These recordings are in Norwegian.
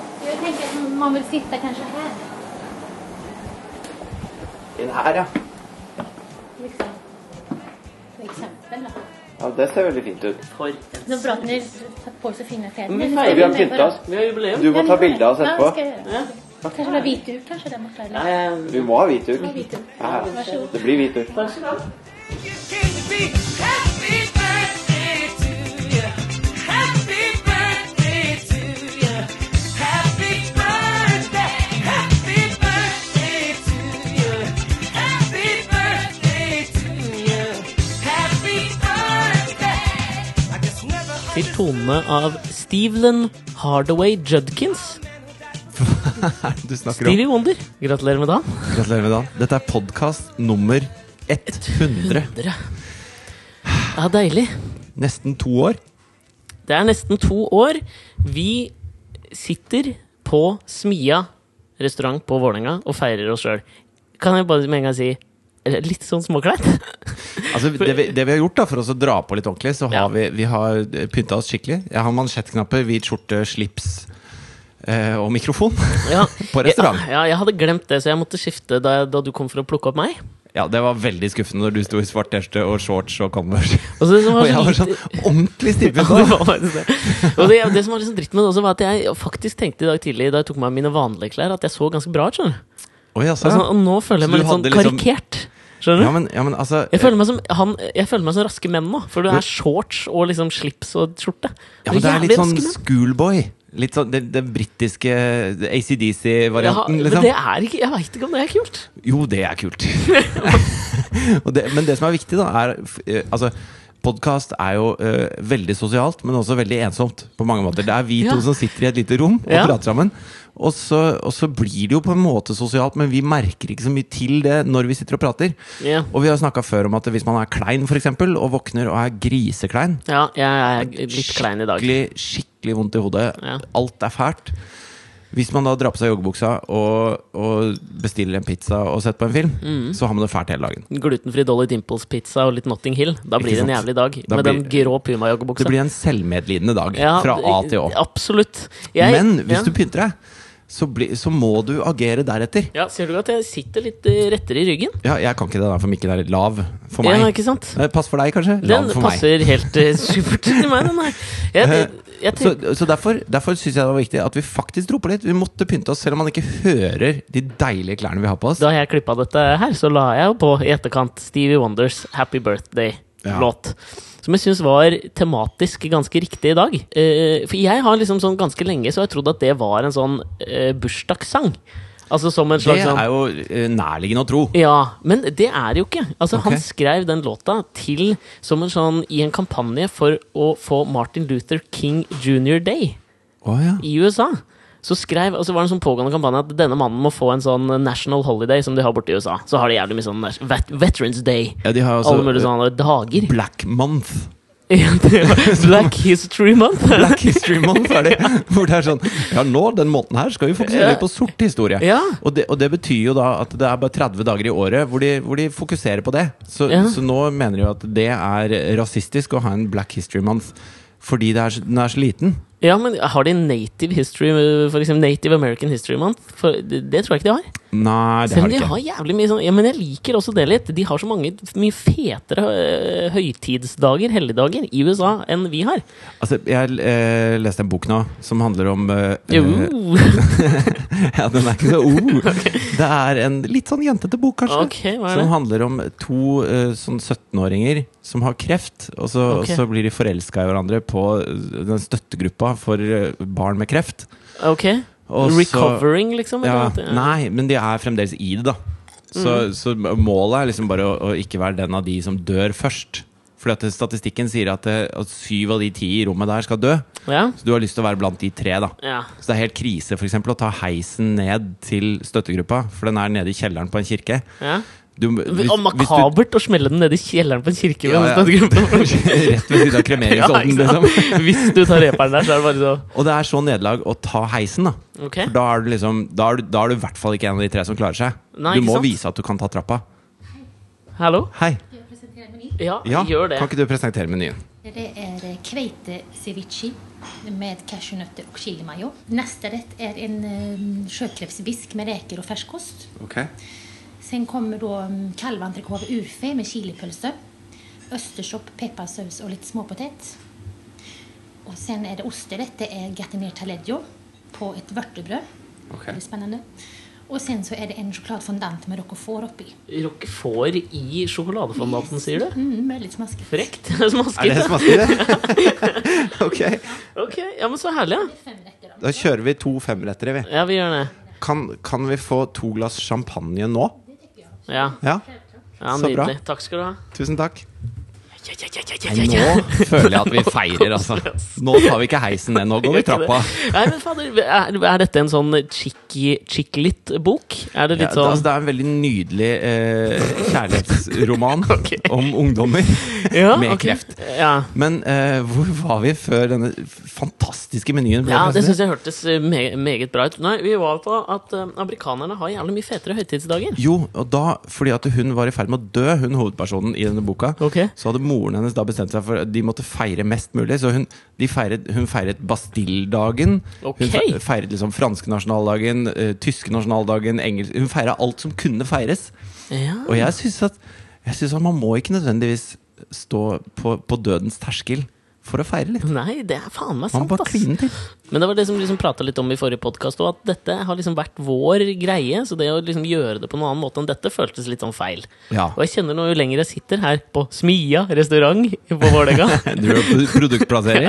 Jag tänker att man vill sitta kanske här. Inn her, ja. Liksom. Till exempel då. Ja, Det ser veldig fint ut. For en Det är bra att ni satt på er så fina kläder. Men vi Vi har feirer. pynta oss. Vi har jubileum. Du må ta bilde av oss Ja, det skal etterpå. jeg gjøre. Ja. Kanskje det er hvit duk, kanskje det måtte Ja, være. Du jeg- må ha hvit duk. Hvit duk. Ja, ja. Vær så god. det blir hvit duk. Takk skal du ha. Til tonene av Steven Hardaway Judkins. Du snakker om Stevie Wonder. Gratulerer med dagen. Gratulerer med dagen. Dette er podkast nummer 100. Dere. Ja, deilig. Nesten to år. Det er nesten to år. Vi sitter på Smia restaurant på Vålerenga og feirer oss sjøl. Kan jeg bare med en gang si eh, litt sånn småkleint? Altså, det, vi, det vi har gjort da, for oss å dra på litt ordentlig, så har Ja. vi, vi har eh, pynta oss skikkelig. Jeg har mansjettknapper, hvit skjorte, slips eh, og mikrofon. Ja. På restaurant. Ja, ja, jeg hadde glemt det, så jeg måtte skifte da, da du kom for å plukke opp meg. Ja, det var veldig skuffende når du sto i svart T-skjorte og shorts og Converse. Og så det som var Og jeg så var lite- sånn ordentlig Ja, stivpent. det var faktisk det. Og det, det som var liksom dritt med det også, var at jeg faktisk tenkte i dag tidlig, da jeg tok meg av mine vanlige klær, at jeg så ganske bra ut, skjønner du. Oi, Og, altså. sånn, og nå føler Så jeg meg du litt sånn hadde liksom- karikert. Skjønner du? Ja, men, ja, men altså Jeg føler, meg som, han, jeg føler meg som raske menn nå, for det er shorts og liksom slips og skjorte. Ja, men det er litt jævlig sånn raske menn. schoolboy. Litt sånn Den, den britiske Ja, ACDC-varianten, men liksom. det er ikke, jeg veit ikke om det er kult. Jo, det er kult. Og det, men det som er viktig, da, er f- eh, Altså, podkast er jo eh, veldig sosialt, men også veldig ensomt på mange måter. Det er vi Ja. to som sitter i et lite rom og Ja. prater sammen. Og så, og så blir det jo på en måte sosialt, men vi merker ikke så mye til det når vi sitter og prater. Ja. Og vi har snakka før om at hvis man er klein, f.eks., og våkner og er griseklein, Ja, jeg er litt klein i dag. Skikkelig, skikkelig vondt i hodet. Ja. Alt er fælt. Hvis man da drar på seg joggebuksa og, og bestiller en pizza og setter på en film, Mm. så har man det fælt hele dagen. Glutenfri Dolly Dimples-pizza og litt Notting Hill. Da blir det en sant? jævlig dag. Da med den blir- grå Det puma-joggebuksa. blir en selvmedlidende dag fra A til Å. Absolutt. Men hvis ja. du pynter deg, så, bli, så må du agere deretter. Ja, ser du at jeg sitter litt eh, rettere i ryggen? Ja, jeg kan ikke det der, for mikken er litt lav for Ja, meg. ikke sant? Eh, Pass for deg, kanskje? Den Lav for meg. Eh, passer helt eh, supert til meg, den her. Jeg, jeg, jeg Så, tenker- så derfor, derfor syns jeg det var viktig at vi faktisk dro på litt. Vi måtte pynte oss, selv om man ikke hører de deilige klærne vi har på oss. Da jeg klippa dette her, så la jeg jo på i etterkant Stevie Wonders Happy Ja. Birthday-låt. Som jeg syns var tematisk ganske riktig i dag. Eh, for jeg har liksom sånn ganske lenge så har jeg trodd at det var en sånn eh, bursdagssang. Altså som en Det slags sånn er jo eh, nærliggende å tro. ja, men det er det jo ikke. Altså, Ok. Han skrev den låta til som en sånn i en kampanje for å få Martin Luther King Junior Day Å ja. i USA. Så skrev, og så var det en sånn pågående kampanje at denne mannen må få en sånn national holiday som de har borte i USA. Så har de jævlig mye sånn nas- vet, Veterans Day. Ja, de har Alle mulige altså sånne dager. Black Month. Ja, det var Black History Month. Black History Month er det. Hvor det er sånn Ja, nå, den måneden her, skal vi fokusere litt på sort historie. Ja. Og, det, og det betyr jo da at det er bare 30 dager i året hvor de, hvor de fokuserer på det. Så, Ja. så nå mener de jo at det er rasistisk å ha en Black History Month fordi det er, så- den er så liten. Ja, men har de Native History For eksempel Native American History Month? For det, det tror jeg ikke de har. Nei, det Selv har om de de ikke. har jævlig mye sånn Ja, men jeg liker også det litt. De har så mange mye fetere øh, høytidsdager, helligdager, i USA enn vi har. Altså, jeg eh, leste en bok nå som handler om eh, Jo. eh, Ja, den er ikke så oh. Det er en litt sånn jentete bok, kanskje. Ok, hva er det? Som handler om to eh, sånn 17-åringer som har kreft. Og så, Ok. og så blir de forelska i hverandre på eh, den støttegruppa for eh, barn med kreft. Ok. Og så- Recovering, liksom? Ja, eller noe? nei, men de er fremdeles i det, da. Så, Mm. så målet er liksom bare å, å ikke være den av de som dør først. Fordi at statistikken sier at, eh, at syv av de ti i rommet der skal dø. Ja. Så du har lyst til å være blant de tre, da. ja. Så det er helt krise for eksempel, å ta heisen ned til støttegruppa, for den er nede i kjelleren på en kirke. Ja. Du, hvis- og hvis du- makabert å smelle den ned i kjelleren på en kirke. Ja, ja. med en støttegruppe. Rett ved siden av Ja, kremeringsovnen, ikke sant? liksom. Hvis du tar reperen der, så er det bare så Og det er så nederlag å ta heisen, da. Ok. For da er du liksom Da er du, da er du i hvert fall ikke en av de tre som klarer seg. Nei, du ikke må sant? vise at du kan ta trappa. Hallo? Hei. Jag presenterar menyn. Ja, Ja, gjør det. kan ikke du presentere menyen? Det är eh, kveite ceviche med cashewnøtter og chilimayo. Neste rett er en eh, sjøkrepsbisk med reker og ferskost. Ok. Sen kommer då mm, kalventrecôte av urfe med chilipölse. Östershopp, pepparsaus och lite småpotet. Och sen är det osterrätt. Det är gatiner taleggio på ett vörtebröd. Okej. Det är spännande. Och sen så är det en chokladfondant med roquefort uppe i. Roquefort i sjokoladefondanten, sier du? Mm, väldigt smaskigt. Frekt. Er det Smaskete. smaskete? ok. Ok, ja, men så herlig, ja. Fem rätter då. Da kjører vi to femrettere, vi. Ja, vi gjør det. Kan, kan vi få to glass champagne nå? Ja, Ja, ja Så bra. Nydelig. Takk skal du ha. tusen takk. Ja, ja, ja, ja, ja, ja, ja. Nå føler jeg at vi feirer, altså. Nå tar vi ikke heisen ned, nå går vi trappa. Nei, men fader, er, er dette en sånn chicky chicklit-bok? Er det litt Ja, det, altså, sånn det er en veldig nydelig eh, kjærlighetsroman om ungdommer Ja, med ok. kreft. Ja. Men eh, hvor var vi før denne fantastiske menyen ble Ja, det syns presentert? jeg hørtes eh, me meget bra ut. Nei, vi var på at eh, amerikanerne har jævlig mye fetere høytidsdager. Jo, og da, fordi at hun var i ferd med å dø, hun hovedpersonen i denne boka, Ok. så hadde moren hennes da bestemt seg for at de måtte feire mest mulig. Så hun, de feiret, hun feiret Bastille-dagen, Ok. hun fe- feiret liksom franske nasjonaldagen, eh, tyske nasjonaldagen, engelsk Hun feira alt som kunne feires. Ja. Og jeg syns at, jeg synes at man må ikke nødvendigvis stå på, på dødens terskel for å feire litt. Nei, det er faen meg Man sant, må bare ass. kline til. Men det var det som liksom prata litt om i forrige podkast, og at dette har liksom vært vår greie. Så det å liksom gjøre det på noen annen måte enn dette føltes litt sånn feil. Ja. Og jeg kjenner nå jo lenger jeg sitter her på Smia restaurant på Vålerenga Du gjør produktplassering.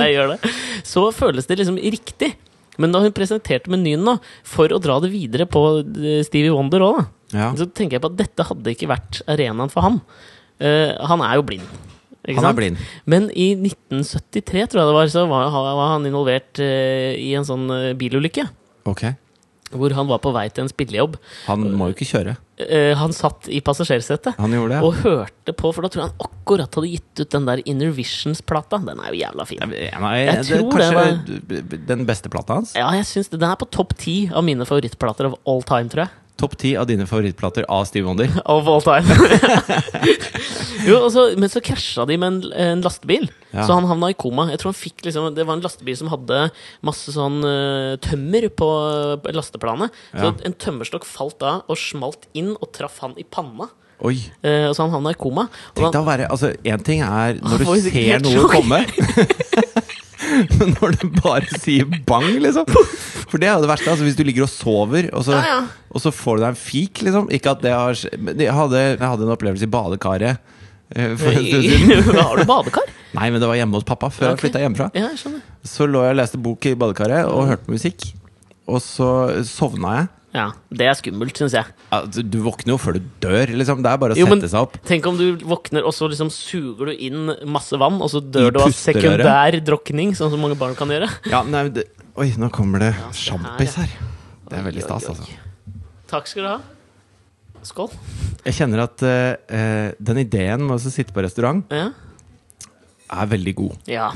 Jeg gjør det. Så føles det liksom riktig. Men da hun presenterte menyen nå, for å dra det videre på eh, Stevie Wonder òg, da, Ja. så tenker jeg på at dette hadde ikke vært arenaen for ham. Eh, han er jo blind. Ikke Han er sant? blind. Men i 1973, tror jeg det var, så var, var han involvert eh, i en sånn eh, bilulykke. Ok. Hvor han var på vei til en spillejobb. Han må jo ikke kjøre. Eh, han satt i passasjersetet. Han gjorde det. Og hørte på, for da tror jeg han akkurat hadde gitt ut den der Inner Visions-plata. Den er jo jævla fin. Jeg Jeg tror det kanskje den beste plata hans. Ja, jeg synes det. Den er på topp ti av mine favorittplater of all time, tror jeg. Topp ti av dine favorittplater av Steve Wonder. Of all time. jo, og så, men så krasja de med en, en lastebil, Ja. så han havna i koma. Jeg tror han fikk liksom, Det var en lastebil som hadde masse sånn eh, tømmer på, på lasteplanet. Så Ja. en tømmerstokk falt av og smalt inn og traff han i panna. Oi. Eh, og så han havna i koma. Og Tenk da, deg å være Altså, én ting er får når du jo ser sikkert noe sjokk. komme. Men når det bare sier bang, liksom. For det er jo det verste. Altså, hvis du ligger og sover, og så, Ja, ja. og så får du deg en fik, liksom. Ikke at det har skj- men jeg hadde, jeg hadde en opplevelse i badekaret eh, for en stund siden. har du badekar? Nei, men det var hjemme hos pappa Ok. før jeg flytta hjemmefra. Ja, jeg skjønner. Så lå jeg og leste bok i badekaret Mm. og hørte musikk. Og så sovna jeg. Ja, Det er skummelt, syns jeg. Altså, du våkner jo før du dør, liksom. Det er bare å Jo, men- sette seg opp. Tenk om du våkner, og så liksom suger du inn masse vann, og så dør I du av pusterøret. sekundær drukning, sånn som mange barn kan gjøre. Ja, nei, men det, oi, nå kommer det se her, sjampis ja. her. Det er veldig Oi, stas, oi, oi. altså. Takk skal du ha. Skål. Jeg kjenner at eh, eh, den ideen med å sitte på restaurant Ja. er veldig god. ja.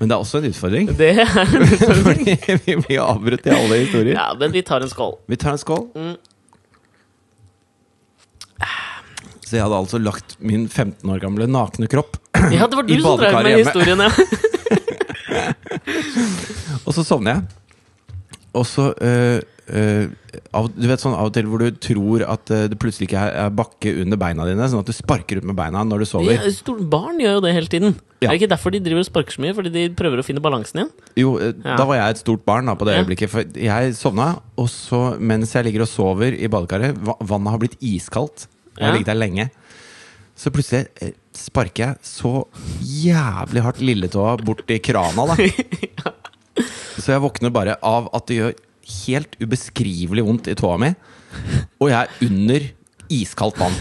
Men det er også en utfordring, Det er fordi vi blir avbrutt i alle historier. Ja, men vi tar en skål. Vi tar en skål. Så jeg hadde altså lagt min 15 år gamle nakne kropp Ja, det var du I som drev badekaret med hjemme. historien, ja. Og så sovner jeg. Og så øh, øh, av, Du vet sånn av og til hvor du tror at øh, det plutselig ikke er, er bakke under beina dine, sånn at du sparker ut med beina når du sover. Ja, store barn gjør jo det hele tiden. Ja. Er det ikke derfor de driver og sparker så mye? Fordi de prøver å finne balansen igjen? Jo, øh, Ja. da var jeg et stort barn da på det Ja. øyeblikket. For jeg sovna, og så mens jeg ligger og sover i badekaret va- Vannet har blitt iskaldt. Jeg har Ja. ligget der lenge. Så plutselig øh, sparker jeg så jævlig hardt lilletåa bort i krana, da. Så jeg våkner bare av at det gjør helt ubeskrivelig vondt i tåa mi. Og jeg er under iskaldt vann.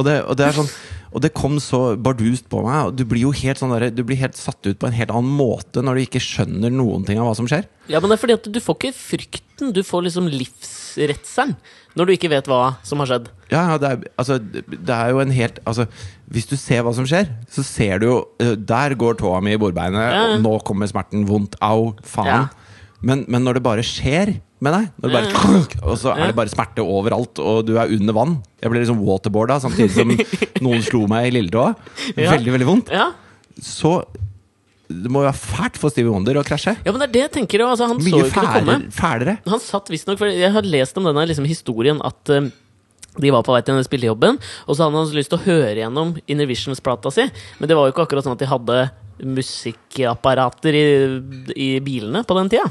Og det, og det er sånn og det kom så bardust på meg. Og du blir jo helt, sånn derre- du blir helt satt ut på en helt annen måte når du ikke skjønner noen ting av hva som skjer. Ja, men det er fordi at du får ikke frykten, du får liksom livsredselen når du ikke vet hva som har skjedd. Ja, ja, det, er, altså, det er jo en helt altså, Hvis du ser hva som skjer, så ser du jo eh, Der går tåa mi i bordbeinet, Ja. og nå kommer smerten. Vondt. Au. Faen. Ja. Mm. Men, men når det bare skjer med deg, når det bare, og så er det bare smerte overalt, og du er under vann Jeg ble liksom waterboarda samtidig som noen slo meg i lilletåa. Ja. Veldig, veldig vondt. Ja, Så Det må jo være fælt for Stevie Wonder å krasje. Ja, men det er det jeg tenker. jo, Altså, han så Mye jo ikke det komme. fæler, fælere. Han satt visstnok for Jeg har lest om denne liksom, historien at eh, de var på vei til denne spillejobben, og så hadde han så lyst til å høre gjennom Inner Visions-plata si, men det var jo ikke akkurat sånn at de hadde musikkapparater i, i bilene på den tida.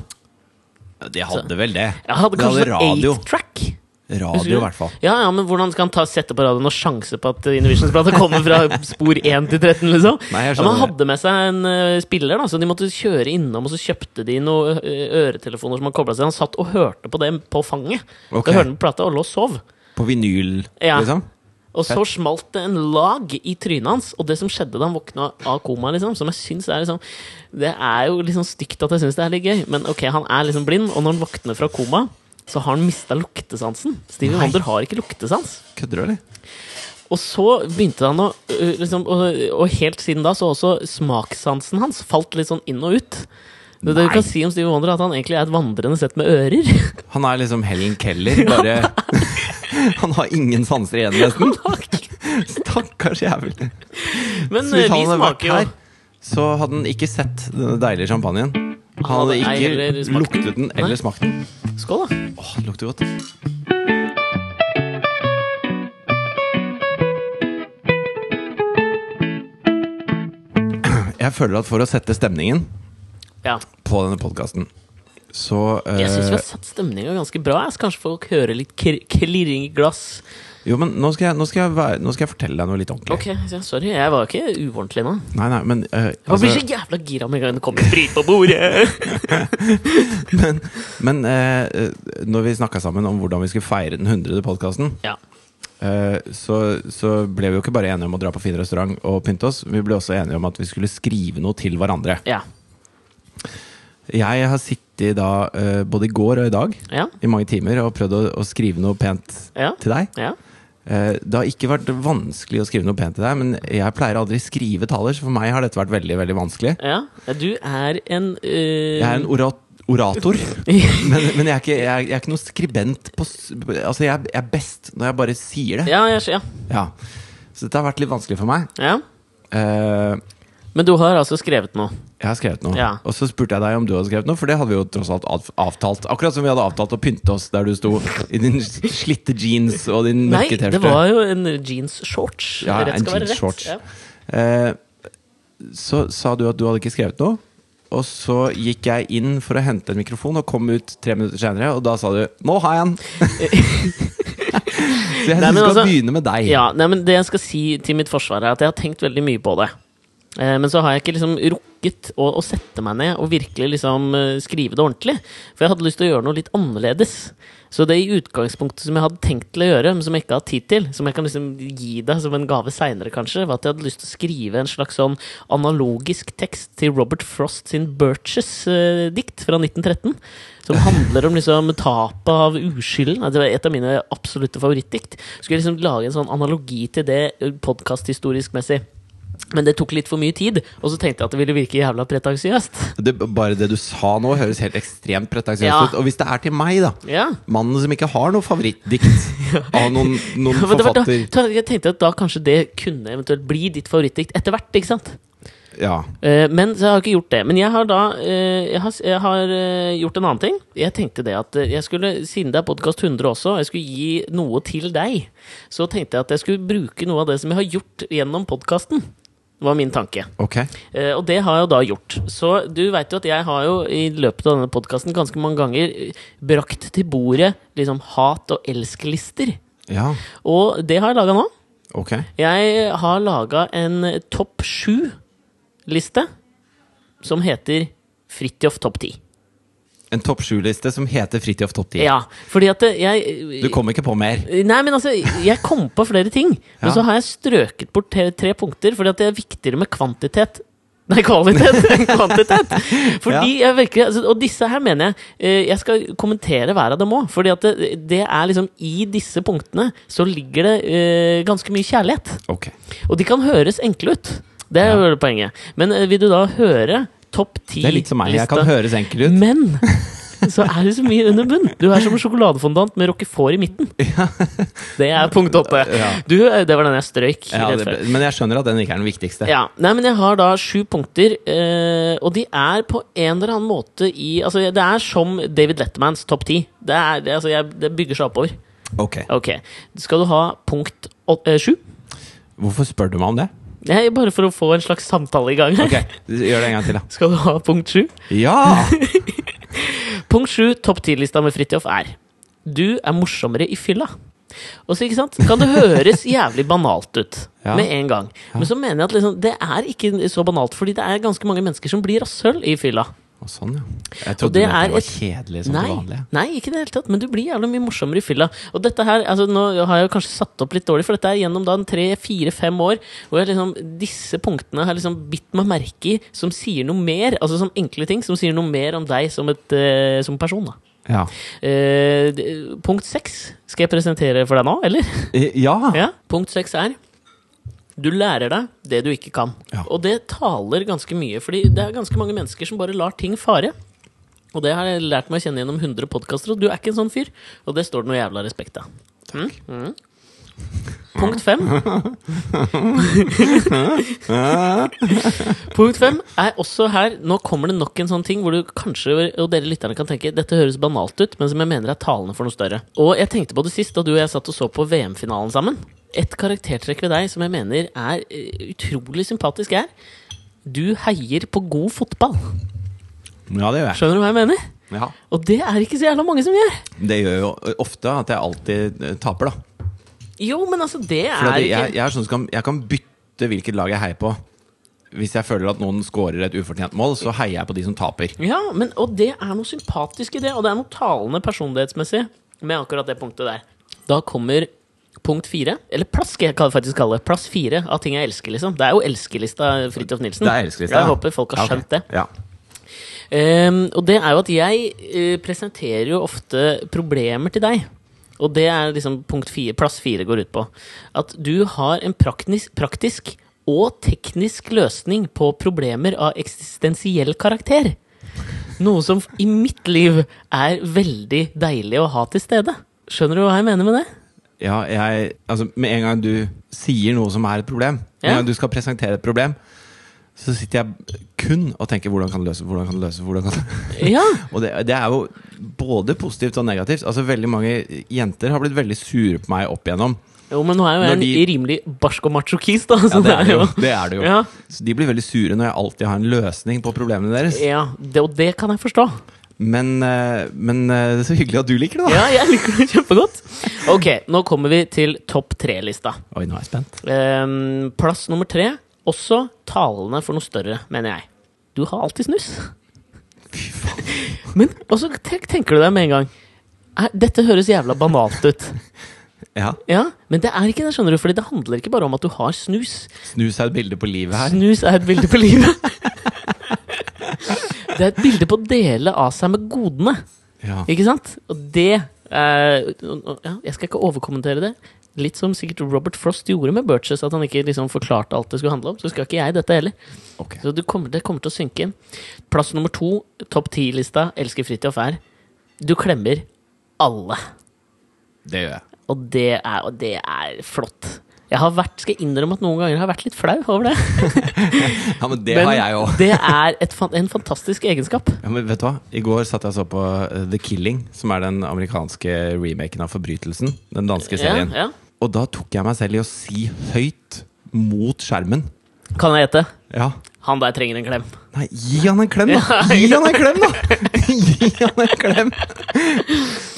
De hadde vel det. Jeg hadde De kanskje hadde radio. radio. 8-track. Radio, i hvert fall. Ja, ja, men hvordan skal han ta, sette på radioen og sjanse på at Inner Visions-plata kommer fra spor 1 til 13, liksom? Nei, jeg ja, men han skjønner hadde med seg en eh, spiller, da, så de måtte kjøre innom, og så kjøpte de noen øretelefoner som han kobla seg til. Han satt og hørte på det på fanget. Ok. Da hørte han på plata og lå og sov. På vinyl, Ja. liksom. Og så smalt det en lag i trynet hans, og det som skjedde da han våkna av koma, liksom, som jeg syns er liksom Det er jo liksom stygt at jeg syns det er litt gøy, men ok, han er liksom blind, og når han våkner fra koma, så har han mista luktesansen. Stevie Nei. Wonder har ikke luktesans. Kødder du, eller? Og så begynte han å øh, liksom, og, og helt siden da så har også smakssansen hans falt litt sånn inn og ut. Det, det du Nei. kan si om Stevie Wonder, er at han egentlig er et vandrende sett med ører. Han er liksom Helen Keller, bare Han har ingen sanser igjen, nesten. Stakkars jævel. Men øh, Så hvis vi han hadde vært smaker jo her, så hadde han ikke sett denne deilige champagnen. Han hadde hadde ei heller ikke smakt luktet den Nei. eller smakt den. Skål, da. Åh, det lukter godt. Jeg føler at for å sette stemningen Ja. på denne podkasten, så eh, Jeg syns vi har satt stemninga ganske bra. Jeg skal kanskje folk høre litt kir- klirring i glass. Jo, men nå skal, jeg, nå, skal jeg være, nå skal jeg fortelle deg noe litt ordentlig. Ok, ja, Sorry, jeg var ikke uordentlig nå. Nei, nei, men eh, Jeg blir altså- så jævla gira med en gang det kommer sprit på bordet! Men eh, eh, når vi snakka sammen om hvordan vi skulle feire den 100. podkasten, Ja. eh, så, så ble vi jo ikke bare enige om å dra på fin restaurant og pynte oss, vi ble også enige om at vi skulle skrive noe til hverandre. Ja. Jeg har sittet da eh, både i går og i dag Ja. i mange timer og prøvd å, å skrive noe pent Ja. til deg. ja. Eh, det har ikke vært vanskelig å skrive noe pent til deg, men jeg pleier aldri skrive taler, så for meg har dette vært veldig, veldig vanskelig. ja. Du er en øh, Jeg er en ora orator, men, men jeg, er ikke, jeg, er, jeg er ikke noen skribent. På, s- altså jeg, er- jeg er best når jeg bare sier det. Ja, jeg, skj- ja. Ja. Så dette har vært litt vanskelig for meg. ja. Eh, Men du har altså skrevet noe. jeg har skrevet noe, Ja. og så spurte jeg deg om du hadde skrevet noe, for det hadde vi jo tross alt av- avtalt. Akkurat som vi hadde avtalt å pynte oss der du sto i din slitte jeans og din Nei, mørke det T-skjorte. var jo en jeans-shorts. Ja, Rett en skal være rett. jeans-shorts. Ja. Eh, så sa du at du hadde ikke skrevet noe. Og så gikk jeg inn for å hente en mikrofon og kom ut tre minutter senere, og da sa du 'nå har jeg en'! så Nei, jeg syns vi men skal altså- begynne med deg. Ja, nei, men Det jeg skal si til mitt forsvar, er at jeg har tenkt veldig mye på det. Eh, Men så har jeg ikke liksom rukket å, å sette meg ned og virkelig liksom eh, skrive det ordentlig. For jeg hadde lyst til å gjøre noe litt annerledes. Så det i utgangspunktet som jeg hadde tenkt til å gjøre, men som jeg ikke har tid til, som jeg kan liksom gi deg som en gave seinere, kanskje, var at jeg hadde lyst til å skrive en slags sånn analogisk tekst til Robert Frost sin Birches-dikt fra 1913. Som handler om liksom tapet av uskylden. Det var et av mine absolutte favorittdikt. Skulle jeg liksom lage en sånn analogi til det podkasthistorisk messig. Men det tok litt for mye tid, og så tenkte jeg at det ville virke jævla pretensiøst. Det, bare det du sa nå, høres helt ekstremt pretensiøst Ja. ut. Og hvis det er til meg, da. Ja. Mannen som ikke har noe favorittdikt av noen, noen Men det var da, forfatter. da- jeg tenkte at da kanskje det kunne eventuelt bli ditt favorittdikt etter hvert. ikke sant? Ja. Eh, Men så jeg har ikke gjort det. Men jeg har da eh, jeg har, jeg har eh, gjort en annen ting. Jeg tenkte det at eh, jeg skulle, siden det er podkast 100 også, og jeg skulle gi noe til deg, så tenkte jeg at jeg skulle bruke noe av det som jeg har gjort gjennom podkasten. var min tanke. Ok. Eh, Og det har jeg jo da gjort. Så du veit jo at jeg har jo i løpet av denne podkasten ganske mange ganger eh, brakt til bordet liksom hat- og elsklister. Ja. Og det har jeg laga nå. Ok. Jeg har laga en topp sju-liste som heter Fridtjof topp ti. En topp sju-liste som heter Fridtjof Topp 10. Ja, fordi at eh, jeg Du kom ikke på mer. Nei, men altså, jeg kom på flere ting. Men Ja. så har jeg strøket bort tre, tre punkter, fordi at det er viktigere med kvantitet. Nei, kvalitet enn kvantitet! Fordi jeg virkelig, altså, Og disse her mener jeg eh, Jeg skal kommentere hver av dem òg. Fordi at det, det er liksom I disse punktene så ligger det eh, ganske mye kjærlighet. Ok. Og de kan høres enkle ut. Det er Ja. jo poenget. Men eh, vil du da høre topp ti Det er litt som meg. Jeg kan høres enkel ut. Men så er det så mye under bunn. Du er som en sjokoladefondant med roquefort i midten. Det er punkt åtte. Ja. Du, eh, det var den jeg strøyk. Ja, rett det, før. men jeg skjønner at den ikke er den viktigste. Ja. Nei, men jeg har da sju punkter, eh, og de er på en eller annen måte i Altså, det er som David Lettermans topp ti. Det, er- det, altså, jeg- det bygger seg oppover. Ok, Ok. Skal du ha punkt åt- eh, sju? Hvorfor spør du meg om det? Nei, bare for å få en slags samtale i gang her. Ok, Gjør det en gang til, da. Skal du ha punkt sju? Ja! Punkt sju, topp ti-lista med Fridtjof er Du er morsommere i fylla. Og så, ikke sant, kan det høres jævlig banalt ut Ja. med en gang. Men så mener jeg at liksom, det er ikke så banalt, fordi det er ganske mange mennesker som blir rasshøl i fylla. Å, sånn, ja. Jeg Og trodde det det er var et- kjedelig som det Nei, vanlige. nei, ikke i det hele tatt, men du blir jævlig mye morsommere i fylla. Og dette her, altså Nå har jeg jo kanskje satt opp litt dårlig, for dette er gjennom da en tre-fire-fem år hvor jeg liksom, disse punktene har liksom bitt meg merke i, som sier noe mer. Altså som enkle ting som sier noe mer om deg som, et, eh, som person. da Ja. Eh, d- punkt seks skal jeg presentere for deg nå, eller? I- ja. Ja. Punkt seks er du lærer deg det du ikke kan. Ja. Og det taler ganske mye, fordi det er ganske mange mennesker som bare lar ting fare. Og det har jeg lært meg å kjenne gjennom 100 podkaster, og du er ikke en sånn fyr. Og det står det noe jævla respekt av. Mm, mm. Punkt fem Punkt fem er også her Nå kommer det nok en sånn ting hvor du kanskje Og dere lytterne kan tenke dette høres banalt ut, men som jeg mener er talende for noe større. Og jeg tenkte på det sist da du og jeg satt og så på VM-finalen sammen. Et karaktertrekk ved deg som jeg mener er eh, utrolig sympatisk, er du heier på god fotball. ja, det gjør jeg. Skjønner du hva jeg mener? Ja. Og det er ikke så jævla mange som gjør. Det gjør jo ofte at jeg alltid eh, taper, da. Jo, men altså, det er For at jeg, ikke jeg, er sånn som kan, jeg kan bytte hvilket lag jeg heier på. Hvis jeg føler at noen scorer et ufortjent mål, så heier jeg på de som taper. Ja, men, og det er noe sympatisk i det, og det er noe talende personlighetsmessig med akkurat det punktet der. Da kommer punkt fire, eller plass skal jeg kall- faktisk kalle det. Plass fire av ting jeg elsker, liksom. Det er jo elskelista Fridtjof Nilsen. Det er elskelista. Jeg håper folk har skjønt det. Ja. Ehm, og det er jo at jeg eh, presenterer jo ofte problemer til deg. Og det er liksom punkt fire, plass fire går ut på. At du har en praktisk, praktisk og teknisk løsning på problemer av eksistensiell karakter. Noe som i mitt liv er veldig deilig å ha til stede. Skjønner du hva jeg mener med det? Ja, jeg, altså, med en gang du sier noe som er et problem, med Ja. en gang du skal presentere et problem, så sitter jeg kun og tenker hvordan kan det løses, hvordan kan det løses, hvordan kan det Ja. Og det, det er jo både positivt og negativt. Altså Veldig mange jenter har blitt veldig sure på meg opp igjennom. Jo, men nå er jo jeg Når en de- rimelig barsk og machokist, da. Så Ja, det er det jo. Det er det jo. Ja. Så de blir veldig sure når jeg alltid har en løsning på problemene deres. Ja, det, og det kan jeg forstå. Men, eh, men eh, det er så hyggelig at du liker det, da. Ja, jeg liker det kjempegodt. Ok, nå kommer vi til topp tre-lista. Oi, nå er jeg spent. Ehm, plass nummer tre, også talende for noe større, mener jeg. Du har alltid snus. Fy faen. Men og så tenk, tenker du deg med en gang "Nei, Dette høres jævla banalt ut. Ja, Ja, Men det er ikke det, skjønner du, Fordi det handler ikke bare om at du har snus. Snus er et bilde på livet her. Snus er et bilde på livet. Det er et bilde på å dele av seg med godene. Ja. Ikke sant? Og det eh, ja, Jeg skal ikke overkommentere det. Litt som sikkert Robert Frost gjorde med Burches, at han ikke liksom forklarte alt det skulle handle om. Så skal ikke jeg dette heller. Ok. Så det kommer, det kommer til å synke inn. Plass nummer to, topp ti-lista, elsker Fridtjof, er Du klemmer alle. Det gjør jeg. Og det er, og det er flott. Jeg har vært, skal innrømme at noen ganger har jeg vært litt flau over det. Ja, men det Men har jeg òg. det er et, fan- en fantastisk egenskap. Ja, men vet du hva? I går satt jeg og så på eh, The Killing, som er den amerikanske remaken av Forbrytelsen. Den danske serien. Ja, ja. Og da tok jeg meg selv i å si høyt mot skjermen. Kan jeg gjette? Ja. Han der trenger en klem. Nei, gi han en klem, da! Gi han en klem, da! Gi han en klem!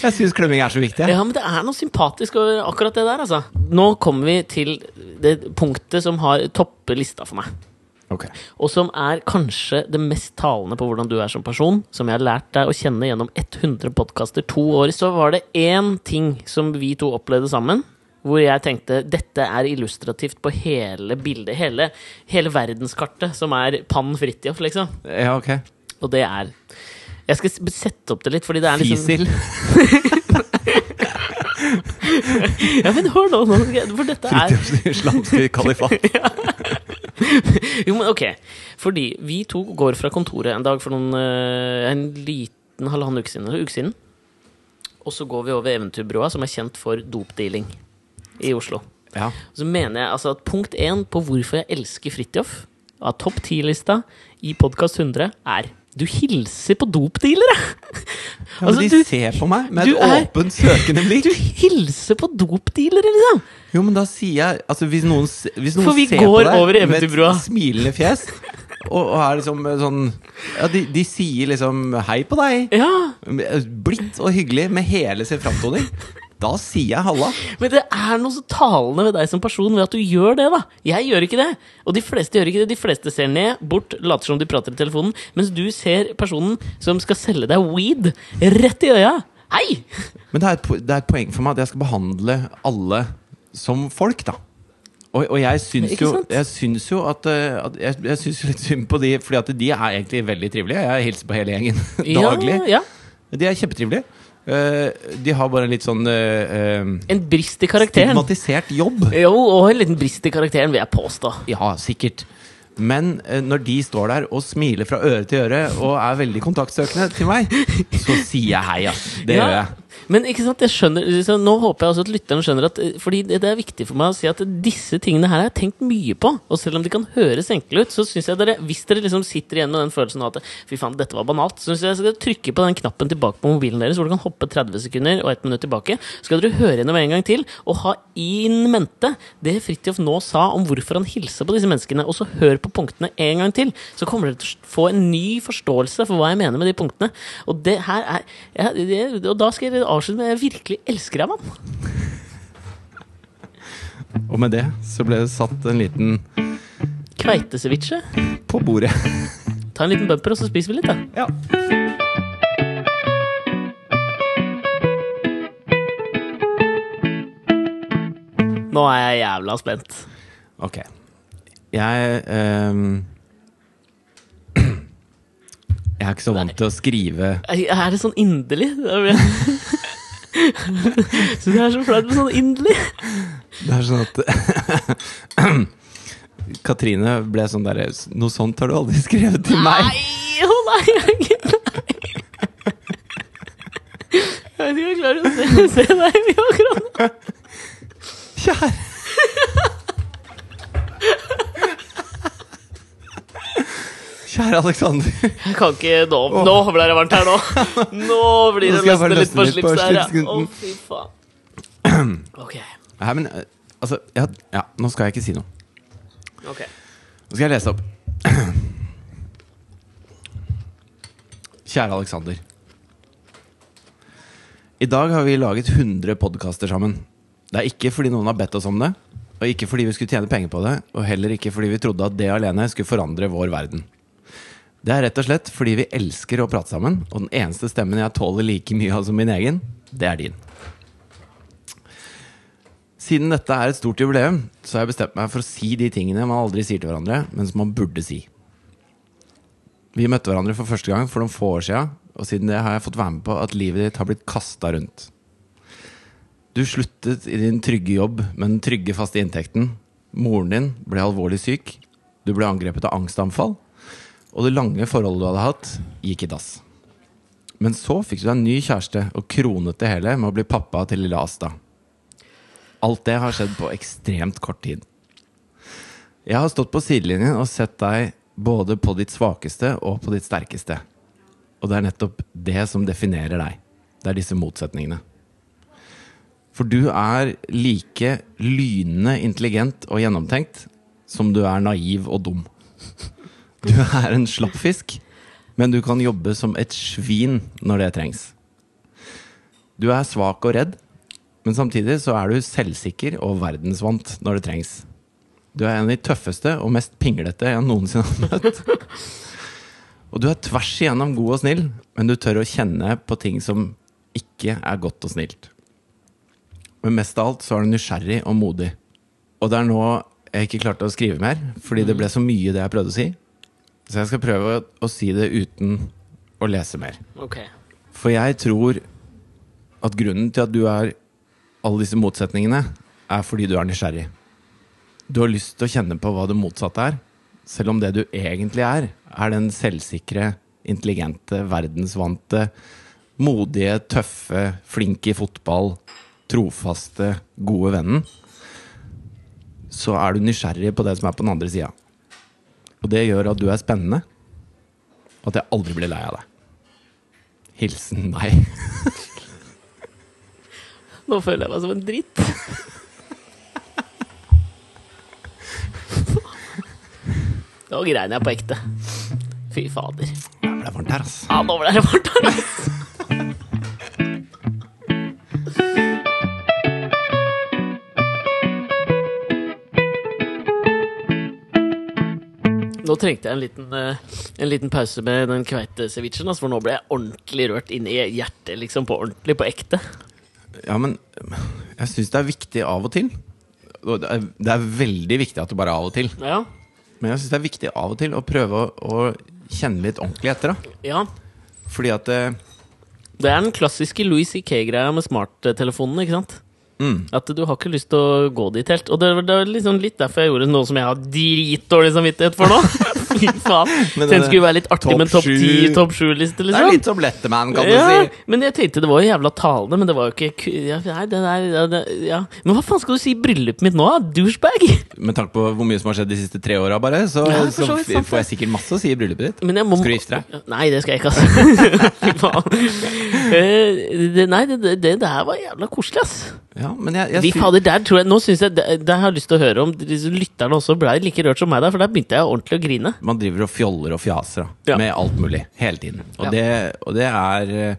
Jeg syns klemming er så viktig. jeg. Ja, men det er noe sympatisk over akkurat det der, altså. Nå kommer vi til det punktet som har toppet lista for meg. Ok. Og som er kanskje det mest talende på hvordan du er som person. Som jeg har lært deg å kjenne gjennom 100 podkaster to år. Så var det én ting som vi to opplevde sammen. Hvor jeg tenkte dette er illustrativt på hele bildet, hele, hele verdenskartet, som er Pann Fridtjof, liksom. Ja, ok. Og det er Jeg skal s- sette opp det litt, fordi det er liksom Fisil. Ja, men hør nå, nå skal jeg- for dette er Fritjofs islamske kalifat. Jo, men ok. Fordi vi to går fra kontoret en dag for noen eh, En liten liten halvannen uke siden, eller uke siden. Og så går vi over Eventyrbrua, som er kjent for dopdealing i Oslo. Ja. Så mener jeg altså at punkt én på hvorfor jeg elsker Fridtjof, av topp ti-lista i Podkast 100, er du hilser på dopdealere! Ja, men Altså, de du- ser på meg med du et er- åpent, søkende blikk. Du hilser på dopdealere, liksom! Jo, men da sier jeg altså Hvis noen, s- hvis noen For vi ser går på deg over med et eventyrbrua. smilende fjes og, og er liksom eh, sånn Ja, de, de sier liksom 'hei på deg'. Ja! Blidt og hyggelig med hele sin framtoning. Da sier jeg halla. Men det er noe så talende ved deg som person ved at du gjør det, da. Jeg gjør ikke det. Og de fleste gjør ikke det. De fleste ser ned, bort, later som de prater i telefonen, mens du ser personen som skal selge deg weed, rett i øya. Hei! Men det er, et, po- det er et poeng for meg at jeg skal behandle alle som folk, da. Og, og jeg syns Ikke jo, sant? jeg syns jo at, eh, at Jeg, jeg syns jo litt synd på de, Fordi at de er egentlig veldig trivelige. Jeg hilser på hele gjengen daglig. Ja, ja. De er kjempetrivelige. Eh, de har bare en litt sånn eh, eh, En brist i karakteren. stigmatisert jobb. Jo, og en liten brist i karakteren, vil jeg påstå. Ja, sikkert. Men eh, når de står der og smiler fra øre til øre og er veldig kontaktsøkende til meg, så sier jeg hei, ass. Det Ja, gjør jeg. Men ikke sant, jeg skjønner så Nå håper jeg også at lytterne skjønner at eh, Fordi det, det er viktig for meg å si at disse tingene her har jeg tenkt mye på. Og selv om de kan høres enkle ut, så syns jeg dere Hvis dere liksom sitter igjen med den følelsen av at fy faen, dette var banalt, så syns jeg dere skal trykke på den knappen tilbake på mobilen deres, hvor du kan hoppe 30 sekunder og 1 minutt tilbake. Så skal dere høre gjennom en gang til og ha in mente det Fridtjof nå sa om hvorfor han hilser på disse menneskene. Og så hør på punktene en gang til, så kommer dere til å få en ny forståelse for hva jeg mener med de punktene. Og det her er ja, det, Og da skal jeg avslutte med at jeg virkelig elsker deg, mann. Og med det så ble det satt en liten Kveiteseviche. på bordet. Ta en liten bumper, og så spiser vi litt, da. Ja. Nå er jeg jævla spent. Ok. Jeg ehm, Jeg er ikke så vant til å skrive Er er det sånn inderlig? Det er- Så det er så flaut med sånn inderlig. Det er sånn at Katrine ble sånn derre Noe sånt har du aldri skrevet til meg. Nei, å nei, herregud, nei. Jeg vet ikke om jeg klarer å se, se deg i akkurat nå. Kjære Kjære Alexander. Jeg kan ikke Nå, nå ble det varmt her, nå. Nå blir Nå det skal jeg bare løsnet litt på løsne litt på slips her, ja. Å, slipskunden. fy faen. Ok. Nei, men eh, altså ja, ja, nå skal jeg ikke si noe. ok Nå skal jeg lese opp. Kjære Alexander. I dag har vi laget 100 podkaster sammen. Det er ikke fordi noen har bedt oss om det, og ikke fordi vi skulle tjene penger på det, og heller ikke fordi vi trodde at det alene skulle forandre vår verden. Det er rett og slett fordi vi elsker å prate sammen, og den eneste stemmen jeg tåler like mye av som min egen, det er din. Siden dette er et stort jubileum, så har jeg bestemt meg for å si de tingene man aldri sier til hverandre, men som man burde si. Vi møtte hverandre for første gang for noen få år siden, og siden det har jeg fått være med på at livet ditt har blitt kasta rundt. Du sluttet i din trygge jobb med den trygge, faste inntekten. Moren din ble alvorlig syk. Du ble angrepet av angstanfall. Og det lange forholdet du hadde hatt, gikk i dass. Men så fikk du deg en ny kjæreste og kronet det hele med å bli pappa til lille Asta. Alt det har skjedd på ekstremt kort tid. Jeg har stått på sidelinjen og sett deg både på ditt svakeste og på ditt sterkeste. Og det er nettopp det som definerer deg. Det er disse motsetningene. For du er like lynende intelligent og gjennomtenkt som du er naiv og dum. Du er en slappfisk, men du kan jobbe som et svin når det trengs. Du er svak og redd, men samtidig så er du selvsikker og verdensvant når det trengs. Du er en av de tøffeste og mest pinglete jeg noensinne har møtt. Og du er tvers igjennom god og snill, men du tør å kjenne på ting som ikke er godt og snilt. Men mest av alt så er du nysgjerrig og modig. Og det er nå jeg ikke klarte å skrive mer, fordi det ble så mye det jeg prøvde å si. Så jeg skal prøve å, å si det uten å lese mer. Ok. For jeg tror at grunnen til at du er alle disse motsetningene, er fordi du er nysgjerrig. Du har lyst til å kjenne på hva det motsatte er, selv om det du egentlig er, er den selvsikre, intelligente, verdensvante, modige, tøffe, flinke i fotball, trofaste, gode vennen, så er du nysgjerrig på det som er på den andre sida. Og det gjør at du er spennende, og at jeg aldri blir lei av deg. Hilsen meg. Nå føler jeg meg som en dritt. Nå grein jeg på ekte. Fy fader. Det er varmt her, ass. Ja, nå ble det varmt her, ass. Nå trengte jeg en liten, eh, en liten pause med den kveitecevichen, ass, for nå ble jeg ordentlig rørt inn i hjertet, liksom, på ordentlig, på ekte. Ja, men jeg syns det er viktig av og til. Og Det er, det er veldig viktig at du bare er av og til. Ja, Men jeg syns det er viktig av og til å prøve å, å kjenne litt ordentlig etter. da ja. Fordi at eh, Det er den klassiske Louis C.K.-greia med smarttelefonen, ikke sant? Mm. At du har ikke lyst til å gå dit helt. Og det var det var liksom litt derfor jeg gjorde noe som jeg har dritdårlig samvittighet for nå. Fy faen. Men Tenkte det- det skulle være litt artig topp med en topp sju- 10, topp 7-liste, Det er liksom. litt som Letterman, ja, kan du si. men jeg tenkte det var jo jævla talende, men det var jo ikke ku- ja, Nei, det der ja, det, ja. Men hva faen skal du si i bryllupet mitt nå, da? Douchebag! Med tanke på hvor mye som har skjedd de siste tre åra, bare, så, Ja, for så, så vidt, sant det. får jeg sikkert masse å si i bryllupet ditt. Men jeg må Skal du gifte deg? Nei, det skal jeg ikke, altså. Fy faen. Eh, det, nei, det, det, det der var jævla koselig, ass. Ja, men jeg, jeg Vi sy- fader, der tror jeg, nå synes jeg, der, der har jeg lyst til å høre om lytterne også ble like rørt som meg der, for der begynte jeg ordentlig å grine. man driver og fjoller og fjaser da, Ja. med alt mulig hele tiden. Og, Ja. det, og det er eh,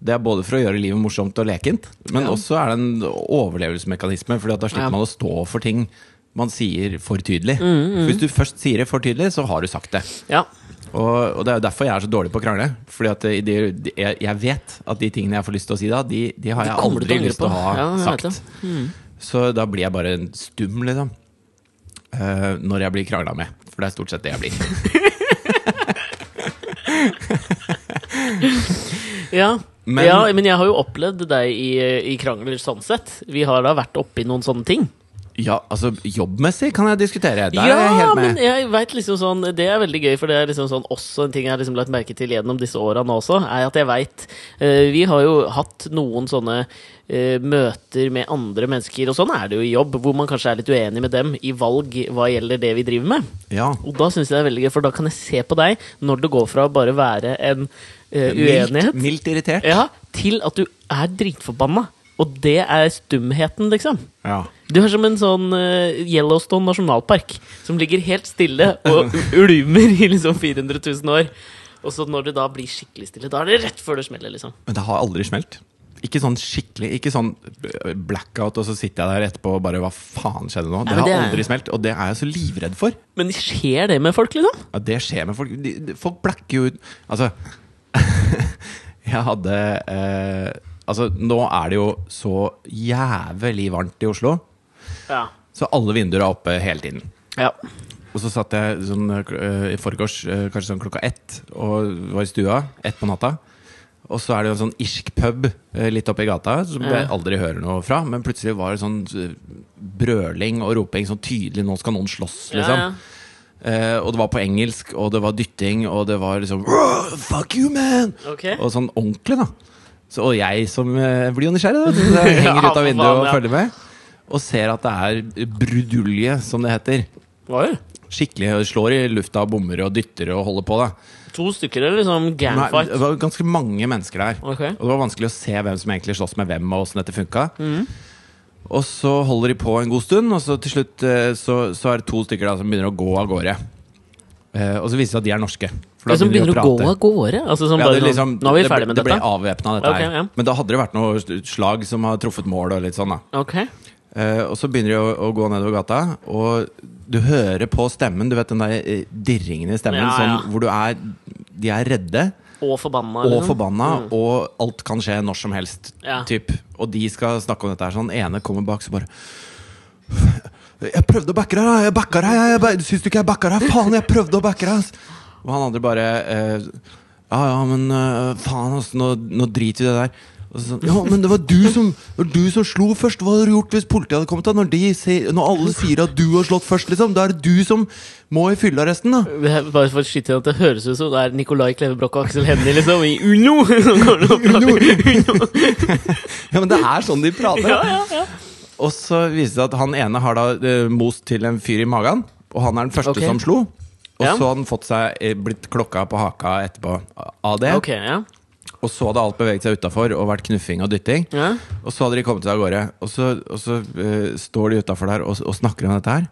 det er både for å gjøre livet morsomt og lekent, men også er det en overlevelsesmekanisme. Fordi at da slipper Ja. man å stå for ting man sier for tydelig. Mm, For Hvis du først sier det for tydelig, så har du sagt det. Ja, Og, og det er jo derfor jeg er så dårlig på å krangle. Fordi at eh, de, de, jeg, jeg vet at de tingene jeg får lyst til å si da, de, de har De jeg kommer du til å angre aldri lyst til på. å ha Ja, jeg vet Mm. sagt. Så da blir jeg bare en stum, liksom. Eh, når jeg blir krangla med. For det er stort sett det jeg blir. ja. Men- Men, ja, men jeg har jo opplevd deg i, i krangler sånn sett. Vi har da vært oppi noen sånne ting. Ja, altså jobbmessig kan jeg diskutere. Der er jeg ja, helt med. men jeg vet liksom sånn Det er veldig gøy, for det er liksom sånn også en ting jeg har liksom lagt merke til gjennom disse åra nå også, er at jeg veit Vi har jo hatt noen sånne eh, møter med andre mennesker, og sånn er det jo i jobb, hvor man kanskje er litt uenig med dem i valg hva gjelder det vi driver med. Ja. Og da syns jeg det er veldig gøy, for da kan jeg se på deg når det går fra å bare være en eh, Mildt, uenighet mildt irritert. ja, til at du er dritforbanna. Og det er stumheten, liksom. Ja. Du er som en sånn eh, Yellowstone nasjonalpark som ligger helt stille og ulmer i liksom 400 000 år. Og så når det da blir skikkelig stille, da er det rett før det smeller, liksom. Men det har aldri smelt. Ikke sånn skikkelig Ikke sånn blackout, og så sitter jeg der etterpå og bare Hva faen skjedde nå? Det men har det er- aldri smelt, og det er jeg så livredd for. Men skjer det med folk, liksom? Ja, det skjer med folk. De, de, folk blacker jo ut Altså Jeg hadde eh, Altså, nå er det jo så jævlig varmt i Oslo, Ja. så alle vinduer er oppe hele tiden. ja. Og så satt jeg sånn, øh, i forgårs, øh, kanskje sånn klokka ett, og var i stua ett på natta. Og så er det jo en sånn irsk pub øh, litt oppi gata som jeg aldri hører noe fra. Men plutselig var det sånn øh, brøling og roping sånn tydelig 'nå skal noen slåss', Ja, liksom. ja. Eh, og det var på engelsk, og det var dytting, og det var liksom «Rå, Fuck you, man! Ok. Og sånn ordentlig, da. Så, og jeg som eh, blir jo nysgjerrig, da. Så Ja, jeg henger ut for av vinduet faen, og ja. følger med. Og ser at det er brudulje, som det heter. Oi. Skikkelig slår i lufta og bommer og dytter og holder på, da. To stykker, eller liksom Nei, gangfight? det var ganske mange mennesker der. Ok. Og det var vanskelig å se hvem som egentlig slåss med hvem, og åssen dette funka. Mm. Og så holder de på en god stund, og så til slutt eh, så, så er det to stykker da som begynner å gå av gårde. Eh, og så viser det seg at de er norske. For Ja, som begynner å prate. gå av gårde? Altså, som Ja, bare det liksom, sånn, nå er vi det ble- ferdig med det ble dette. avvæpna, dette Ok, her. ja. Men da hadde det vært noe slag som har truffet mål og litt sånn, da. Ok. Eh, og så begynner de å, å gå nedover gata, og du hører på stemmen. Du vet den der eh, dirringen i stemmen Ja, ja. Sånn, hvor du er De er redde Og forbanna. og liksom. forbanna, og alt kan skje når som helst. Ja. Typ. Og de skal snakke om dette her. Så den ene kommer bak, så bare Jeg prøvde å backe deg, da! Jeg backa deg! Jeg, ba- syns du ikke jeg backa deg? Faen, jeg prøvde å backe deg! ass!» Og han andre bare eh, Ja, ja, men eh, faen, ass, nå, nå driter vi i det der. Og så sånn, ja, men det var du som det var du som slo først. Hva hadde du gjort hvis politiet hadde kommet? da? Når, de sier, når alle sier at du har slått først, liksom, da er det du som må i fyllearresten, da. Det er Bare for å skyte inn at det høres ut som det er Nicolai Klevebrokk og Aksel Hennie liksom, i Uno! som går og prater. Ja, men det er sånn de prater. ja, da. ja, ja. Og så viser det seg at han ene har da eh, most til en fyr i magen, og han er den første Ok. som slo. Og Ja. så har han fått seg eh, blitt klokka på haka etterpå av det. Ok, ja. Og så hadde alt beveget seg utafor og vært knuffing og dytting. Ja. Og så hadde de kommet seg av gårde. Og så, og så eh, står de utafor der og, og snakker om dette her.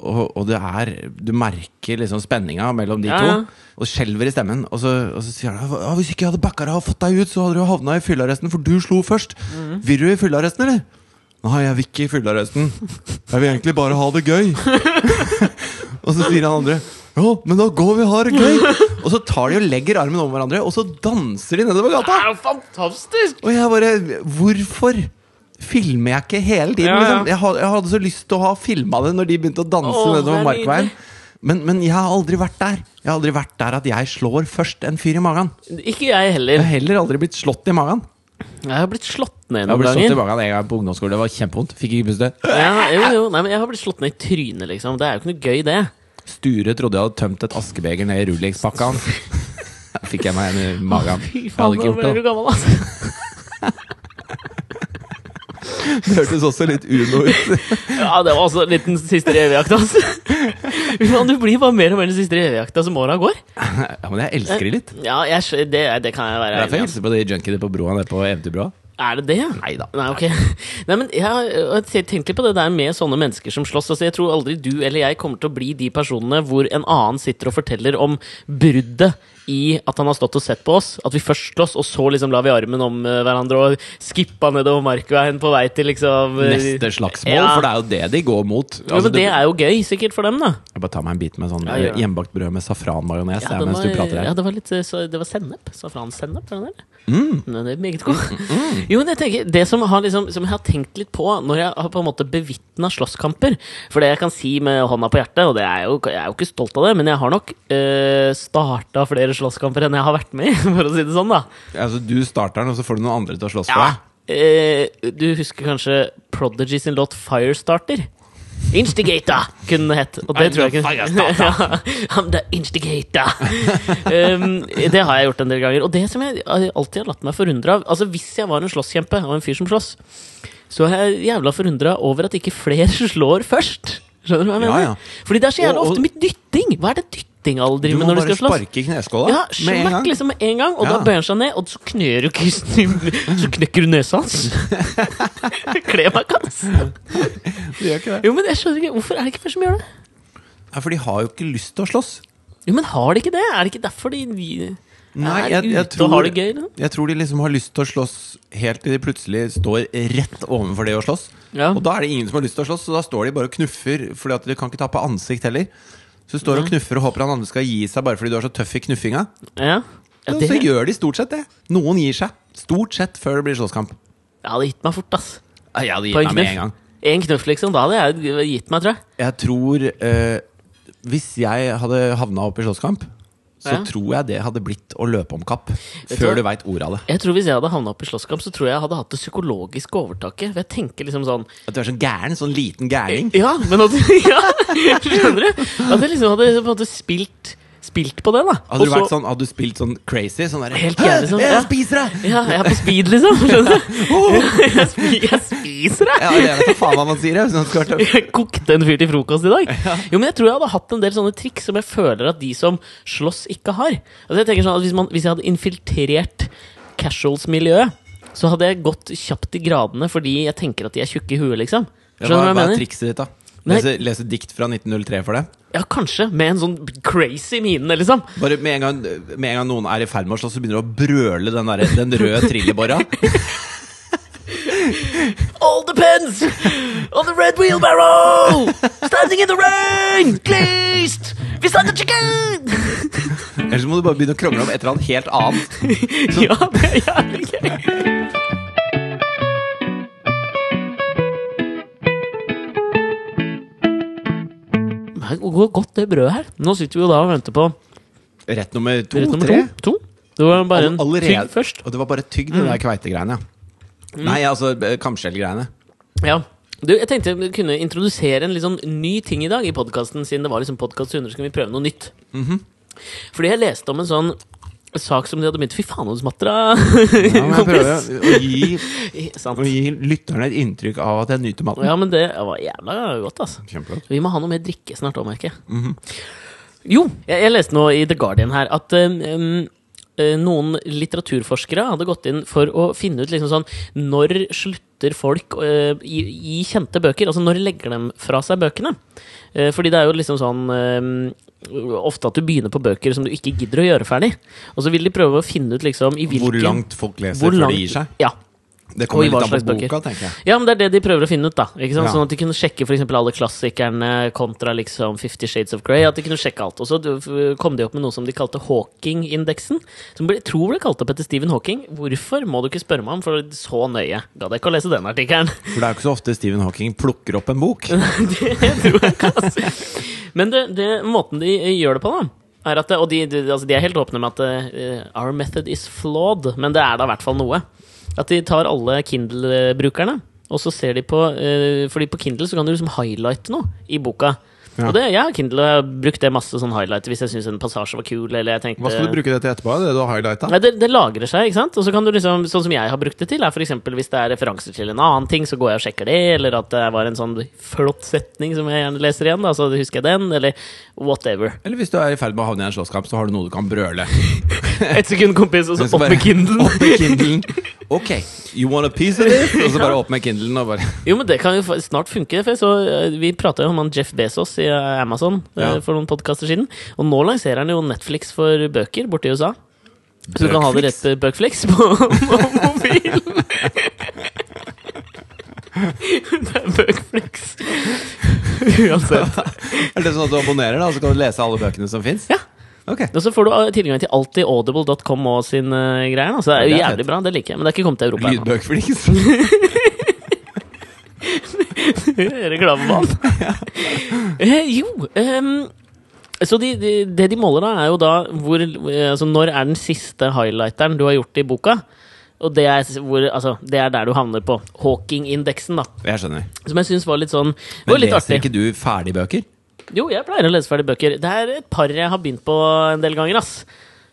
Og, og det er, du merker liksom spenninga mellom de Ja, ja. to. Og skjelver i stemmen. Og så, og så sier han ja, hvis ikke jeg hadde backa deg og fått deg ut, så hadde du havna i fyllearresten, for du slo først. Mm. Vil du i fyllearresten, eller? Nei, jeg vil ikke i fyllearresten. Jeg vil egentlig bare ha det gøy. Og så sier han andre Ja, men da går vi og har det gøy. Og så tar de og legger armen om hverandre, og så danser de nedover Det gata. er jo fantastisk! Og jeg bare Hvorfor filmer jeg ikke hele tiden? Ja, ja. Liksom? Jeg, ha- jeg hadde så lyst til å ha filma det når de begynte å danse Åh, det nedover er Markveien. Men, men jeg har aldri vært der. Jeg har aldri vært der at jeg slår først en fyr i magen. Ikke jeg Jeg heller. har heller aldri blitt slått i magen. Jeg har blitt slått ned Jeg har noen blitt slått i ganger. magen en gang på ungdomsskolen. Det var kjempevondt. Fikk ikke puste. Ja, jo, jo. Nei, men jeg har blitt slått ned i trynet, liksom. Det er jo ikke noe gøy, det. Sture trodde jeg hadde tømt et askebeger ned i rullingspakka hans. Da Fikk jeg meg en i magen. Fy Jeg faen, hadde nå ikke gjort ble det. du gammel, altså. Det hørtes også litt uno ut. Ja, det var også litt den siste revejakta, altså. Fy faen, du blir bare mer og mer den siste revejakta som åra går. Ja, men jeg elsker det litt. Ja, jeg, skj- det, det kan jeg Det være er enig derfor i. jeg altså. hilser på de junkiene på broa nede på Eventyrbrua. Er det det? Nei da. Nei, ok. Nei, men jeg har og jeg tenker litt på det der med sånne mennesker som slåss. Altså, jeg tror aldri du eller jeg kommer til å bli de personene hvor en annen sitter og forteller om bruddet i at han har stått og sett på oss. At vi først slåss, og så liksom la vi armen om eh, hverandre og skippa nedover markveien på vei til liksom eh, neste slagsmål, Ja. for det er jo det de går mot. Jo, Altså, men det er jo gøy, sikkert, for dem, da. Jeg bare tar meg en bit med sånn Ja, gjør det. hjemmebakt brød med safranmajones ja, den mens du var- prater her. Ja, det var litt eh, så, Det var sennep. Safransennep, var det der? Mm. Nei, det er meget god. Jo, men jeg tenker, Det som, har liksom, som jeg har tenkt litt på når jeg har på en måte bevitna slåsskamper For det jeg kan si med hånda på hjertet, og det er jo, jeg er jo ikke stolt av det, men jeg har nok øh, starta flere slåsskamper enn jeg har vært med i, for å si det sånn, da. Altså, du starter den, og så får du noen andre til å slåss for Ja. deg. Eh, du husker kanskje Prodigy sin låt 'Firestarter'? Instigator kunne den hett. Og det I'm tror jeg the ikke ja, I'm the instigator. um, det har jeg gjort en del ganger. Og det som jeg alltid har latt meg forundre av Altså Hvis jeg var en slåsskjempe og en fyr som slåss, så er jeg jævla forundra over at ikke flere slår først. Skjønner du hva jeg Ja, mener? ja. Fordi det er så jævla Og- og- ofte mye dytting. Hva er det dytting alle Du driver må med når de bare skal slåss? sparke i kneskåla Ja, med en smekk gang. liksom med en gang, og da Ja. bøyer han seg ned, og så knør du kysten Så knekker du nesa hans. Kle meg ikke, ass. Du gjør ikke det. Jo, men jeg skjønner ikke, hvorfor er det ikke flere som gjør det? Ja, for de har jo ikke lyst til å slåss. Jo, men har de ikke det? Er det ikke derfor de, de Nei, er jeg, jeg, ute og tror, har det gøy? Liksom? jeg tror de liksom har lyst til å slåss helt til de plutselig står rett overfor det å slåss. Ja. Og da er det ingen som har lyst til å slåss, så da står de bare og knuffer. Fordi at de kan ikke tape ansikt heller. Så du står og knuffer og håper han andre skal gi seg bare fordi du er så tøff i knuffinga. Ja. Ja, det, Så ja, gjør de stort sett det. Noen gir seg. Stort sett før det blir slåsskamp. det gitt meg fort, ass. Jeg hadde På en knuff. En knuff, liksom. Da hadde jeg gitt meg, tror jeg. Jeg tror eh, Hvis jeg hadde havna opp i slåsskamp, så Ja. tror jeg det hadde blitt å løpe om kapp. du hva? Før du veit ordet av det. Jeg tror Hvis jeg hadde havna opp i slåsskamp, så tror jeg jeg hadde hatt det psykologiske overtaket. For jeg tenker liksom sånn At du er sånn gæren. Sånn liten gærning. Ja, men at ja, Skjønner du? At jeg liksom hadde på en måte spilt, spilt på det, da. Hadde du, Eh, Og så- vært sånn, hadde du spilt sånn crazy? Sånn der, Helt gæren, «Hæ, sånn, Jeg ja. spiser deg! Ja, jeg er på speed, liksom. skjønner du? Jeg, spi jeg spiser Ja, deg! jeg vet da faen hva man sier. jeg, hvis man skal være tøff. Jeg kokte en fyr til frokost i dag. Jo, men Jeg tror jeg hadde hatt en del sånne triks som jeg føler at de som slåss, ikke har. Altså jeg tenker sånn at Hvis, man, hvis jeg hadde infiltrert casuals-miljøet, så hadde jeg gått kjapt i gradene fordi jeg tenker at de er tjukke i huet, liksom. Ja, Skjønner du hva jeg hva er mener? trikset ditt, da? Nei. Lese, lese dikt fra 1903 for det? Ja, Kanskje. Med en sånn crazy mine, liksom. Bare med en, gang, med en gang noen er i ferd med å slåss, så begynner du å brøle den, der, den røde trillebåra. All depends on the red wheelbarrow! Standing in the rain! Glazed! Vi starter chicken! Ellers må du bare begynne å krangle om et eller annet helt annet. Ja, det er jævlig gøy. Nei, Hvor godt det brødet her? Nå sitter vi jo da og venter på Rett nummer to, rett nummer tre. to. to. Det var bare en Allerede. tygg først. Mm. Og det var bare tygg, de der kveitegreiene. ja. Nei, altså eh, kamskjellgreiene. Ja. Du, jeg tenkte vi kunne introdusere en litt sånn ny ting i dag i podkasten. Siden det var liksom podkast 100, så kunne vi prøve noe nytt. Mhm. Fordi jeg leste om en sånn sak som de hadde begynt Fy faen, hos Matra! Ja, men jeg kompis. prøver å gi, Sant. å gi lytterne et inntrykk av at jeg nyter maten. Ja, men det var jævla godt, altså. Kjempegodt. Vi må ha noe mer drikke snart òg, merker jeg. Mhm. Jo, jeg, jeg leste nå i The Guardian her at um, um, eh, noen litteraturforskere hadde gått inn for å finne ut liksom sånn Når slutter folk eh, i, i kjente bøker? Altså når legger de fra seg bøkene? Eh, fordi det er jo liksom sånn um, Ofte at du begynner på bøker som du ikke gidder å gjøre ferdig. Og så vil de prøve å finne ut liksom i hvilken Hvor langt folk leser hvor før langt- de gir seg. Ja. Det og i kommer litt hva an på slags bøker. boka, tenker jeg. Ja, men det er det de prøver å finne ut, da. Ikke sant? Ja. Sånn at de kunne sjekke for eksempel alle klassikerne kontra liksom Fifty Shades of Grey. At de kunne sjekke alt. Og så d- kom de opp med noe som de kalte Hawking-indeksen. Som ble, jeg tror ble kalt opp etter Stephen Hawking. Hvorfor må du ikke spørre meg om, for så nøye gadd jeg ikke å lese den artikkelen. For det er jo ikke så ofte Stephen Hawking plukker opp en bok. Det tror jeg ikke, altså. Men det, det, måten de eh, gjør det på, da er at, det- og de, de, altså de er helt åpne med at eh, our method is flawed, men det er da i hvert fall noe. At de tar alle Kindle-brukerne, og så ser de på eh, Fordi på Kindle så kan du liksom highlighte noe i boka. Ja. Og det, jeg har Kindle og jeg har brukt det masse sånn highlight hvis jeg syns en passasje var kul. Eller jeg tenkte Hva skal du bruke det til etterpå? Det du har highlighta? Nei, det, det lagrer seg, ikke sant? Og så kan du liksom, sånn som jeg har brukt det til, er for eksempel hvis det er referanser til en annen ting, så går jeg og sjekker det, eller at det var en sånn flott setning som jeg gjerne leser igjen, da, så husker jeg den, eller whatever. Eller hvis du er i ferd med å havne i en slåsskamp, så har du noe du kan brøle. Et sekund, kompis, og så Så opp bare- med Kindlen. Opp med Kindlen. Ok, you want a piece of this? Og så bare opp med Kindlen og bare Jo, men det kan jo fa- snart funke. For jeg så, eh, vi prata jo om han Jeff Bezos i eh, Amazon eh, Ja. for noen podkaster siden. Og nå lanserer han jo Netflix for bøker borte i USA. Så du kan ha det rett til Bøkflix på, på mobilen. det er Bøkflix. Uansett. Er det sånn at du abonnerer, da, så kan du lese alle bøkene som fins? Ja. Ok. Og så får du eh, tilgang til alt i audible.com og sin eh, greier. da. Så det er jo Det er jævlig fett. bra. Det liker jeg. Men det er ikke kommet til Europa ennå. Lydbøkflis. Reklamemann. Eh, jo ehm, Så de, de, det de måler, da, er jo da hvor, eh, altså når er den siste highlighteren du har gjort i boka. Og det er, s- hvor, altså, det er der du havner på Hawking-indeksen, da. Jeg skjønner. Som jeg syns var litt sånn det Men var litt leser artig. ikke du ferdige bøker? Jo, jeg pleier å lese ferdig bøker. Det er et par jeg har begynt på en del ganger. ass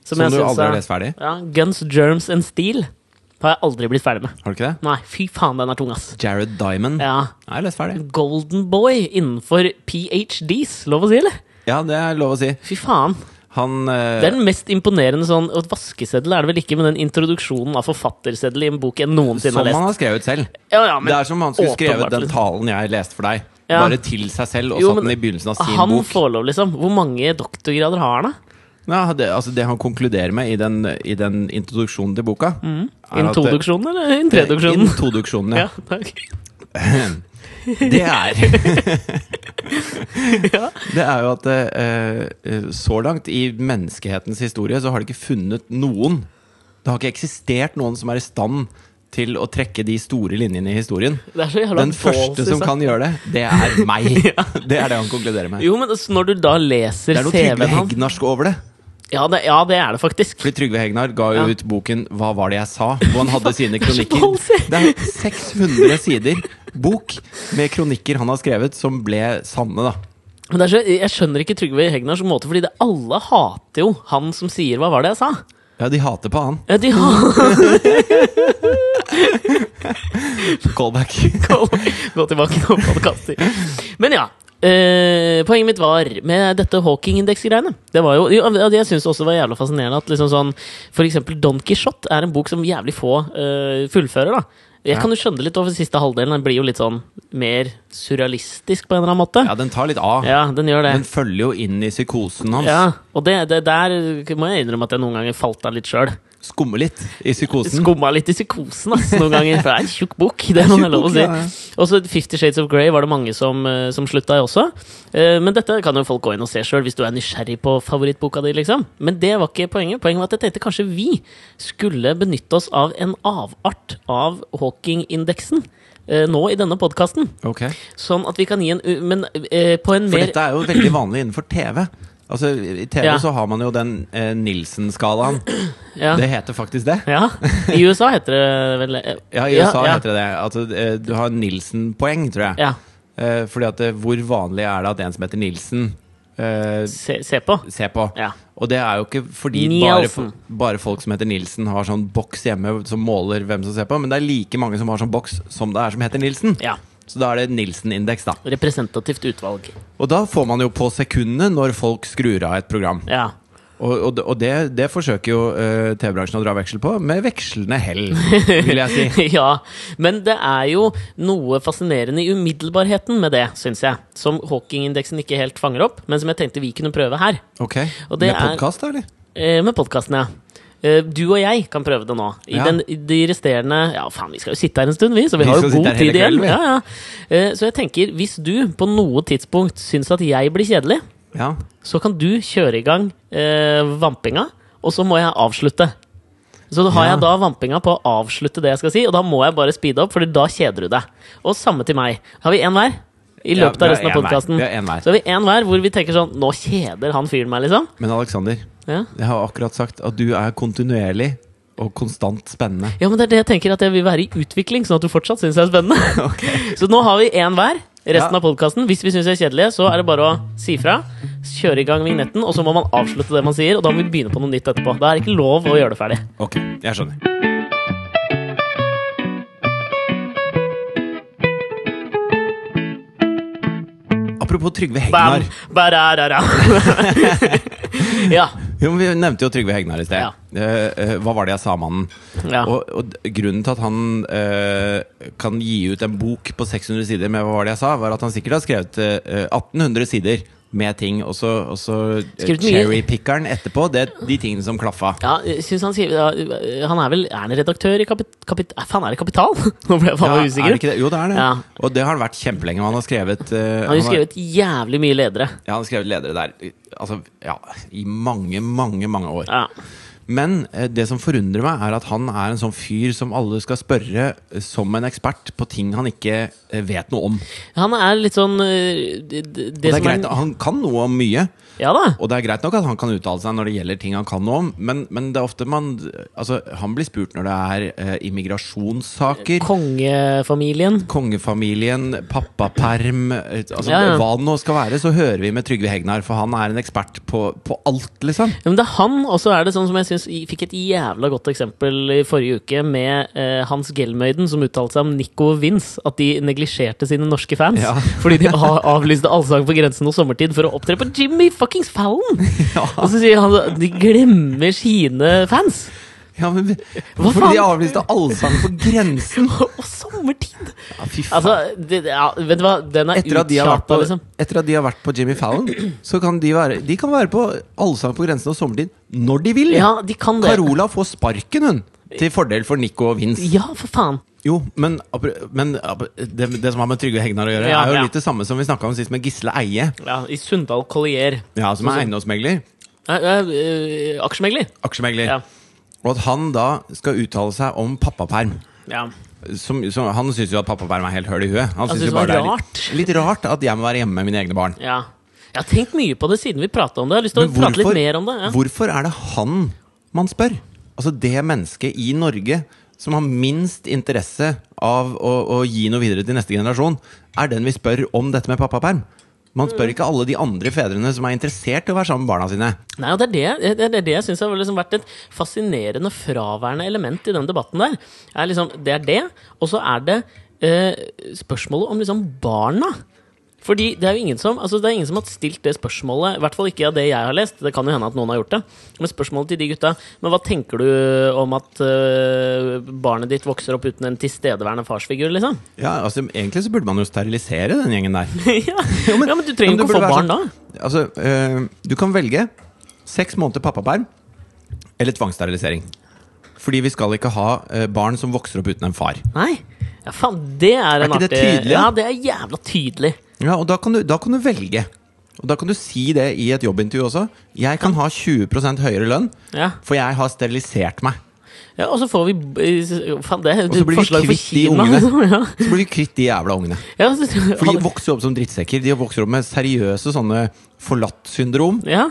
Som du synes aldri har er- lest ferdig? Ja, Guns, Germs and Steel har jeg aldri blitt ferdig med. Har du ikke det? Nei, fy faen, den er tung, ass. Jared Diamond. Ja, Nei, jeg har lest ferdig. Golden Boy innenfor PhDs, lov å si, eller? Ja, det er lov å si. Fy faen. Han eh, Det er den mest imponerende sånn og Vaskeseddel er det vel ikke, men den introduksjonen av forfatterseddel i en bok jeg noensinne Som har han lest. har skrevet selv. Ja, ja, men det er som om han skulle skrevet åpenbart, den liksom. talen jeg leste for deg. Ja. Bare til seg selv, og Jo, satt men den i begynnelsen av sin Han bok. får lov, liksom. Hvor mange doktorgrader har han, da? Ja, det, altså det han konkluderer med i den, i den introduksjonen til boka er at- Mm. Introduksjonen eller introduksjonen? Introduksjonen, Ja, ja. takk. Det er Ja. Det er jo at eh, eh, så langt i menneskehetens historie så har det ikke funnet noen Det har ikke eksistert noen som er i stand til å trekke de store linjene i historien. Det er så jævla Den første ballsy, som sa. kan gjøre det, det er meg. Det er det han konkluderer med. Jo, men altså, når du da Det leser er noe Trygve CV-en hans Hegnarsk over det. ja det, ja, det er det faktisk. Fordi Trygve Hegnar ga jo Ja. ut boken 'Hva var det jeg sa?' hvor han hadde sine er så kronikker. ballsy. Det er 600 sider bok med kronikker han har skrevet, som ble sanne, da. Men det er så, jeg skjønner ikke Trygve Hegnars måte, fordi det, alle hater jo han som sier 'hva var det jeg sa'? Ja, de hater på han. Ja, De har Callback. Gå tilbake til podkaster. Men ja. eh, poenget mitt var med dette Hawking-indeks-greiene. Det var jo, jo, ja, det jeg synes også var jævla fascinerende at liksom sånn, for eksempel Don Quijote er en bok som jævlig få eh, fullfører. da Jeg kan jo skjønne litt over siste halvdelen. Den blir jo litt sånn mer surrealistisk på en eller annen måte. Ja, den tar litt av. Ja, den gjør det. Den følger jo inn i psykosen hans. Ja, og det, det der må jeg innrømme at jeg noen ganger falt av litt sjøl. Skummer litt i psykosen. Skumma litt i psykosen ass, noen ganger. For det er en tjukk bok, det må jeg lov å si. Ja, ja. Og så Fifty Shades of Grey var det mange som, eh, som slutta i også. Eh, Men dette kan jo folk gå inn og se sjøl, hvis du er nysgjerrig på favorittboka di. liksom. Men det var ikke poenget. Poenget var at jeg tenkte kanskje vi skulle benytte oss av en avart av Hawking-indeksen eh, nå i denne podkasten. Ok. Sånn at vi kan gi en u- Men eh, på en For mer dette er jo veldig vanlig innenfor TV. Altså, I TV Ja. så har man jo den eh, Nilsen-skalaen. Ja. Det heter faktisk det. ja. I USA heter det vel eh, Ja, I USA ja, heter det det. Altså, eh, du har Nilsen-poeng, tror jeg. Ja. Eh, fordi at eh, hvor vanlig er det at en som heter Nilsen, eh, Se, se på. ser på? Ja. Og det er jo ikke fordi bare, Nielsen. bare folk som heter Nilsen, har sånn boks hjemme som måler hvem som ser på, men det er like mange som har sånn boks som det er som heter Nilsen. ja. Så da er det Nilsen-indeks, da. Representativt utvalg. Og da får man jo på sekundet når folk skrur av et program. Ja. Og, og, det- og det, det forsøker jo eh, TV-bransjen å dra veksel på, med vekslende hell, vil jeg si. ja, men det er jo noe fascinerende i umiddelbarheten med det, syns jeg. Som Hawking-indeksen ikke helt fanger opp, men som jeg tenkte vi kunne prøve her. Ok, Og det Med er- podkast, da, eller? Eh, med podkasten, ja. Eh, Du og jeg kan prøve det nå. I Ja. den, i de resterende Ja, faen, vi skal jo sitte her en stund, vi, så vi, Vi har jo skal sitte god her tid hele igjen. kvelden, vi. Ja, ja. Eh, Så jeg tenker, hvis du på noe tidspunkt syns at jeg blir kjedelig, Ja. så kan du kjøre i gang eh, vampinga, og så må jeg avslutte. Så da har Ja. jeg da vampinga på å avslutte det jeg skal si, og da må jeg bare speede opp, for da kjeder du deg. Og samme til meg. Har vi én hver? I Ja, løpet av vi har resten av en hver. podkasten. Vi har en hver. Så har vi én hver hvor vi tenker sånn Nå kjeder han fyren meg, liksom. Men Aleksander, Ja. jeg har akkurat sagt at du er kontinuerlig og konstant spennende. ja, men det er det jeg tenker at jeg vil være i utvikling, sånn at du fortsatt syns jeg er spennende. Så nå har vi én hver. Resten Ja. av podkasten. Hvis vi syns vi er kjedelige, så er det bare å si fra. Kjøre i gang vignetten, og så må man avslutte det man sier, og da må vi begynne på noe nytt etterpå. Da er det ikke lov å gjøre det ferdig. Ok, jeg skjønner. Apropos Trygve Bam! Hegnar. Bararara. ja. Jo, men vi nevnte jo Trygve Hegnar i sted. Ja. Eh, eh, hva var det jeg sa om han? ja. Og, og d- grunnen til at han eh, kan gi ut en bok på 600 sider med hva var det jeg sa, var at han sikkert har skrevet eh, 1800 sider med ting, og så, og så eh, Skrevet mye. cherrypickeren etterpå. Det er de tingene som klaffa. ja jeg synes han, sier, ja, han er vel Er han redaktør i Kapit... kapit eh, faen, er det Kapital? Nå ble jeg faen Ja, meg er det usikker. ikke det? Jo, det er det. Ja. Og det har han vært kjempelenge. og Han har skrevet eh, Han har jo har- skrevet jævlig mye ledere. Ja, han har skrevet ledere der altså, ja, i mange, mange mange år. Ja. Men eh, det som forundrer meg, er at han er en sånn fyr som alle skal spørre eh, som en ekspert på ting han ikke eh, vet noe om. Og Han er litt sånn eh, Det, det, det er som greit, Han kan noe om mye, Ja da. og det er greit nok at han kan uttale seg når det gjelder ting han kan noe om, men, men det er ofte man Altså, han blir spurt når det er eh, immigrasjonssaker. Kongefamilien. Kongefamilien, pappaperm eh, altså, Ja, ja. Hva det nå skal være, så hører vi med Trygve Hegnar, for han er en ekspert på, på alt, liksom. Ja, Men det er han, og så er det sånn som jeg syns fikk et jævla godt eksempel i forrige uke, med eh, Hans Gelmøyden som uttalte seg om Nico og Vince, at de neglisjerte sine norske fans Ja. fordi de a- avlyste Allsang på grensen og Sommertid for å opptre på Jimmy fuckings Fallon! Og så sier han at de glemmer sine fans! Ja, men Hva Fordi de faen? avlyste allsang på grensen! Og Sommertid! Ja, fy faen. Altså, det, ja, vet du hva, den er etter, at de har vært på, uttjata, liksom. etter at de har vært på Jimmy Fallon, så kan de være De kan være på Allsang på grensen og Sommertid når de vil! Ja, de kan det. Carola får sparken, hun! Til fordel for Nico og Vince. Ja, for faen. Jo, men, apro- men apro- det, det som har med Trygve Hegnar å gjøre, Ja, er jo ja. litt det samme som vi snakka om sist med Gisle Eie, Ja, I Sunndal Collier. ja, som er eiendomsmegler. Eh, eh, eh, Aksjemegler. Aksjemegler. Ja. Og at han da skal uttale seg om pappaperm. ja. Som, som, han syns jo at pappaperm er helt høl i huet. Han Han synes synes jo bare det det var er litt, litt rart at jeg må være hjemme med mine egne barn. Ja. Jeg har tenkt mye på det siden vi prata om det. Jeg har lyst til å Men prate litt mer om det. Ja. hvorfor er det han man spør? Altså det mennesket i Norge som har minst interesse av å, å gi noe videre til neste generasjon, er den vi spør om dette med pappaperm. Man Mm. spør ikke alle de andre fedrene som er interessert i å være sammen med barna sine. Nei, og det er det, det, er det jeg syns har liksom vært et fascinerende fraværende element i den debatten der. Er liksom, det er det, og så er det eh, spørsmålet om liksom barna. Fordi det er jo ingen som, altså det er ingen som har stilt det spørsmålet, i hvert fall ikke av det jeg har lest. Det kan jo hende at noen har gjort det. Men spørsmålet til de gutta Men hva tenker du om at eh, barnet ditt vokser opp uten en tilstedeværende farsfigur, liksom? Ja, altså Egentlig så burde man jo sterilisere den gjengen der. ja. ja, men du Ja, trenger jo ikke men det å burde få være barn da. sånn- Altså, eh, du kan velge seks måneder pappaperm eller tvangssterilisering. Fordi vi skal ikke ha eh, barn som vokser opp uten en far. Nei. Ja, faen, det er, en ikke artig det tydelig, da? Ja, det er jævla tydelig. Ja, og da kan du, da kan du velge. Og da kan du si det i et jobbintervju også. Jeg kan ha 20 høyere lønn, Ja. for jeg har sterilisert meg. Ja, og så får vi eh, Faen, det er Og så blir vi forslag for kvitt de Kina! ungene. altså, ja. Så blir vi kvitt de jævla ungene. Ja, så, For de vokser jo opp som drittsekker. De vokser opp med seriøse sånne forlatt-syndrom. ja.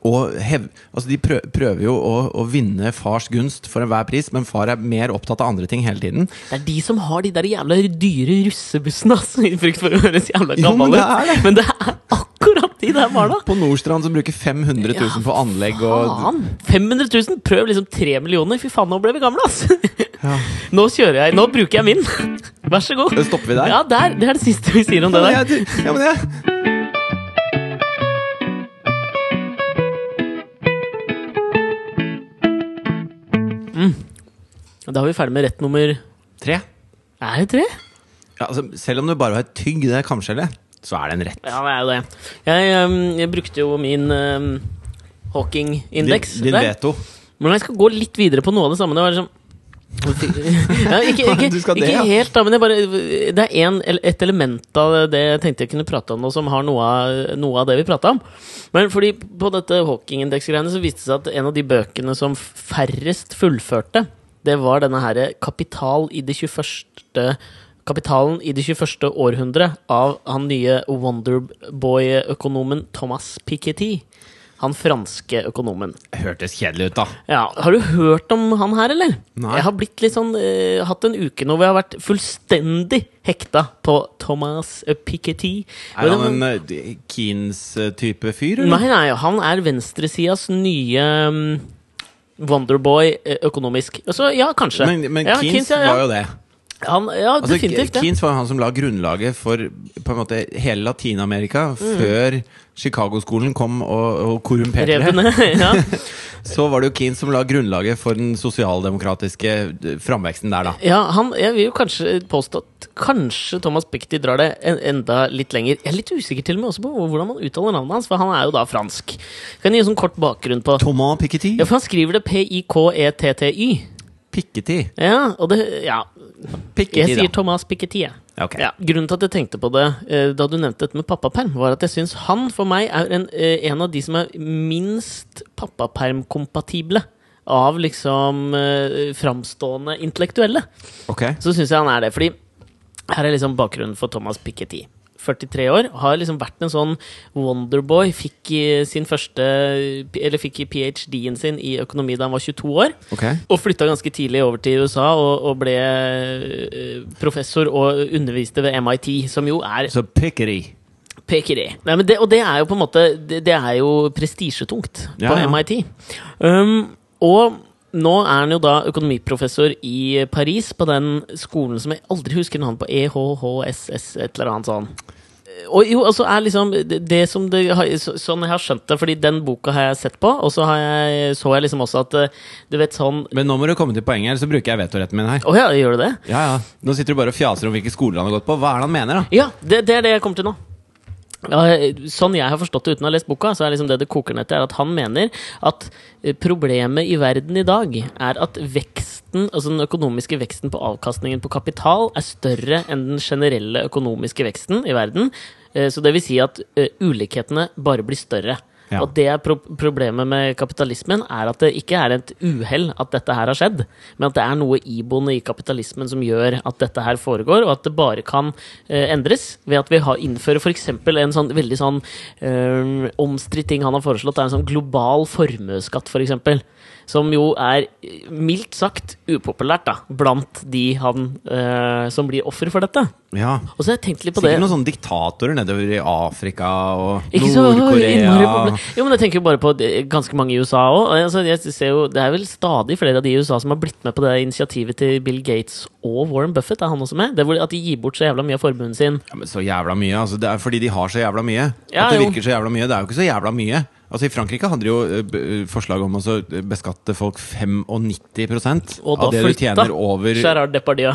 Og hev, altså de prø- prøver jo å, å vinne fars gunst for enhver pris, men far er mer opptatt av andre ting hele tiden. Det er de som har de der jævla dyre russebussene, altså, i frykt for å høres jævla Jo, gammel men ut. det er det. Men det er akkurat de der barna! På Nordstrand som bruker 500 000 på anlegg og Faen! 500 000? Prøv liksom 3 millioner. Fy faen, nå ble vi gamle, ass! ja. Nå kjører jeg. Nå bruker jeg min. Vær så god. Stopper vi der? Ja, der. Det er det siste vi sier om det der. Jeg- Ja, men jeg, Da er vi ferdig med rett nummer tre. Er det tre? Ja, altså, selv om du bare har tygd det kamskjellet, så er det en rett. Ja, det er jo det. Jeg, øhm, jeg brukte jo min øhm, Hawking-indeks Din, din der. veto. Men jeg skal gå litt videre på noe av det samme. Det var liksom ja, ikke, ikke, Du skal det, ikke ja. helt, da, men jeg bare, det er en, et element av det jeg tenkte jeg kunne prate om nå, som har noe av, noe av det vi prata om. Men fordi på dette Hawking-indeks-greiene så viste det seg at en av de bøkene som færrest fullførte, det var denne her eh, Kapital i det 21. Kapitalen i det 21. århundre av han nye Wonderboy-økonomen Thomas Piketty. Han franske økonomen. Hørtes kjedelig ut, da. Ja, Har du hørt om han her, eller? Nei. Jeg har blitt litt sånn, eh, hatt en uke nå hvor jeg har vært fullstendig hekta på Thomas eh, Piketty. Er han en eh, Keanes-type fyr, eller? Nei, nei, han er venstresidas nye mm, Wonderboy eh, økonomisk. Altså, ja, kanskje. Men, men ja, Keanes ja, ja. var jo det. Han, ja, Altså, definitivt. Ja. Keanes var jo han som la grunnlaget for på en måte, hele Latin-Amerika Mm. før Chicago-skolen kom og, og korrumperte det. Revene. ja. Så var det jo Keanes som la grunnlaget for den sosialdemokratiske eh, framveksten der, da. Ja, han, jeg vil jo kanskje påstå at kanskje Thomas Piketty drar det en, enda litt lenger. Jeg er litt usikker til og med også på hvordan man uttaler navnet hans, for han er jo da fransk. Kan jeg gi sånn kort bakgrunn på Thomas Piketty. Ja, for han skriver det E P-I-K-E-T-T-Y. Piketty. Ja, og det Ja. Jeg Piketty, sier da. Thomas Piketty, jeg. Ok. Ja, grunnen til at jeg tenkte på det eh, da du nevnte dette med pappaperm, var at jeg syns han for meg er en, eh, en av de som er minst pappapermkompatible av liksom eh, framstående intellektuelle. Ok. Så syns jeg han er det. Fordi her er liksom bakgrunnen for Thomas Piketty. 43 år. Har liksom vært en sånn wonderboy. Fikk eh, sin første Eller fikk ph.d.-en sin i økonomi da han var 22 år. Ok. Og flytta ganske tidlig over til USA og, og ble eh, professor og underviste ved MIT, som jo er Så Piketty. Pekeri. Nei, men det, og det er jo på en måte Det, det er jo prestisjetungt Ja, på ja. MIT. Um, og nå er han jo da økonomiprofessor i Paris, på den skolen som jeg aldri husker navnet på. E EHHSS, et eller annet sånn. Og jo, altså er liksom det, det som det har, så- Sånn jeg har skjønt det, fordi den boka har jeg sett på, og så har jeg, så jeg liksom også at eh, Du vet sånn Men nå må du komme til poenget, ellers så bruker jeg vetoretten min her. Å ja, gjør du det? Ja, ja. Nå sitter du bare og fjaser om hvilke skoler han har gått på. Hva er det han mener, da? Ja, det, det er det jeg kommer til nå. Ja, Sånn jeg har forstått det uten å ha lest boka, så er liksom det det koker ned til, er at han mener at eh, problemet i verden i dag er at veksten, altså den økonomiske veksten på avkastningen på kapital er større enn den generelle økonomiske veksten i verden. Eh, Så det vil si at eh, ulikhetene bare blir større. Ja. Og det er pro problemet med kapitalismen, er at det ikke er et uhell at dette her har skjedd, men at det er noe iboende i kapitalismen som gjør at dette her foregår, og at det bare kan eh, endres ved at vi har, innfører f.eks. en sånn veldig sånn eh, omstridt ting han har foreslått, det er en sånn global formuesskatt, f.eks. Som jo er eh, mildt sagt upopulært da, blant de han, eh, som blir offer for dette. Ja. Og så har jeg tenkt litt på det. Sikkert noen sånne diktatorer nedover i Afrika og Ikke så innmari Nord-Korea. populært. Jo, men jeg tenker jo bare på det- ganske mange i USA òg. Altså, jeg ser jo- det er vel stadig flere av de i USA som har blitt med på det initiativet til Bill Gates og Warren Buffett. Er han også med? Det er hvor, At de gir bort så jævla mye av formuen sin. Ja, men så jævla mye, altså Det er fordi de har så jævla mye. Ja, at det jo. virker så jævla mye. Det er jo ikke så jævla mye. Altså I Frankrike hadde de jo eh, b- eh, forslag om å så, eh, beskatte folk 95 Og da av det du flytta tjener over Gerard Depardieu.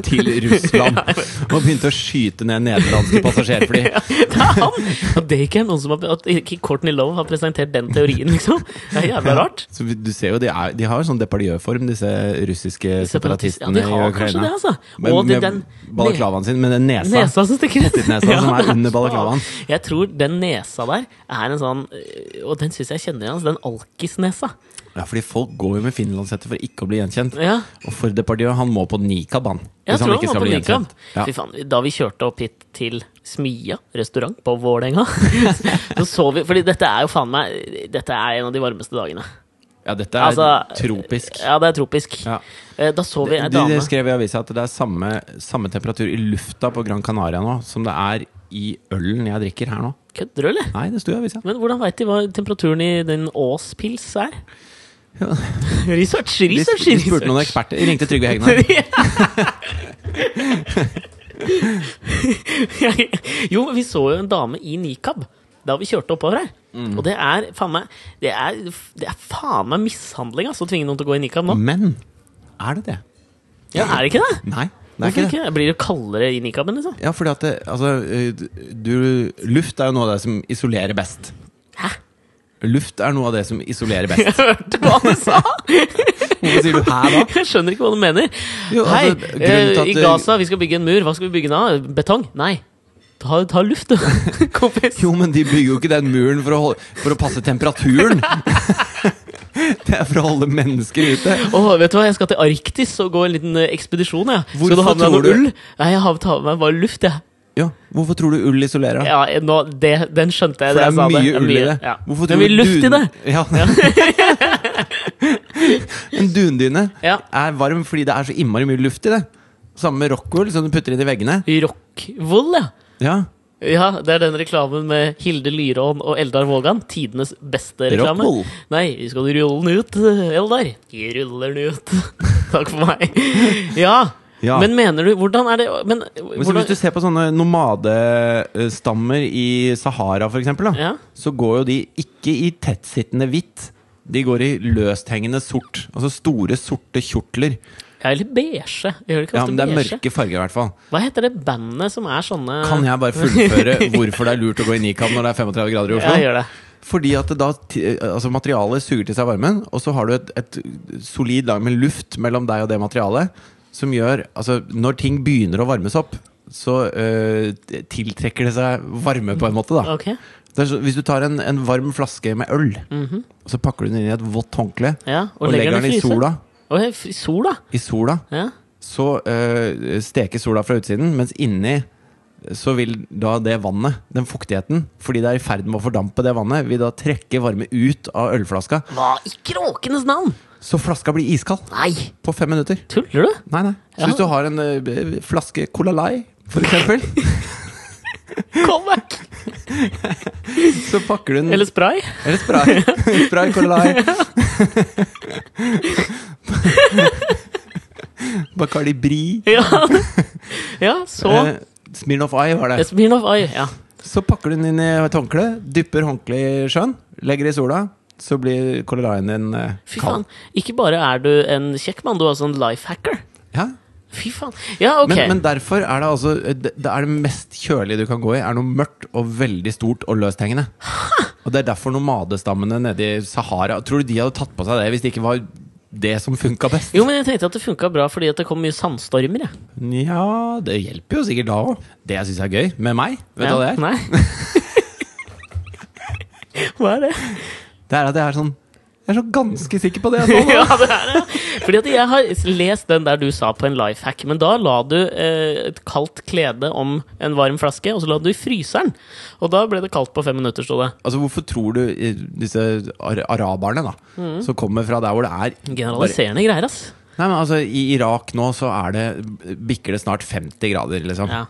til Russland. Og begynte å skyte ned nederlandske passasjerfly. det er han! Og det er ikke noen som har, at ikke Courtney Love har presentert den teorien, liksom. Det er jævla rart. Så vi- du ser jo, De, er, de har jo sånn depardieu-form, disse russiske Separatist- Ja, separatistene de har i kanskje Ukraina. det, altså. Men Og det- med den balaklavaen sin, med den nesa. Nesa som stikker ut. Tittnesa som er det under balaklavaen. Jeg tror den nesa der er en sånn eh, og den syns jeg kjenner igjen. altså, Den alkisnesa. Ja, fordi folk går jo med finlandshette for ikke å bli gjenkjent. Ja. Og for Depardieu, han må på nikab, han. Jeg hvis tror ikke han var skal på bli Nikram. gjenkjent. Ja. Fy faen, da vi kjørte opp hit til Smia restaurant på Vålerenga, så så vi Fordi dette er jo faen meg Dette er en av de varmeste dagene. ja, dette er Altså, tropisk. Ja, det er tropisk. Ja. Eh, Da så vi ei De, de dame skrev i avisa at det er samme, samme temperatur i lufta på Gran Canaria nå som det er i ølen jeg drikker her nå. Kødder du, eller? Nei, det sto i avisa. Men hvordan veit de hva temperaturen i den Ås-pils er? Research, De, research, de spurte noen research! eksperter. De ringte Trygve Hegnar. jo, men vi så jo en dame i nikab da vi kjørte oppover her. Mm. Og det er faen meg Det er, det er faen meg mishandling altså, å tvinge noen til å gå i nikab nå. Men er det det? Ja, er det ikke det? Nei, Mm. det er Hvorfor ikke det. ikke? Blir det kaldere i nikaben, liksom? Ja, fordi at det, altså, eh, du, luft er jo noe av det som isolerer best. Hæ? Luft er noe av det som isolerer best. Jeg hørte hva du sa! Hvorfor sier du her da? Jeg skjønner ikke hva du mener. Jo, altså, Hei, grunnen eh, til at i det- Gaza, vi skal bygge en mur. Hva skal vi bygge den av? Betong? Nei. Ta, ta luft, du, kompis. Jo, men de bygger jo ikke den muren for å, holde, for å passe temperaturen. det er for å holde mennesker ute. Åh, vet du hva, jeg skal til Arktis og gå en liten eh, ekspedisjon, jeg. skal du Hvorfor ha med deg noe tror du- ull? Nei, jeg har tar med meg bare luft, jeg. Ja, hvorfor tror du ull isolerer? Ja, eh, nå, det, den skjønte jeg. For det jeg sa er mye ull i det. Ja. Hvorfor Det er tror mye du luft i det. dun- Ja. en dundyne Ja. er varm fordi det er så innmari mye luft i det. Samme med rockull som du putter inn i veggene. Rockwool, ja. Ja, Ja, det er den reklamen med Hilde Lyrån og Eldar Vågan. Tidenes beste reklame. Rockwool. Nei, skal du rulle den ut, eh, Eldar? Jeg ruller den ut. Takk for meg. Ja. Ja. Men mener du Hvordan er det Men Men så hvordan, Hvis du ser på sånne nomadestammer i Sahara, for eksempel, da, Ja. så går jo de ikke i tettsittende hvitt. De går i løsthengende sort. Altså store, sorte kjortler. Jeg er litt beige. Jeg gjør det ikke Ja, ofte men Det er beige. mørke farger, i hvert fall. Hva heter det bandet som er sånne Kan jeg bare fullføre hvorfor det er lurt å gå i nikab når det er 35 grader i Oslo? Ja, gjør det. Fordi at det da, ti- altså materialet suger til seg varmen, og så har du et, et solid lag med luft mellom deg og det materialet, som gjør Altså, når ting begynner å varmes opp, så øh, tiltrekker det seg varme, på en måte, da. Ok. Det er så, hvis du tar en, en varm flaske med øl, og så pakker du den inn i et vått håndkle, Ja, Mhm. og, legger den i fryser. sola, Å, i f- i sola? i sola Ja. så øh, steker sola fra utsiden, mens inni så vil da det vannet, den fuktigheten, fordi det er i ferd med å fordampe det vannet, vil da trekke varme ut av ølflaska. Hva i kråkenes navn? Så flaska blir iskald Nei, på fem minutter. tuller du? Nei, nei. Så Ja. hvis du har en øh, b- flaske Cola Lai, for eksempel, Kom vekk! så pakker du den Eller spray? Eller spray. spray Cola Lai. Bacardi Bri. Ja, ja så Eh, Smirnoff Eye var det. Smirnov Eye. Ja. Så pakker du den inn i et håndkle, dypper håndkleet i sjøen, legger det i sola, så blir koleraien din eh, Fy faen. kald. Ikke bare er du en kjekk mann, du er også en life hacker. Ja. Fy faen. Ja, ok. Men, men derfor er det altså Det, det er det mest kjølige du kan gå i, er noe mørkt og veldig stort og løsthengende. Og det er derfor nomadestammene nede i Sahara Tror du de hadde tatt på seg det hvis det ikke var det som funka best? Jo, men jeg tenkte at det funka bra fordi at det kom mye sandstormer. Jeg. Nja, det hjelper jo sikkert da òg. Det jeg syns er gøy med meg, vet du hva det Nei. er? Hva er det? Det er at jeg er sånn Jeg er så ganske sikker på det jeg sa nå. Ja, det er det. Fordi at jeg har lest den der du sa på en life hack, men da la du eh, et kaldt klede om en varm flaske, og så la du det i fryseren. Og da ble det kaldt på fem minutter, sto det. Altså Hvorfor tror du eh, disse ar araberne, da, Mm. som kommer fra der hvor det er Generaliserende greier, ass. Nei, men altså I Irak nå så er det bikker det snart 50 grader, liksom. Ja.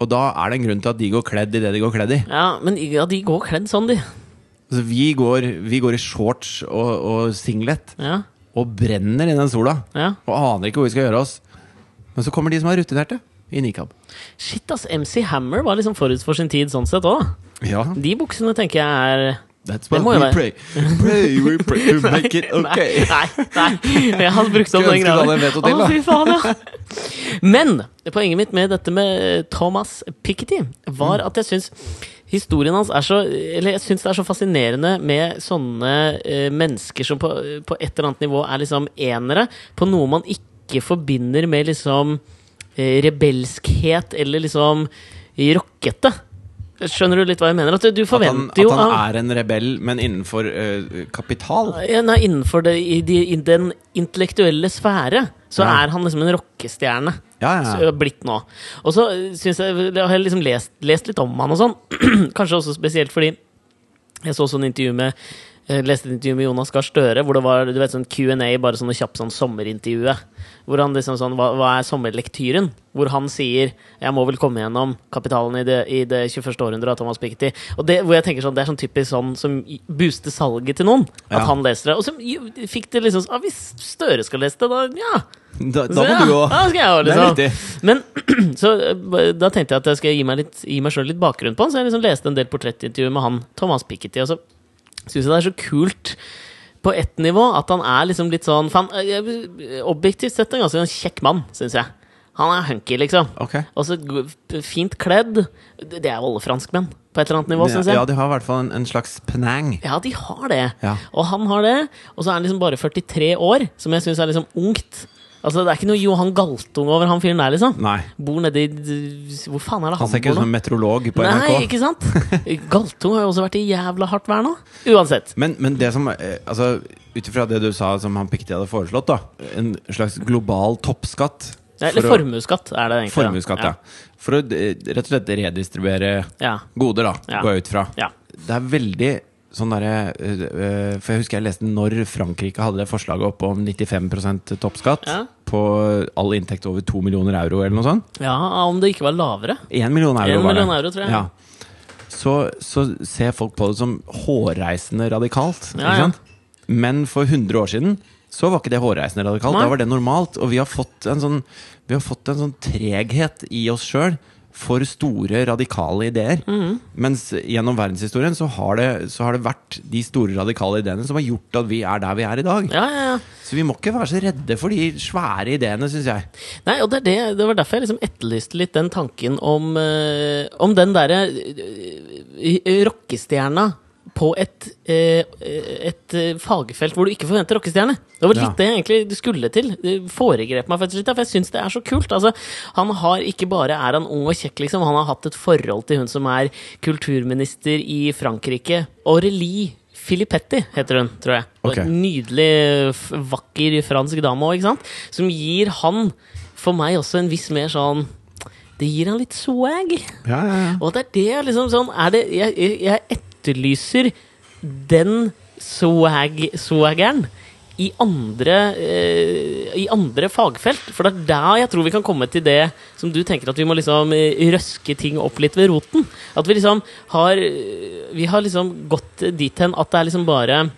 Og da er det en grunn til at de går kledd i det de går kledd i. ja, men ja, de går kledd sånn, de. Altså, vi, går, vi går i shorts og, og singlet Ja, og brenner i den sola. ja. Og aner ikke hvor vi skal gjøre oss. Men så kommer de som er rutinerte, i nikab. Shit, ass. MC Hammer var liksom forut for sin tid sånn sett òg. Ja, De buksene tenker jeg er that's Det what må jo we være- pray. Pray, we pray to make it okay. Nei, nei, nei. Jeg har brukt opp Skulle den ønske greia. du hadde en veto Å, til, da. fy faen, ja. Men poenget mitt med dette med eh, Thomas Piketty Mm. var at jeg syns historien hans er så Eller jeg syns det er så fascinerende med sånne eh, mennesker som på, på et eller annet nivå er liksom enere på noe man ikke forbinder med liksom eh, rebelskhet eller liksom eh, rockete. Skjønner du litt hva jeg mener? At du At han, forventer at jo han av- er en rebell, men innenfor eh, kapital. Ja, nei, innenfor det, i de, i den intellektuelle sfære så Ja. er han liksom en rockestjerne. Ja, ja, ja. Så- øh, Blitt nå. Og så øh, synes jeg, jeg har liksom lest, lest litt om han og sånn. Kanskje også spesielt fordi jeg så sånn intervju med jeg leste et intervju med Jonas Gahr Støre, hvor det var du vet, sånn Q&A, bare sånn kjapt sånn sommerintervjuet. Hvor han liksom sånn, hva, hva er sommerlektyren? Hvor han sier 'Jeg må vel komme gjennom kapitalen i det, i det 21. århundre' av Thomas Piketty. Og det, hvor jeg tenker sånn, det er sånn typisk sånn som booster salget til noen. At Ja. han leser det. Og så fikk det liksom sånn ah, Hvis Støre skal lese det, da ja. Da, da Så, må ja, du jo da skal jeg ha, Det er liksom. riktig. Men så eh, da tenkte jeg at jeg skal gi meg, litt, gi meg selv litt bakgrunn på han, så jeg liksom leste en del portrettintervjuer med han, Thomas Piketty, og så synes jeg det er så kult på ett nivå at han er liksom litt sånn for han, eh, Objektivt sett en ganske sånn kjekk mann, synes jeg. Han er hunky, liksom. Ok. Og så g- fint kledd. Det det er jo alle franskmenn på et eller annet nivå, synes jeg. Ja, de har i hvert fall en, en slags pnang. Ja, de har det. Ja. Og han har det. Og så er han liksom bare 43 år, som jeg syns er liksom ungt. Altså, Det er ikke noe Johan Galtung over han fyren der, liksom. Nei. Bor nedi Hvor faen er det han, Han ser ikke bor ut som nå? en meteorolog på NRK. Nei, ikke sant? Galtung har jo også vært i jævla hardt vær nå. Uansett. Men, men det som eh, altså, Ut ifra det du sa som han Piketty hadde foreslått, da en slags global toppskatt Nei, Eller for å- formuesskatt er det egentlig. da. Formuesskatt, ja. For å eh, rett og slett redistribuere Ja. goder, da, Ja. går jeg ut fra. Ja. Det er veldig sånn derre eh, eh, For jeg husker jeg leste når Frankrike hadde det forslaget oppe om 95 toppskatt Ja. på all inntekt over 2 millioner euro, eller noe sånt. ja. ja, om det ikke var lavere. 1 million euro, En var det. million euro, tror jeg. Ja. Så, så ser folk på det som hårreisende radikalt. Ja, ja. ikke sant? Men for 100 år siden så var ikke det hårreisende radikalt. Nei. Da var det normalt. Og vi har fått en sånn, vi har fått en sånn treghet i oss sjøl for store, radikale ideer. Mhm. Mens gjennom verdenshistorien så har, det, så har det vært de store, radikale ideene som har gjort at vi er der vi er i dag. Ja, ja, ja. Så vi må ikke være så redde for de svære ideene, syns jeg. Nei, og det, er det, det var derfor jeg liksom etterlyste litt den tanken om, eh, om den derre eh, rockestjerna på et, eh, et eh, fagfelt hvor du ikke forventer rockestjerne. Det var Ja. litt det jeg egentlig du skulle til. Det foregrep meg faktisk litt, for jeg syns det er så kult. Altså, han har ikke bare er han ung og kjekk, liksom, han har hatt et forhold til hun som er kulturminister i Frankrike, Aurelie Filippetti heter hun, tror jeg. Og Ok. en nydelig, f- vakker fransk dame òg, ikke sant? Som gir han, for meg også, en viss mer sånn Det gir han litt swag. Ja, ja, ja. Og det er det jeg liksom sånn er det, jeg, jeg, jeg etterlyser den swag, swageren i andre, eh, I andre fagfelt. For det er der jeg tror vi kan komme til det som du tenker at vi må liksom eh, røske ting opp litt ved roten. At vi liksom har eh, Vi har liksom gått dit hen at det er liksom bare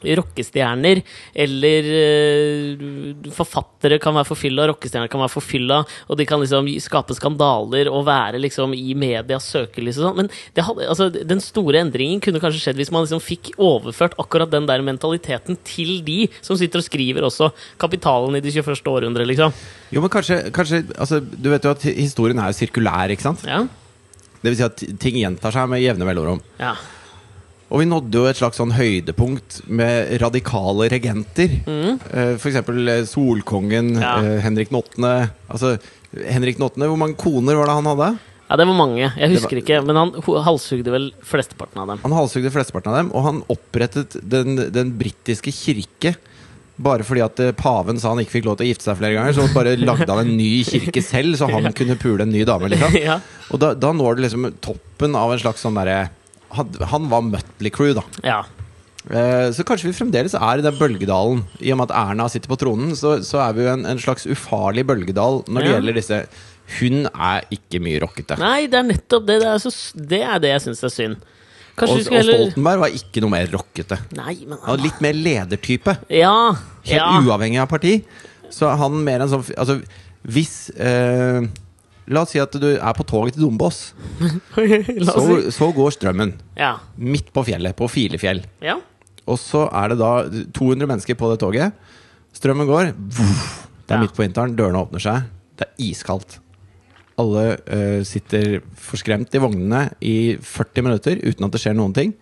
rockestjerner, eller eh, forfattere kan være forfylla, rockestjerner kan være forfylla, og de kan liksom skape skandaler og være liksom i medias søkelys og sånn. Men det hadde, altså, den store endringen kunne kanskje skjedd hvis man liksom fikk overført akkurat den der mentaliteten til de som sitter og skriver også kapitalen i det 21. århundre, liksom. Jo, men kanskje, kanskje altså, Du vet jo at historien er jo sirkulær, ikke sant? Ja. Det vil si at ting gjentar seg med jevne mellomrom. ja. Og vi nådde jo et slags sånn høydepunkt med radikale regenter. Eh, For eksempel eh, Solkongen, Ja. eh, Henrik den åttende Altså, Henrik den åttende, hvor mange koner var det han hadde? ja, det var mange. Jeg var- husker ikke, men han ho- halshugde vel flesteparten av dem. Han halshugde flesteparten av dem, og han opprettet den, den britiske kirke. Bare fordi at eh, paven sa han ikke fikk lov til å gifte seg flere ganger, så bare lagde han en ny kirke selv, så han kunne pule en ny dame. Liksom. Ja. Og da, da når du liksom toppen av en slags sånn derre han, han var Mutley Crew, da. Ja. Eh, så kanskje vi fremdeles er i den bølgedalen. I og med at Erna sitter på tronen, så, så er vi jo en, en slags ufarlig bølgedal når det Ja. gjelder disse Hun er ikke mye rockete. Nei, det er nettopp det. Det er, så, s- det, er det jeg syns er synd. Og, Kanskje og vi skulle heller Stoltenberg var ikke noe mer rockete. Nei, men Han var litt mer ledertype. Ja. Helt ja. uavhengig av parti. Så han mer en sånn Altså, hvis eh, La oss si at du er på toget til Dombås. La Så, oss si. så går strømmen. Ja. Midt på fjellet. På Filefjell. ja. Og så er det da 200 mennesker på det toget. Strømmen går. Vuff. Det er Ja. midt på vinteren, dørene åpner seg. Det er iskaldt. Alle eh, sitter forskremt i vognene i 40 minutter uten at det skjer noen ting.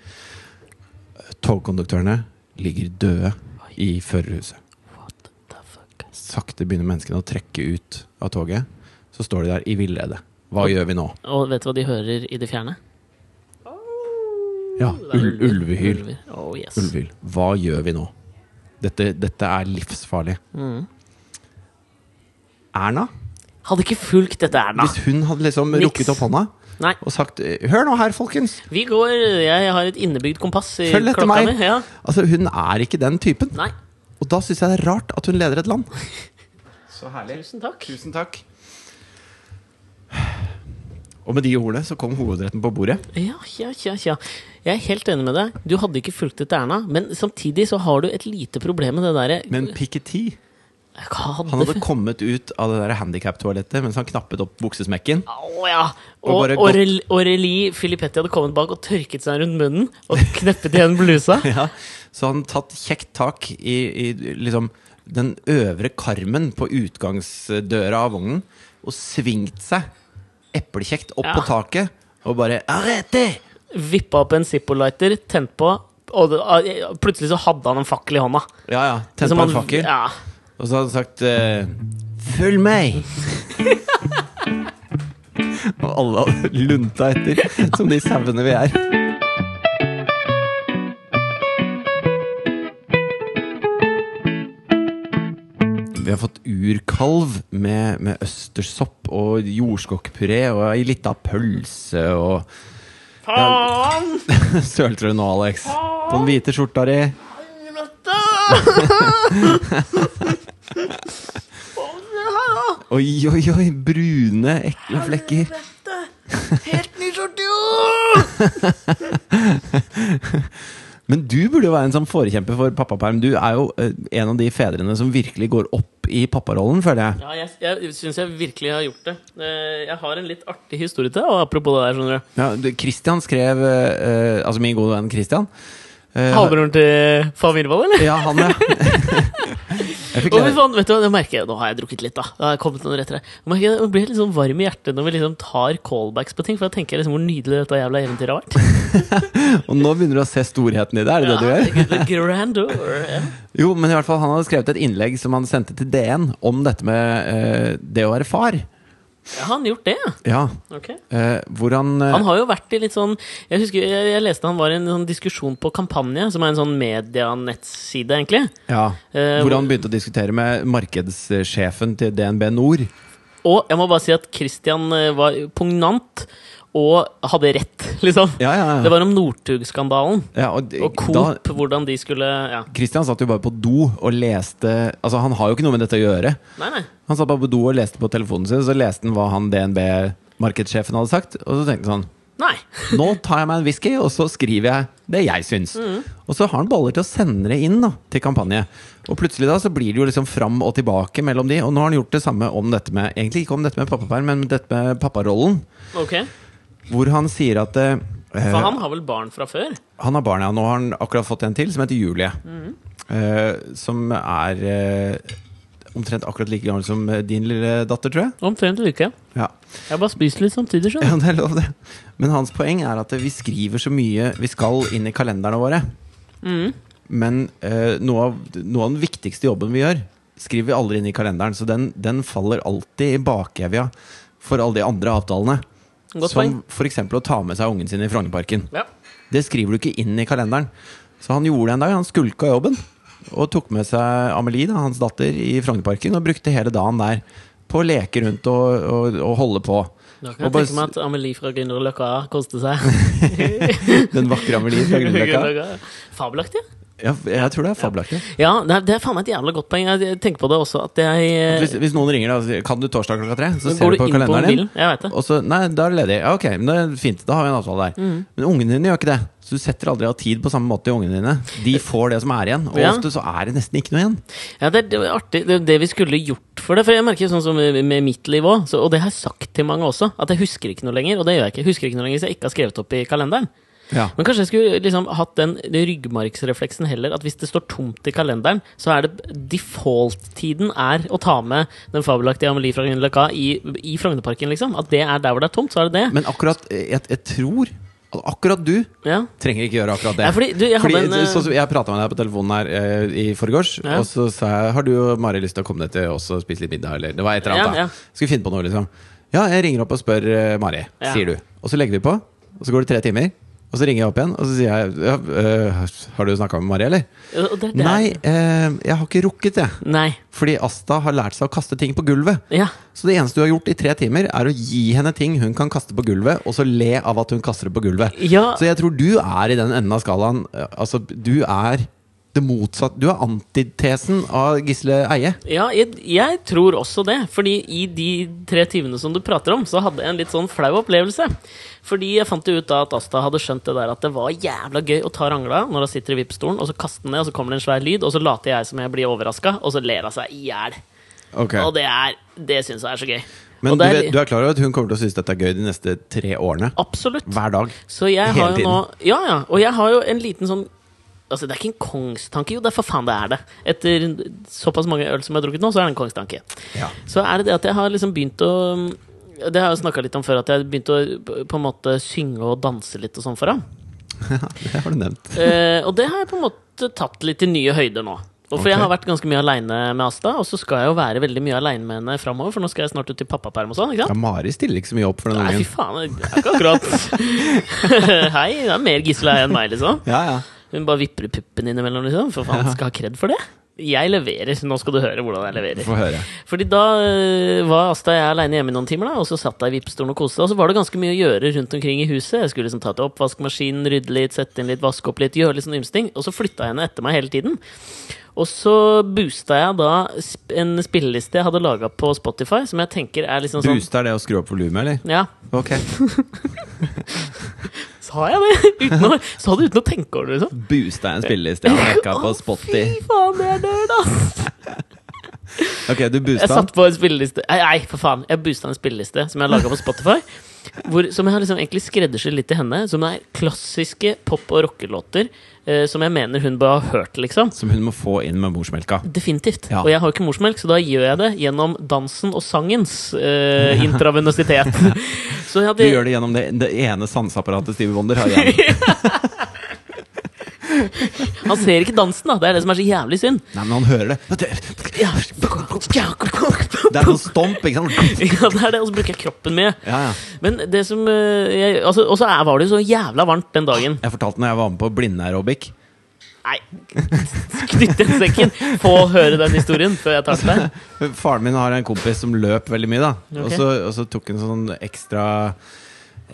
Togkonduktørene ligger døde i førerhuset. What the fuck? Sakte begynner menneskene å trekke ut av toget. Så står de der i villrede. Hva gjør vi nå? Og vet du hva de hører i det fjerne? Ja, Det er ul ulver. ulvehyl. Ulver. Oh, yes. Ulvehyl. Hva gjør vi nå? Dette, dette er livsfarlig. Erna, Hadde ikke fulgt dette, Erna. hvis hun hadde liksom Niks. rukket opp hånda Nei. og sagt Hør nå her, folkens! Vi går Jeg har et innebygd kompass i Følg etter klokka meg. mi. Ja. Altså, hun er ikke den typen. Nei. Og da syns jeg det er rart at hun leder et land. Så herlig. Tusen takk. Tusen takk. Og med de ordene så kom hovedretten på bordet. Ja, ja, ja, ja. Jeg er helt enig med deg. Du hadde ikke fulgt etter Erna, men samtidig så har du et lite problem med det derre Men Piketty han Han hadde kommet ut av det der handikaptoalettet mens han knappet opp buksesmekken. Å ja! Og Og bare gått- Aureli, Aureli Filippetti hadde kommet bak og tørket seg rundt munnen og kneppet igjen blusa. Ja, så han tatt kjekt tak i, i liksom den øvre karmen på utgangsdøra av vognen og svingt seg eplekjekt opp Ja. på taket og bare Arrete! Vippa opp en Zippo-lighter, tent på, og det, ah, plutselig så hadde han en fakkel i hånda. Ja, ja. Tent Som på en han- fakkel. Ja. Og så hadde han sagt eh, Følg meg! og alle hadde lunta etter, som de sauene vi er. Vi har fått urkalv med, med østersopp og jordskokkpuré og ei lita pølse og Faen! Sølte du nå, Alex? På den hvite skjorta di? Helvete! Oi, oi, oi! Brune, ekle flekker. Helt ny skjorte, jo! Men du burde jo være en som forekjemper for pappaperm. Du er jo eh, en av de fedrene som virkelig går opp i papparollen, føler jeg. Ja, jeg, jeg syns jeg virkelig har gjort det. Eh, Jeg har en litt artig historie til deg, og apropos det der, skjønner du. Ja, du, Christian skrev eh, eh, Altså min gode venn Christian. eh, Halvbroren til faen Virvold, eller? Ja, han, ja. jeg fikk Å, fy lære faen, vet du hva, det merker jeg, Nå har jeg drukket litt, da. Det har kommet noen retter her. Jeg merker det, jeg blir litt sånn varm i hjertet når vi liksom tar callbacks på ting, for da tenker jeg liksom hvor nydelig dette jævla eventyret har vært. Og nå begynner du å se storheten i det, er det det du gjør? The grandeur. Ja. Jo, men i hvert fall han hadde skrevet et innlegg som han sendte til DN om dette med eh, det å være far. Har han gjort det, ja? Ja. Ok. eh, hvor han eh, Han har jo vært i litt sånn Jeg husker, jeg, jeg leste han var i en sånn diskusjon på Kampanje, som er en sånn medianettside, egentlig. ja, Eh, Hvor han begynte å diskutere med markedssjefen til DNB Nord. Og jeg må bare si at Christian eh, var pugnant og hadde rett, liksom. Ja, ja, ja. Det var om Northug-skandalen Ja, og, og da- Coop, hvordan de skulle ja. Christian satt jo bare på do og leste Altså Han har jo ikke noe med dette å gjøre. Nei, nei. Han satt bare på do og leste på telefonen sin, så leste han hva han DNB-markedssjefen hadde sagt. Og så tenkte han sånn nei. Nå tar jeg meg en whisky, og så skriver jeg det jeg syns. Mm. Og så har han baller til å sende det inn da, til kampanje. Og plutselig da så blir det jo liksom fram og tilbake mellom de. Og nå har han gjort det samme om dette med Egentlig ikke om dette med pappaperm, men dette med papparollen. Ok. Hvor han sier at eh, For han har vel barn fra før? han har barn, ja. Nå har han akkurat fått en til, som heter Julie. Mhm. Eh, som er eh, omtrent akkurat like gammel som eh, din lille datter, tror jeg. Omtrent like. Ja. Jeg har bare spist litt samtidig, ja, skjønner du. det er lov, det. Men hans poeng er at vi skriver så mye vi skal inn i kalenderne våre. Mm, Men eh, noe, av, noe av den viktigste jobben vi gjør, skriver vi aldri inn i kalenderen. Så den, den faller alltid i bakevja for alle de andre avtalene. Godt som poeng. f.eks. å ta med seg ungen sin i Frognerparken. Ja. Det skriver du ikke inn i kalenderen. Så han gjorde det en dag. Han skulka jobben. Og tok med seg Amelie, da, hans datter, i Frognerparken og brukte hele dagen der på å leke rundt og, og, og holde på. Da kan Og jeg bare tenke meg at Amelie fra Grünerløkka koste seg. Den vakre Amelie fra Grünerløkka. Grünerløkka. Fabelaktig. Ja, jeg tror det er fabelaktig. Ja, det er, det er faen meg et jævla godt poeng. Jeg tenker på det også at jeg eh, Hvis, hvis noen ringer da og sier kan du torsdag klokka tre, så Går ser du du på inn på kalenderen din. mobilen? Jeg vet det. Og så, nei, da er det ledig. Ja, ok, men det er fint. Da har vi en avtale der. Mm. Men ungene dine gjør ikke det. Så du setter aldri av tid på samme måte i ungene dine. De får det som er igjen. Og Eh, Ja. ofte så er det nesten ikke noe igjen. Ja, det er det er artig. Det, er det vi skulle gjort for det. For jeg merker sånn som med med mitt liv òg, og det har jeg sagt til mange også, at jeg husker ikke noe lenger. Og det gjør jeg ikke. Jeg husker ikke noe lenger hvis jeg ikke har skrevet opp i kalenderen. Ja. Men kanskje jeg skulle liksom hatt den ryggmargsrefleksen heller, at hvis det står tomt i kalenderen, så er det default-tiden er å ta med den fabelaktige Amelie fra Grünerløkka i, i Frognerparken, liksom. At det er der hvor det er tomt, så er det det. Men akkurat, jeg, jeg tror at akkurat du Ja. trenger ikke gjøre akkurat det. Ja, fordi du, jeg hadde Fordi, en, eh, så, så, jeg prata med deg på telefonen her eh, i forgårs, Ja. og så sa jeg Har du og Mari lyst til å komme ned til oss og spise litt middag, eller Det var et eller annet, Ja, ja. da. Skulle finne på noe, liksom. Ja, jeg ringer opp og spør eh, Mari, Ja. sier du. Og så legger vi på, og så går det tre timer. Og så ringer jeg opp igjen, og så sier jeg ja, eh, Har du snakka med Mari, eller? Og det er der- Nei, eh, jeg har ikke rukket, jeg. Nei. Fordi Asta har lært seg å kaste ting på gulvet. Ja. Så det eneste du har gjort i tre timer, er å gi henne ting hun kan kaste på gulvet, og så le av at hun kaster det på gulvet. Ja. Så jeg tror du er i den enden av skalaen. eh, Altså, du er det motsatte. Du er antitesen av Gisle Eie. Ja, jeg, jeg tror også det. Fordi i de tre timene som du prater om, så hadde jeg en litt sånn flau opplevelse. Fordi jeg fant jo ut da at Asta hadde skjønt det der at det var jævla gøy å ta rangla når hun sitter i vippstolen, og så kaste den ned, og så kommer det en svær lyd, og så later jeg som jeg blir overraska, og så ler hun seg i hjel. Og det, er- det syns jeg er så gøy. Men og du, det er, vet, du er klar over at hun kommer til å synes dette er gøy de neste tre årene? Absolutt. Hver dag. Så jeg Hele har jo tiden. nå Ja, ja. Og jeg har jo en liten sånn Altså, det er ikke en kongstanke. Jo, det er for faen det er det. Etter såpass mange øl som jeg har drukket nå, så er det en kongstanke. Ja. Så er det det at jeg har liksom begynt å Det har jeg jo snakka litt om før, at jeg begynte å på en måte synge og danse litt og sånn for ham. Det har du nevnt. Eh, og det har jeg på en måte tatt litt til nye høyder nå. Og for Ok. jeg har vært ganske mye aleine med Asta, og så skal jeg jo være veldig mye aleine med henne framover, for nå skal jeg snart ut i pappaperm og sånn. ikke sant? Ja, Mari stiller ikke så mye opp for den Nei, fy ungen. faen, det er ikke akkurat Hei, det er mer Gisle her enn meg, liksom. Ja, ja. Hun bare vipper ut puppen innimellom, liksom. For faen, skal ha kred for det? Jeg leverer. Nå skal du høre hvordan jeg leverer. Få høre. Fordi da øh, var Asta og jeg aleine hjemme i noen timer, da, og så satt jeg i vippstolen og koste. Og så var det ganske mye å gjøre rundt omkring i huset. Jeg skulle liksom ta til oppvaskmaskinen, rydde litt, sette inn litt, vaske opp litt, gjøre litt sånn ymse ting. Og så flytta jeg henne etter meg hele tiden. Og så boosta jeg da sp- en spilleliste jeg hadde laga på Spotify, som jeg tenker er liksom sånn Booster det å skru opp volumet, eller? Ja, Ok. sa jeg det? Uten å, sa det uten å tenke over det, liksom. Boosta en spilleliste jeg har hacka på Spotty. Fy faen, det er nerd, ass! Ok, du Jeg boosta satt på en spilleliste Nei, nei for faen. Jeg boosta en spilleliste som jeg laga på Spotify. Hvor, som jeg har liksom egentlig skreddersydd litt til henne. Som er klassiske pop- og rockelåter eh, som jeg mener hun bør ha hørt, liksom. som hun må få inn med morsmelka. Definitivt. Ja. Og jeg har jo ikke morsmelk, så da gjør jeg det gjennom dansen og sangens eh, intravenøsitet. Så jeg Du hadde, gjør det gjennom det, det ene sanseapparatet Stevie Wonder har igjen. han ser ikke dansen, da. Det er det som er så jævlig synd. Nei, men han hører det. Det Ja, det er sånn stomp, ikke sant? er det. Og så bruker jeg kroppen mye. Ja, ja. Men det som eh, jeg, altså, Og så er- var det jo så jævla varmt den dagen. Jeg fortalte når jeg var med på blindeaerobic. Nei, knytt den sekken! Få høre den historien før jeg tar til deg. Faren min har en kompis som løp veldig mye, da. Og, Ok. så, og så tok han sånn ekstra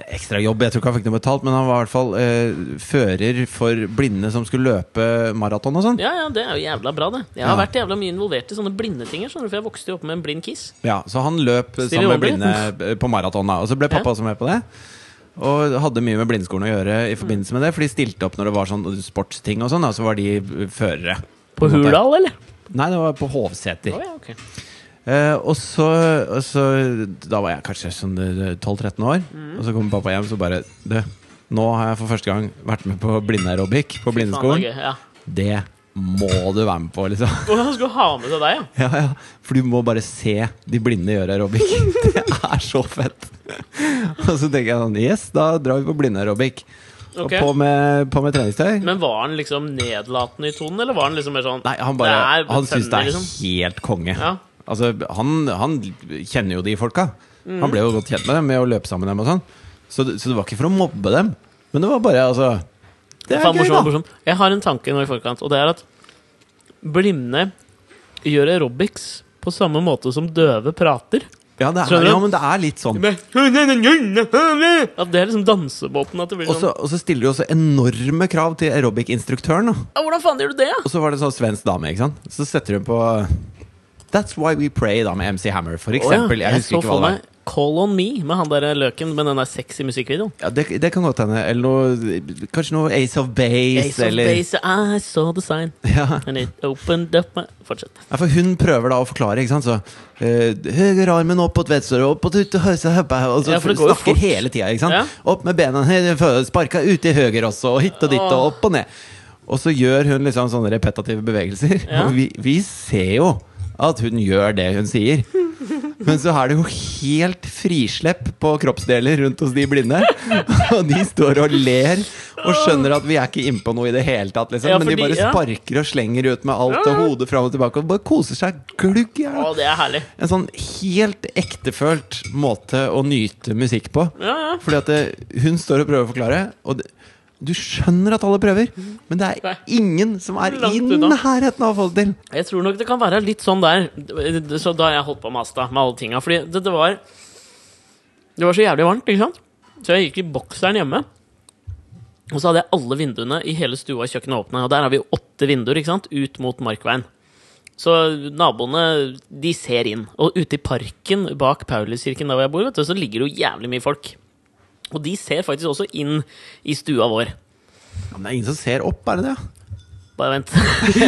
Ekstra jobb, jeg tror ikke han fikk noe betalt, men han var i hvert fall eh, fører for blinde som skulle løpe maraton og sånn. Ja. Ja, ja, det er jo jævla bra, det. Jeg har Ja. vært jævla mye involvert i sånne blindetinger, skjønner du, for jeg vokste jo opp med en blind kiss. så han løp Stevie sammen med blinde Wonder. eh, på maraton, da. Og så ble pappa Ja. også med på det. Og hadde mye med blindeskolen å gjøre i forbindelse med det, for de stilte opp når det var sånn sportsting og sånn, da, så var de eh, førere. På en måte. Hurdal, eller? Nei, det var på Hovseter. Å, ja, ok. Eh, og, så, og så Da var jeg kanskje sånn eh, 12-13 år. Mm. Og så kommer pappa hjem så bare Du, nå har jeg for første gang vært med på blindeaerobic på Faen, det blindeskolen. er gøy, ja. Det må du være med på, liksom. Og han skulle ha med seg deg, ja. Ja, ja. For du må bare se de blinde gjøre aerobic. Det er så fett! Og så tenker jeg sånn Yes, da drar vi på blindeaerobic. Og Ok. på med, på med treningstøy. Men var han liksom nedlatende i tonen, eller var han liksom mer sånn Nei, han bare "Det er Han syns det funny, er liksom." helt konge. Ja. Altså, han, han kjenner jo de folka. Han ble Mm. jo godt kjent med dem med å løpe sammen med dem og sånn. Så, det- så det var ikke for å mobbe dem, men det var bare altså Det er Faen, gøy, morsom, da! morsom. Jeg har en tanke nå i forkant, og det er at blinde gjør aerobics på samme måte som døve prater. Ja, det Skjønner er, du? ja, men det er litt sånn. At det er liksom dansebåten. At det blir Og så sånn og så stiller du også enorme krav til aerobic-instruktøren. da. «Ja, Hvordan faen gjør du det, da? Og så var det en sånn svensk dame, ikke sant. Så setter hun på That's Why We Pray da med MC Hammer, for eksempel. Jeg husker ikke hva det var. Call On Me med han der løken med den der sexy musikkvideoen. Ja, det, det kan godt hende. Eller noe Kanskje noe Ace of Base, Ace of eller base, I saw the sign Ja. And it opened up my Fortsett. Ja, for hun prøver da å forklare, ikke sant? Så eh, Høyre armen opp mot venstre, opp mot ut, høyre, høyre, og så Ja, for det går jo snakker fort. hele tida, ikke sant? Ja. Opp med bena, høyre, fø- sparka ut til høyre også, og hit og dit, og opp og ned. Og så gjør hun liksom sånne repetitive bevegelser. Ja. Og vi, vi ser jo at hun gjør det hun sier. Men så er det jo helt frislepp på kroppsdeler rundt hos de blinde. Og de står og ler og skjønner at vi er ikke innpå noe i det hele tatt. Liksom. Ja, Men de fordi- bare ja. sparker og slenger ut med alt og hodet fram og tilbake og bare koser seg glugg i Å, hjel. det er herlig. En sånn helt ektefølt måte å nyte musikk på. Ja, ja. Fordi at det, hun står og prøver å forklare, og det, du skjønner at alle prøver, men det Nei. er ingen som er i Langt unna. nærheten av å få det til. Jeg tror nok det kan være litt sånn der Så da har jeg holdt på å mase da, med alle tinga. Fordi det, det var Det var så jævlig varmt, ikke sant? Så jeg gikk i bokseren hjemme. Og så hadde jeg alle vinduene i hele stua og kjøkkenet åpne. Og der har vi jo åtte vinduer ikke sant? ut mot Markveien. Så naboene de ser inn. Og ute i parken bak Pauluskirken, der hvor jeg bor, vet du, så ligger det jo jævlig mye folk. Og de ser faktisk også inn i stua vår. Ja, men det er ingen som ser opp, er det det? Bare vent.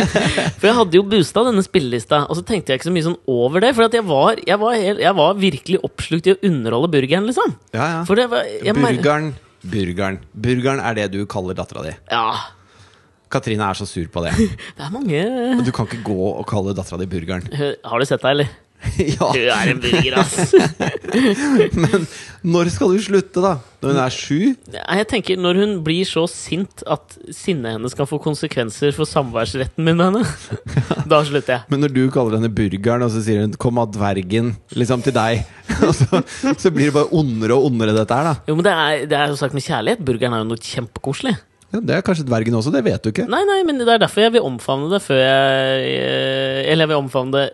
For jeg hadde jo boosta denne spillelista, og så tenkte jeg ikke så mye sånn over det. For at jeg, var, jeg, var helt, jeg var virkelig oppslukt i å underholde burgeren, liksom. Ja, ja. For det var jeg mer- Burgeren, burgeren. Burgeren er det du kaller dattera di. Ja. Katrine er så sur på det. Det er mange Du kan ikke gå og kalle dattera di burgeren. Har du sett deg, eller? ja, Du er en burger, ass. men når skal du slutte, da? Når hun er sju? Nei, Jeg tenker Når hun blir så sint at sinnet hennes kan få konsekvenser for samværsretten min med henne, da slutter jeg. Men når du kaller henne burgeren, og så sier hun 'kom av dvergen', liksom til deg, og så, så blir det bare ondere og ondere, dette her, da. Jo, men Det er, det er jo sagt med kjærlighet. Burgeren er jo noe kjempekoselig. Ja, det er kanskje dvergen også, det vet du ikke. Nei, nei, men det er derfor jeg vil omfavne det før jeg eh, Eller jeg vil omfavne det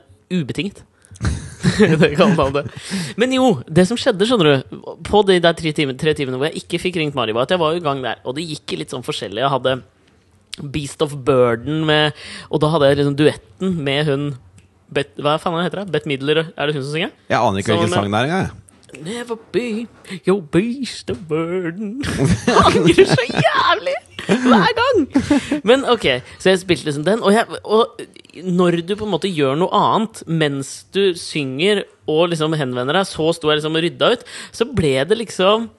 ubetinget. det kan man det. Men jo, det som skjedde, skjønner du, på de der tre timene, tre timene hvor jeg ikke fikk ringt Mari, var at jeg var i gang der, og det gikk i litt sånn forskjellig. Jeg hadde Beast of Burden med Og da hadde jeg liksom duetten med hun Bet, Hva faen heter hun? Bett Midler? Er det hun som synger? Jeg aner ikke Sammen hvilken med- sang det er engang. jeg. Never be your beast of burden. Jeg Angrer så jævlig hver gang! Men ok, så jeg spilte liksom den. Og, jeg, og når du på en måte gjør noe annet mens du synger og liksom henvender deg, så sto jeg liksom og rydda ut, så ble det liksom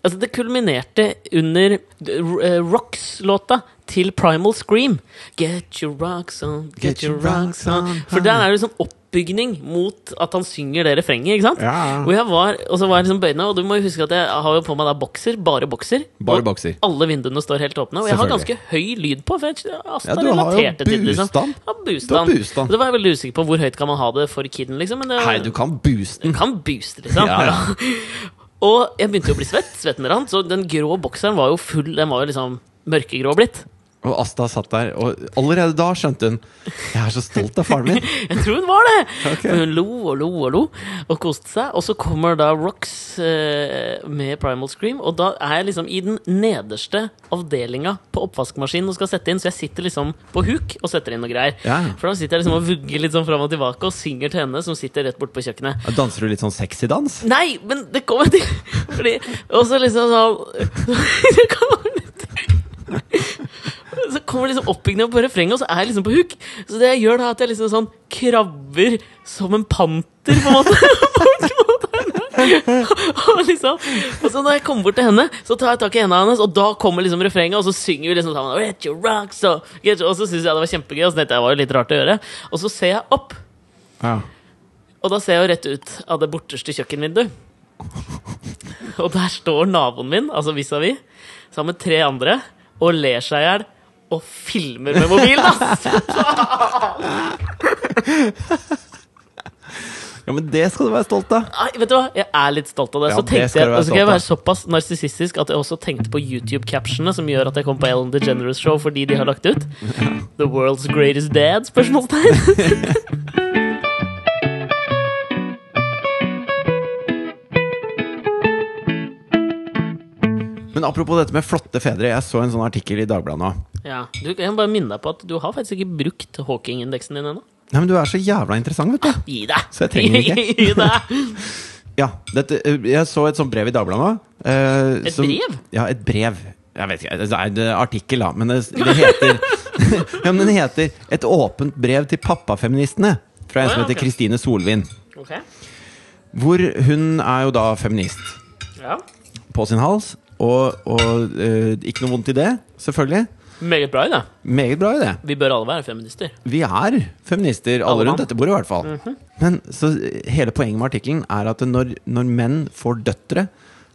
Altså, det kulminerte under eh, Rocks-låta til Primal Scream. Get your rocks on, get, your rocks on. For der er det sånn oppbygning mot at han synger det refrenget, ikke sant? Ja. Og jeg var, og så var jeg liksom bøyende, og du må jo huske at jeg har jo på meg da bokser, bare bokser. Bare og bokser. Alle vinduene står helt åpne, og jeg har ganske Selvfølgelig. høy lyd på. For jeg, Asta Ja, du har jo relaterte til det, boost liksom. den. Ja, boost Du har den. boost den. Og Da var jeg veldig usikker på hvor høyt kan man ha det for kiden, liksom. Men det, Nei, du kan booste den. du kan booste, liksom. Ja, og jeg begynte jo å bli svett, svetten rant, så den grå bokseren var jo full, den var jo liksom mørkegrå blitt. Og Asta satt der, og allerede da skjønte hun Jeg er så stolt av faren min. Jeg tror hun var det! Ok. For hun lo og lo og lo og koste seg. Og så kommer da Rox eh, med Primal Scream, og da er jeg liksom i den nederste avdelinga på oppvaskmaskinen og skal sette inn, så jeg sitter liksom på huk og setter inn noe greier. Ja. For da sitter jeg liksom og vugger litt sånn fram og tilbake og synger til henne, som sitter rett borte på kjøkkenet. Danser du litt sånn sexy dans? Nei, men det kommer til Fordi Og så liksom sånn Det kommer litt Så kommer liksom oppbyggingen på refrenget, og så er jeg liksom på hook. Så det jeg gjør da, er at jeg liksom sånn krabber som en panter, på en måte. bort mot henne. Og liksom Og så når jeg kommer bort til henne, så tar jeg tak i henda hennes, og da kommer liksom refrenget, og så synger vi liksom sammen. Get your rocks, up, get your... Og så syns jeg det var kjempegøy, og så tenkte jeg det var jo litt rart å gjøre. Og så ser jeg opp. Ja. Og da ser jeg jo rett ut av det borteste kjøkkenvinduet. Og der står naboen min, altså vis-à-vis, sammen med tre andre, og ler seg i hjel. Og filmer med mobilen, ass! ja, men det skal du være stolt av. Nei, vet du hva, jeg er litt stolt av det. Ja, så det tenkte skal jeg, du være og så skal jeg være stolt såpass narsissistisk at jeg også tenkte på YouTube-captionene som gjør at jeg kom på Ellen DeGeneres Show fordi de har lagt ut. The world's greatest dad? Spørsmålstegn. Men apropos dette med flotte fedre. Jeg så en sånn artikkel i Dagbladet nå. Ja, du, jeg må bare minne deg på at du har faktisk ikke brukt Hawking-indeksen din ennå. Nei, men du er så jævla interessant, vet du. Gi deg! Så jeg trenger den Gi deg! Ja, dette, eh, jeg så et sånt brev i Dagbladet nå. eh, Et brev? Ja, et brev. Jeg vet ikke, det er en eh, artikkel, da. Men det, det heter Ja, men den heter 'Et åpent brev til pappafeministene'. Fra en Å, som ja, heter ok. Kristine Solvin. Ok, Hvor hun er jo da feminist. ja på sin hals. Og, og eh, ikke noe vondt i det, selvfølgelig. Meget bra idé. Meget bra idé. Vi bør alle være feminister. Vi er feminister, alle Alle mann. Mhm. rundt dette bordet i hvert fall. Men så eh, hele poenget med artikkelen er at når, når menn får døtre,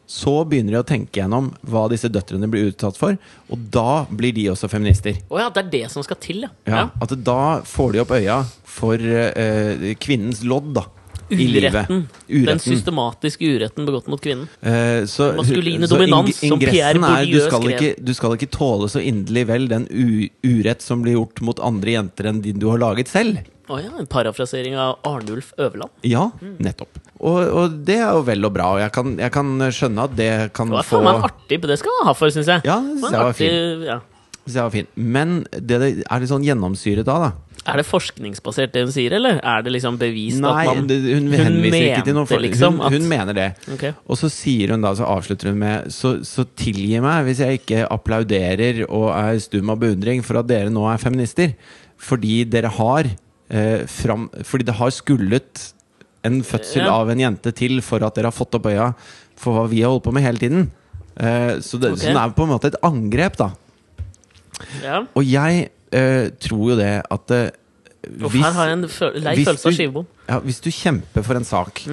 så begynner de å tenke gjennom hva disse døtrene blir utsatt for, og da blir de også feminister. Å ja, det er det som skal til, ja. Ja, At da får de opp øya for eh, kvinnens lodd, da. I livet. Uretten. Den systematiske uretten begått mot kvinnen. Eh, så, Maskuline så dominans, som ingressen Pierre Bourdieu du skal, skrev. ikke, du skal ikke tåle så inderlig vel den u urett som blir gjort mot andre jenter enn din du har laget selv. Å ja, en parafrasering av Arnulf Øverland. Ja, Mm. nettopp. Og, og det er jo vel og bra, og jeg kan, jeg kan skjønne at det kan Det var få faen meg en artig Det skal han ha for, syns jeg. Ja, det en synes jeg var artig- ja. Så jeg var fin. Men det det er litt sånn gjennomsyret av, da. Er det forskningsbasert, det hun sier, eller er det liksom bevist Nei, at man det- hun henviser ikke til noe for, liksom hun, at- hun mener det. Ok. Og så sier hun da, så avslutter hun med Så, så tilgi meg hvis jeg ikke applauderer og er stum av beundring for at dere nå er feminister. Fordi dere har eh, fram, Fordi det har skullet en fødsel Ja. av en jente til for at dere har fått opp øya for hva vi har holdt på med hele tiden. Eh, så, det, Ok. så det er på en måte et angrep, da. ja. Og jeg eh, tror jo det at eh, Uff, hvis- her har jeg en føl lei hvis følelse av du- skivebom. Mm. ja, hvis du kjemper for en sak,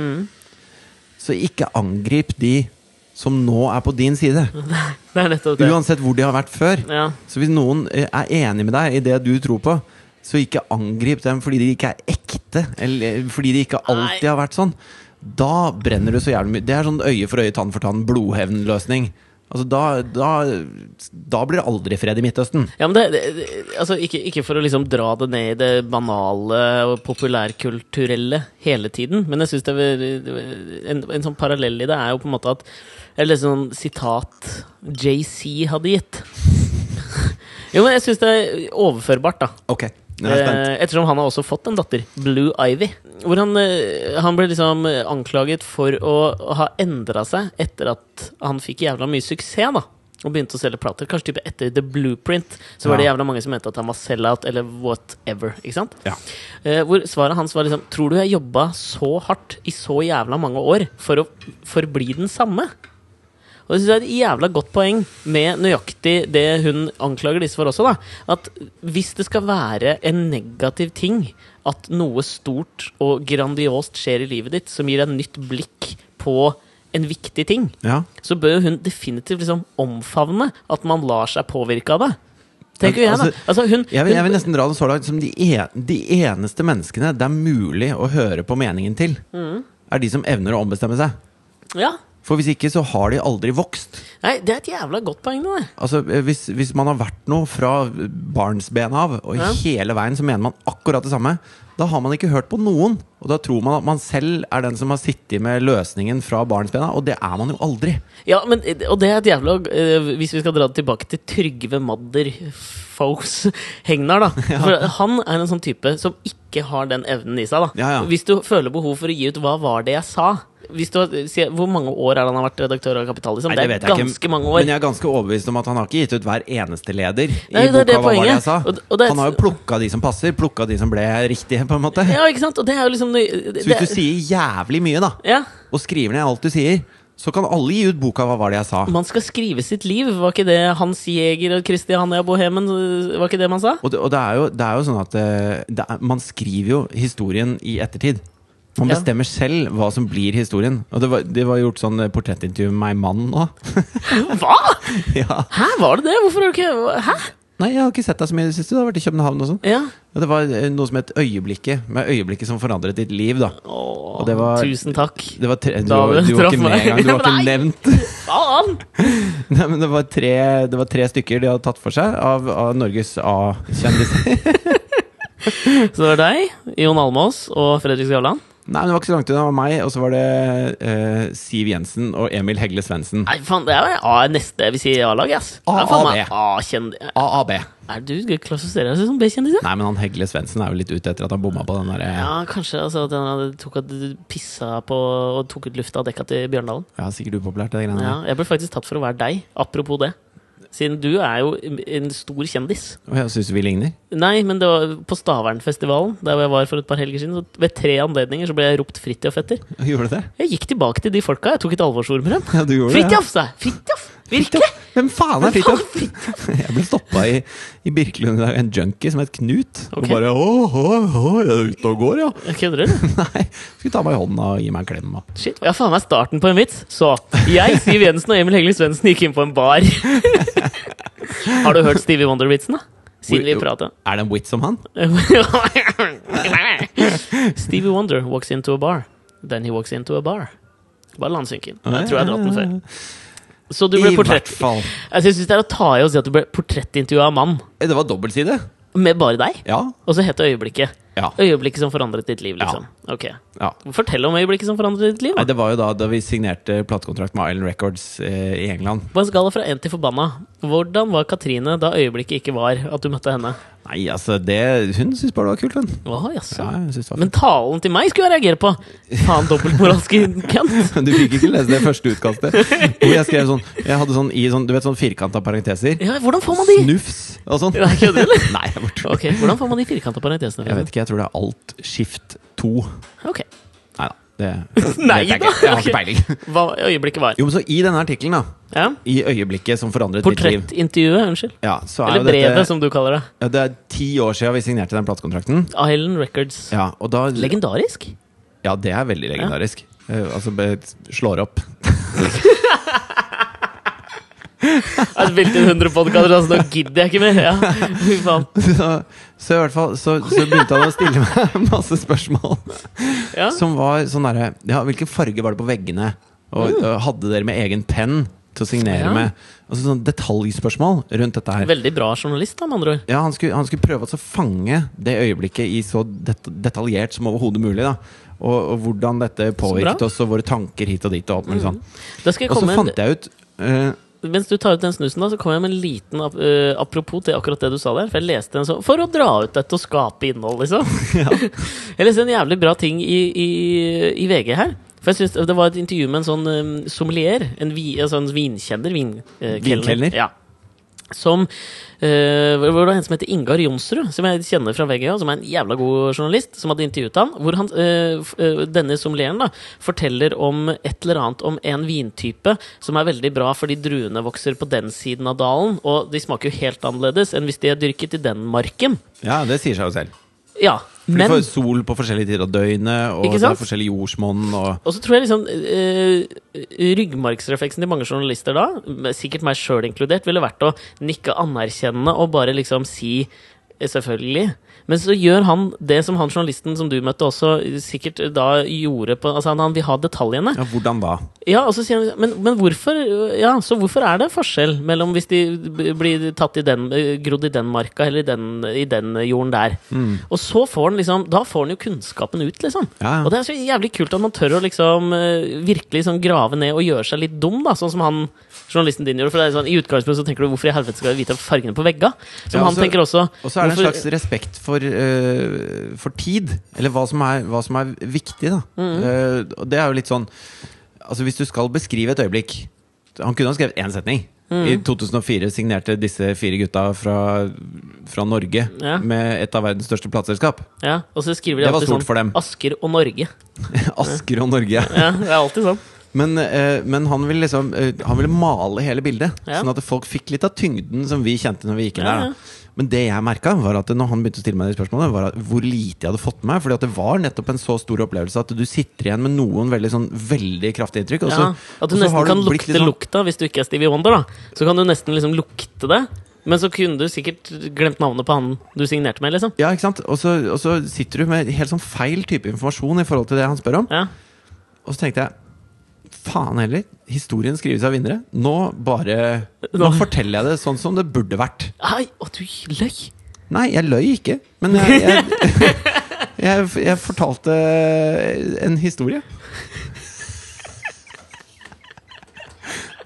så ikke angrip de som nå er på din side. Det er nettopp det. Uansett hvor de har vært før. Ja. Så hvis noen eh, er enig med deg i det du tror på, så ikke angrip dem fordi de ikke er ekte, eller eh, fordi de ikke alltid Nei. har vært sånn. Da brenner du så jævlig mye. Det er sånn øye for øye, tann for tann, blodhevnløsning. Altså, da, da, da blir det aldri fred i Midtøsten. Ja, men det, det, det- altså, ikke, ikke for å liksom dra det ned i det banale og populærkulturelle hele tiden, men jeg syns det er en, en sånn parallell i det er jo på en måte at Eller sånn sitat JC hadde gitt. Jo, men jeg syns det er overførbart, da. Ok, nå er jeg spent. Eh, Ettersom han har også fått en datter, Blue Ivy. Hvor han, eh, han ble liksom eh, anklaget for å å ha endra seg etter at han fikk jævla mye suksess. da og begynte å selge plater. Kanskje type etter The Blueprint. Så var det Ja. jævla mange som mente at han var sell-out eller whatever. ikke sant? Ja. Eh, hvor svaret hans var liksom Tror du jeg jobba så hardt i så jævla mange år for å forbli den samme? Og det synes jeg er et jævla godt poeng med nøyaktig det hun anklager disse for også, da. At hvis det skal være en negativ ting at noe stort og grandiost skjer i livet ditt som gir deg nytt blikk på en viktig ting, Ja. så bør hun definitivt liksom omfavne at man lar seg påvirke av det. Tenker jo Men, jeg, da. Altså, hun, Jeg vil, jeg vil hun, nesten dra det så langt som de, en, de eneste menneskene det er mulig å høre på meningen til, er de som evner å ombestemme seg. ja. For hvis ikke, så har de aldri vokst. Nei, det er et jævla godt poeng, det der. Altså, eh, hvis, hvis man har vært noe fra barnsben av, og Ja. hele veien så mener man akkurat det samme, da har man ikke hørt på noen. Og da tror man at man selv er den som har sittet med løsningen fra barnsben av, og det er man jo aldri. Ja, men, og det er et jævla eh, Hvis vi skal dra det tilbake til Trygve Madder Fows Hegnar, da. For han er en sånn type som ikke har den evnen i seg. da Ja, ja. Hvis du føler behov for å gi ut 'Hva var det jeg sa?' Hvis du, har- sier- hvor mange år er det han har vært redaktør av Kapital? Liksom? Nei, det, vet er jeg ikke, ganske mange år. Men jeg er ganske overbevist om at han har ikke gitt ut hver eneste leder. Nei, i det er boka, det Hva var det poenget. jeg sa? Og- og det er- Han har jo plukka de som passer, plukka de som ble riktige, på en måte. Ja, ikke sant? Og det er jo liksom Så hvis du sier jævlig mye, da, ja, og skriver ned alt du sier, så kan alle gi ut boka 'Hva var det jeg sa'? Man skal skrive sitt liv. Var ikke det Hans Jæger og Christiania Bohemen? Var ikke det man sa? Og det, og det, er, jo, det er jo sånn at eh, det er, man skriver jo historien i ettertid. Man Ja. bestemmer selv hva som blir historien. Og det var, det var gjort sånn eh, portrettintervju med meg mann nå. Hva?! ja. Hæ, var det det? Hvorfor har du ikke Hæ? Nei, jeg har ikke sett deg så mye i det siste. Du har vært i København og sånn. Ja. Ja, Det var eh, noe som het Øyeblikket, med øyeblikket som forandret ditt liv, da. Åh, Og det var- Tusen takk. Det var tre, du, Da var- du var traff ikke med meg. engang, du var Nei. ikke nevnt. Faen! Nei, men det var tre, det var tre stykker de hadde tatt for seg av, av Norges A-kjendiser. Så det var deg, Jon Almås og Fredrik Skavlan. Nei, men det var ikke så langt unna. Det var meg, og så var det eh, Siv Jensen og Emil Hegle Svendsen. Nei, faen, det er jo A, neste vi sier A-lag, ass. Det er A- faen A, meg det. A-kjendis. AAB. Er du skal klassifisere deg som B-kjendis? ja? Nei, men han Hegle Svendsen er jo litt ute etter at han bomma på den der eh, Ja, kanskje altså, at han hadde tok at pissa på og tok ut lufta av dekka til Bjørndalen. Ja, sikkert upopulært, det greiene Ja, der. jeg ble faktisk tatt for å være deg, apropos det. Siden du er jo en stor kjendis. Og jeg syns vi ligner. Nei, men det var på Stavernfestivalen, der hvor jeg var for et par helger siden. Så ved tre anledninger så ble jeg ropt Fridtjof etter. Gjorde du det? Jeg gikk tilbake til de folka. Jeg tok et alvorsord med dem. Ja, du gjorde det. Fridtjof, sa jeg! Fridtjof! Virkelig! Hvem faen er Fridtjof? Jeg ble stoppa i, i Birkelund i dag, en junkie som het Knut. Og Ok. bare åh, åh, åh, jeg er ute og går, ja. Jeg kødder, du? Nei, skulle ta meg i hånda og gi meg en klem. da. Shit, ja, faen meg starten på en vits. Så jeg, Siv Jensen og Emil Hegling Svendsen gikk inn på en bar. Har du hørt Stevie Wonder-vitsen, da? Siden vi prata. Er det en wit som han? Stevie Wonder walks into a bar. Then he walks into a bar. Bare landsynken. Jeg tror jeg har dratt den før. Så du ble I hvert portrett... fall. Altså, jeg syns det er å ta i å si at du ble portrettintervjua av en mann Eh, Det var dobbeltside. med bare deg. Ja. Og så heter øyeblikket. ja. Øyeblikket som forandret ditt liv, liksom. Ok. ja. Fortell om øyeblikket som forandret ditt liv. Nei, Da. det var jo da, da vi signerte platekontrakt med Island Records eh, i England. På en skala fra én til forbanna, hvordan var Katrine da øyeblikket ikke var at du møtte henne? Nei, altså, det, hun syntes bare det var kult, hun. Åh, jaså. Ja, hun syntes det var Men talen til meg skulle jeg reagere på! Faen, dobbeltmoralske kant. fint. Du fikk ikke lese det første utkastet. Hvor jeg skrev sånn Jeg hadde sånn i sånn, du vet, sånn firkanta parenteser. Ja, hvordan får man de? Snufs og sånn. Nei, kødder du, eller? Nei, jeg bare tuller. Ok, Hvordan får man de firkanta parentesene? Jeg vet ikke, jeg tror det er alt skift to. Ok, Nei da. Det, det vet Nei jeg da, ikke. Jeg ok. har ikke peiling. Hva øyeblikket var? Jo, men så i denne artikkelen, da. Ja. I øyeblikket som forandret ditt liv. Portrettintervjuet, unnskyld. Ja, så er Eller jo brevet, dette, som du kaller det. ja, det er ti år siden vi signerte den platekontrakten. Island Records. Ja, og da Legendarisk? Ja, det er veldig legendarisk. Eh, altså, be- slår opp. Jeg spilte inn 100 podkaster, altså nå gidder jeg ikke mer! Ja. Fy faen. Så, så i hvert fall så, så begynte han å stille meg masse spørsmål Ja. som var sånn derre Ja, hvilken farge var det på veggene? Og, og hadde dere med egen penn til å signere Mm. Ja. med? Altså sånn detaljspørsmål rundt dette her. Veldig bra journalist, da, med andre ord. Ja, han skulle, han skulle prøve å så fange det øyeblikket i så det, detaljert som overhodet mulig. da og, og hvordan dette påvirket bra. Mm. oss, og våre tanker hit og dit. Og alt mulig sånn. Da skal jeg Og så komme en, fant jeg ut eh, Mens du tar ut den snusen, da, så kommer jeg med en liten ap- eh, apropos til akkurat det du sa der. For jeg leste en sånn For å dra ut dette og skape innhold, liksom. jeg leste en sånn jævlig bra ting i, i, i VG her. For jeg synes Det var et intervju med en sånn eh, sommelier. En, vi, altså en vinkjenner. Vin, eh, kelner. Vinkelner? Ja. Som eh, hvor hvor det var en som heter Ingar Jonsrud, som jeg kjenner fra VG, og som er en jævla god journalist, som hadde intervjuet han. Hvor han, eh, f- eh, denne sommelieren da, forteller om et eller annet om en vintype som er veldig bra fordi druene vokser på den siden av dalen, og de smaker jo helt annerledes enn hvis de er dyrket i den marken. Ja, det sier seg jo selv. Ja, For men du får sol på forskjellige tider av døgnet, og Ikke det sant? er forskjellig jordsmonn. Og... Og så tror jeg liksom eh, ryggmargsrefleksen til mange journalister da, m- sikkert meg sjøl inkludert, ville vært å nikke anerkjennende og bare liksom si eh, selvfølgelig. Men så gjør han det som han journalisten som du møtte også eh, sikkert da gjorde på Altså han, han vil ha detaljene. Ja, hvordan da? Ja, og så sier han men, men hvorfor Ja, så hvorfor er det forskjell mellom hvis de b- blir tatt i den eh, grodd i den marka eller i den, i den jorden der? Og så får han liksom Da får han jo kunnskapen ut, liksom. Mm. Ja, ja. Og det er så jævlig kult at man tør å liksom eh, virkelig sånn grave ned og gjøre seg litt dum, da, sånn som han journalisten din gjorde. For det er sånn, i utgangspunktet så tenker du hvorfor i helvete skal jeg vite fargene på vegga? Som Ja, han altså- tenker også. Og så er det en hvorfor- slags respekt for, eh, for tid, eller hva som er, hva som er viktig, da. Mm. Eh, og det er jo litt sånn Altså, hvis du skal beskrive et øyeblikk Han kunne ha skrevet én setning. Mm. I 2004 signerte disse fire gutta fra, fra Norge Ja. med et av verdens største plateselskap. Ja, og så skriver de Det var alltid stort sånn for dem. Asker og Norge. Asker og Norge. Ja, det er alltid sånn. Men, eh, men han ville liksom eh, Han ville male hele bildet, Ja. sånn at folk fikk litt av tyngden som vi kjente når vi gikk inn Ja, der. Da. Men det jeg merka, var at når han begynte å stille meg de spørsmålene, var at hvor lite jeg hadde fått med meg. Fordi at det var nettopp en så stor opplevelse at du sitter igjen med noen veldig sånn veldig kraftige inntrykk. Og så, ja, at du Altså, og så nesten har kan blitt lukte litt sånn- lukta hvis du ikke er Stevie Wonder. da Så kan du nesten liksom lukte det. Men så kunne du sikkert glemt navnet på han du signerte med. liksom Ja, ikke sant? Og så, og så sitter du med helt sånn feil type informasjon i forhold til det han spør om. Ja, Og så tenkte jeg Faen heller, historien skrives av vinnere. Nå bare Nå Nå- forteller jeg det sånn som det burde vært. Hei, å du løy! Nei, jeg løy ikke. Men jeg, jeg, jeg, jeg fortalte en historie.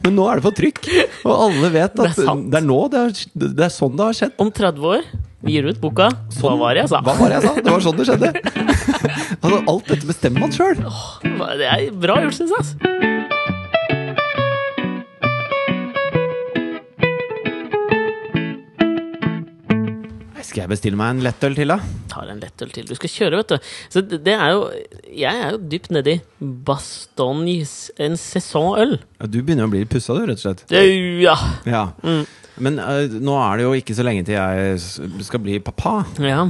Men nå er det på trykk, og alle vet Det er at det er, sant. nå det er, det er sånn det har skjedd. Om 30 år vi gir ut boka Hva Sånn- var det jeg sa? Hva var det jeg sa? Det var sånn det skjedde. Altså, alt dette bestemmer man sjøl. Hva- Det er bra gjort, syns jeg. ass. Jeg Skal jeg bestille meg en lettøl til, da? Tar en lettøl til. Du skal kjøre, vet du. Så det det er jo Jeg er jo dypt nedi Bastognes en saisonøl. Ja, Du begynner å bli litt pussa, du, rett og slett. Ja. Ja. Mm. Men eh, nå er det jo ikke så lenge til jeg s- skal bli pappa. ja.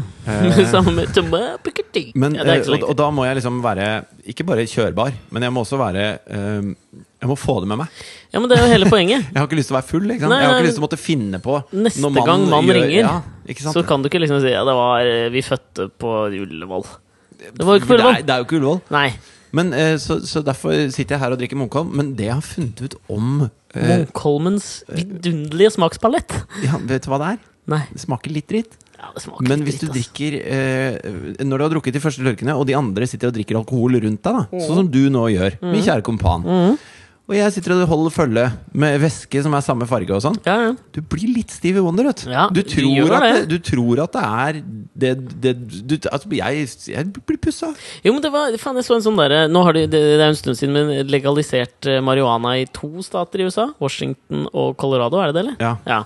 Sammen med Thomas Pikkerti. Eh. Men, ja, det er eh, ikke så og, lenge og til. da må jeg liksom være ikke bare kjørbar, men jeg må også være eh, Jeg må få det med meg. Ja, men det er jo hele poenget. Jeg har ikke lyst til å være full. Ikke sant? Nei, jeg har nei, ikke lyst til å måtte finne på Neste når mannen gang mannen ringer, ja, ikke sant? Så kan du ikke liksom si ja, det var eh, Vi fødte på Ullevål. Det var jo ikke på For det, er, Ullevål. det er jo ikke Ullevål. Nei. Men, eh, så, så derfor sitter jeg her og drikker Munkholm. Men det jeg har funnet ut om eh, Munkholmens vidunderlige smakspalett. ja, Vet du hva det er? Nei. Det smaker litt dritt. Ja, det smaker Men litt hvis du dritt, ass. drikker eh, Når du har drukket de første tørkene, og de andre sitter og drikker alkohol rundt deg, da, Mm. sånn som du nå gjør, min kjære kompan Og jeg sitter og holder følge med væske som er samme farge og sånn. altså. ja, ja. Du blir litt stiv i wonder, vet Ja, du. du Tror gjør at det, det. du tror at det er det, det du, altså, jeg, jeg blir pussa. Jo, men det var Faen, jeg så en sånn derre Nå har de Det det er jo en stund siden, men legalisert eh, marihuana i to stater i USA. Washington og Colorado, er det det, eller? Ja.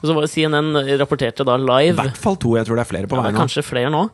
Og så var det CNN rapporterte da live I hvert fall to. Jeg tror det er flere på Ja, vei det er nå. kanskje flere nå.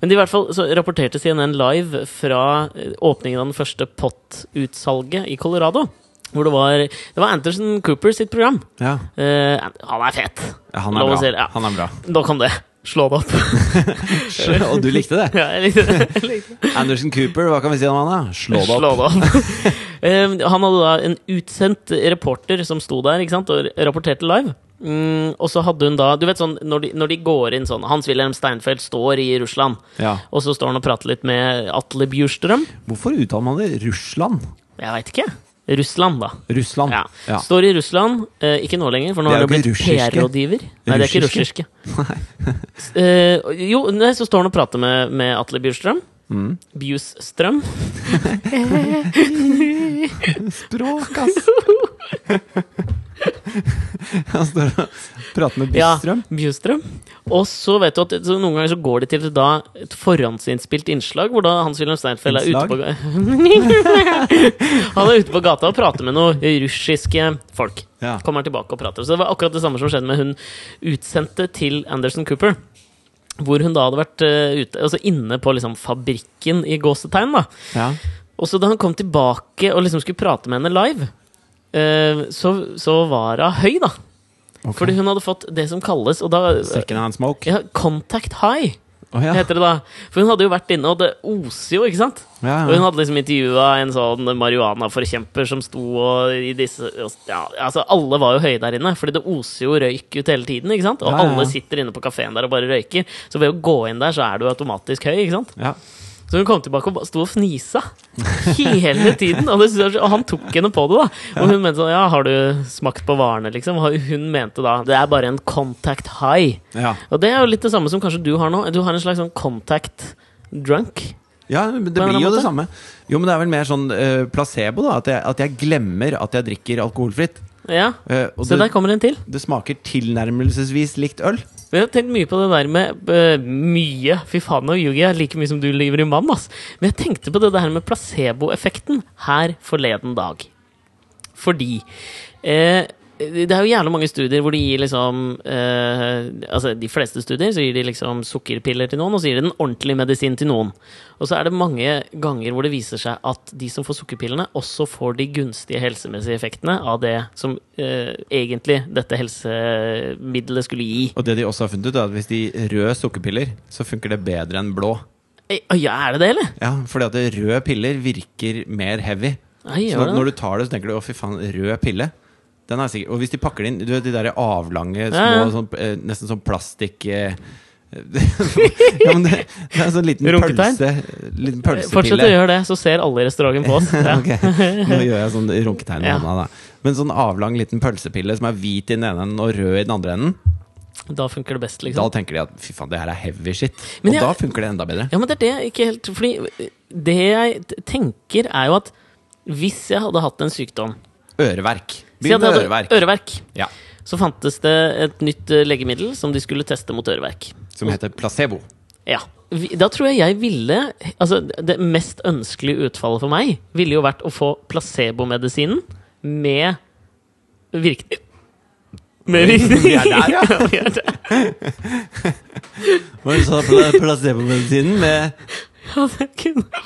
Men i hvert fall så rapporterte CNN live fra eh, åpningen av den første pot-utsalget i Colorado. Hvor det var, det var Anderson Cooper sitt program. Ja. Eh, han er fet! Ja, han, er Lov å bra. si det, ja. han er bra. Da kom det. Slå det opp. Og du likte det? ja, jeg likte det. Jeg likte det. Anderson Cooper, hva kan vi si om han? da? Slå det Slå opp. det opp. Eh, han hadde da en utsendt reporter som sto der ikke sant, og rapporterte live. Mm, og så hadde hun da Du vet sånn når de, når de går inn sånn Hans-Wilhelm Steinfeld står i Russland, Ja. og så står han og prater litt med Atle Bjurstrøm. Hvorfor uttaler man det Russland? Jeg veit ikke. Russland, da. Russland. Ja. Ja. Står i Russland. eh, ikke nå lenger, for nå Det er har jo det blitt ikke russiske. PR-rådgiver. Nei, det er ikke russiske. Eh, jo, nei, så står han og prater med, med Atle Bjurstrøm. Bjusstrøm. Språk, ass! Han står og prater med Ja, Bistrøm. Bjurstrøm. Og så vet du at så noen ganger så går de til da et forhåndsinnspilt innslag, hvor da Hans-Wilhelm Steinfeld er ute, Innslag? på, ga- han er ute på gata og prater med noen russiske folk. Ja. Kommer han tilbake og prater. Så det var akkurat det samme som skjedde med hun utsendte til Anderson Cooper. Hvor hun da hadde vært eh, ute, altså inne på liksom fabrikken i gåsetegn. da. Ja. Og så da han kom tilbake og liksom skulle prate med henne live, eh, så, så var hun høy, da. Fordi hun hadde fått det som kalles og da, Second hand smoke. ja, Contact high, Å, ja. heter det da. For hun hadde jo vært inne, og det oser jo, ikke sant? Ja, Og hun ja. hadde liksom intervjua en sånn marihuanaforkjemper som sto og i disse og, ja, altså Alle var jo høye der inne, Fordi det oser jo røyk ut hele tiden. ikke sant? Og Ja, ja, ja. alle sitter inne på kafeen der og bare røyker. Så ved å gå inn der, så er du automatisk høy. ikke sant? ja. Så hun kom tilbake og ba- sto og fnisa hele tiden. Og, det, synes jeg var så- og han tok henne på det, da. Og hun mente sånn Ja, har du smakt på varene, liksom? Og hun mente da Det er bare en contact high. ja. Og det er jo litt det samme som kanskje du har nå. Du har en slags sånn contact drunk. ja men det På en blir jo måte. det samme. Jo, men det er vel mer sånn eh, placebo, da. At jeg, at jeg glemmer at jeg drikker alkoholfritt. Ja. Eh, og Så der det, kommer en til. det smaker tilnærmelsesvis likt øl. Vi har tenkt mye på det der med eh, mye. Fy faen, nå ljuger jeg like mye som du lyver i mann, ass. Men jeg tenkte på det der med placeboeffekten her forleden dag. Fordi eh, det er jo jævlig mange studier hvor de gir liksom eh, Altså, de fleste studier så gir de liksom sukkerpiller til noen, og så gir de den ordentlige medisin til noen. Og så er det mange ganger hvor det viser seg at de som får sukkerpillene, også får de gunstige helsemessige effektene av det som eh, egentlig dette helsemiddelet skulle gi. Og det de også har funnet ut, er at hvis de røde sukkerpiller, så funker det bedre enn blå. Ei, oi, ja, er det det, eller? Ja, fordi at røde piller virker mer heavy. Nei, gjør Så når, det. når du tar det, så tenker du 'å, fy faen, rød pille'. Den er sikker. Og hvis de pakker det inn Du vet de der avlange, små, Ja, ja. Sånn, eh, nesten sånn plastikk eh, ja, men det, det er en sånn liten Runketegn? pølse Liten Fortsett å pølsepille. gjøre det, så ser alle i restauranten på oss. Ja. Ok, Nå gjør jeg sånn runketegn med Ja. hånda. Da. Men sånn avlang liten pølsepille som er hvit i den ene enden og rød i den andre enden, Da funker det best, da liksom. tenker de at fy faen, det her er heavy shit. Men og jeg- da funker det enda bedre. Ja, men det er det jeg ikke helt Fordi det jeg t- tenker, er jo at hvis jeg hadde hatt en sykdom Øreverk. Si at jeg Begynn med hadde øreverk. øreverk. Ja, Så fantes det et nytt eh, legemiddel som de skulle teste mot øreverk. som heter placebo. Ja. Vi- Da tror jeg jeg ville Altså, det mest ønskelige utfallet for meg ville jo vært å få placebomedisinen med virkning Med virkning. Vi er der, ja. Vi er der. Hva sa pla- placebomedisinen med Ja, det kunne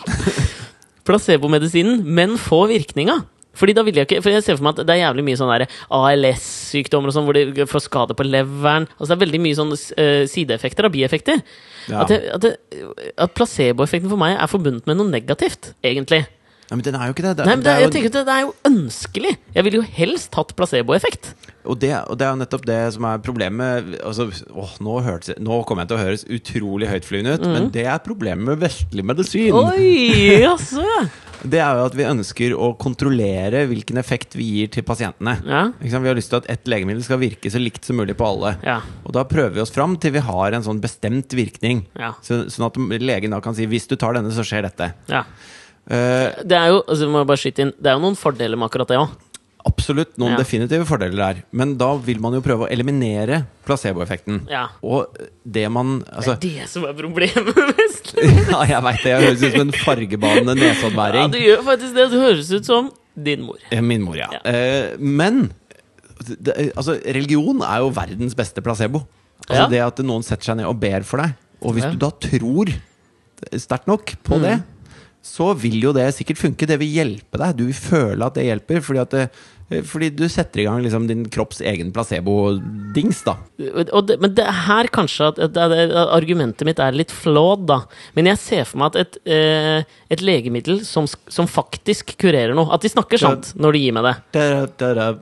Placebomedisinen, men få virkninga. Fordi da vil jeg ikke, for jeg ser for meg at det er jævlig mye sånn der ALS-sykdommer og sånn, hvor de får skade på leveren. Altså Det er veldig mye sånne eh, sideeffekter og bieffekter. Ja. At, jeg, at, det- at placeboeffekten for meg er forbundet med noe negativt, egentlig. Nei, men den er jo ikke det. det, Nei, men det, er- det jeg tenker at det er jo ønskelig. Jeg ville jo helst hatt placeboeffekt. Og det, og det er jo nettopp det som er problemet altså, åh, nå, hørtes, nå kommer jeg til å høres utrolig høytflyvende ut, men det er problemet med vestlig medisin. Mm. Oi, jaså! Det er jo at vi ønsker å kontrollere hvilken effekt vi gir til pasientene. Ja. Ikke sant? Vi har lyst til at ett legemiddel skal virke så likt som mulig på alle. Ja. Og da prøver vi oss fram til vi har en sånn bestemt virkning. Ja. Så, sånn at legen da kan si 'hvis du tar denne, så skjer dette'. Ja. Eh, Det er jo altså, må jeg bare skyte inn, det er jo noen fordeler med akkurat det òg. absolutt noen Ja. definitive fordeler der, men da vil man jo prøve å eliminere placeboeffekten. Ja. Og det man altså, Det er det som er problemet med Vestland. Ja, jeg veit det. Jeg høres ut som en fargebanende Ja, nesoddværing. det gjør faktisk det. Det høres ut som din mor. Eh, Min mor, ja. Eh, men det, altså, religion er jo verdens beste placebo. Altså Ja. Det at noen setter seg ned og ber for deg. Og hvis Ja. Mm. du da tror sterkt nok på det, så vil jo det sikkert funke. Det vil hjelpe deg. Du vil føle at det hjelper. Fordi, at det, eh, fordi du setter i gang liksom, din kropps egen placebo-dings, da. Og det, men det er her kanskje at, at, det- at argumentet mitt er litt flawed, da. Men jeg ser for meg at et, eh, et legemiddel som, sk- som faktisk kurerer noe At de snakker sant når de gir meg det. Da, da, da,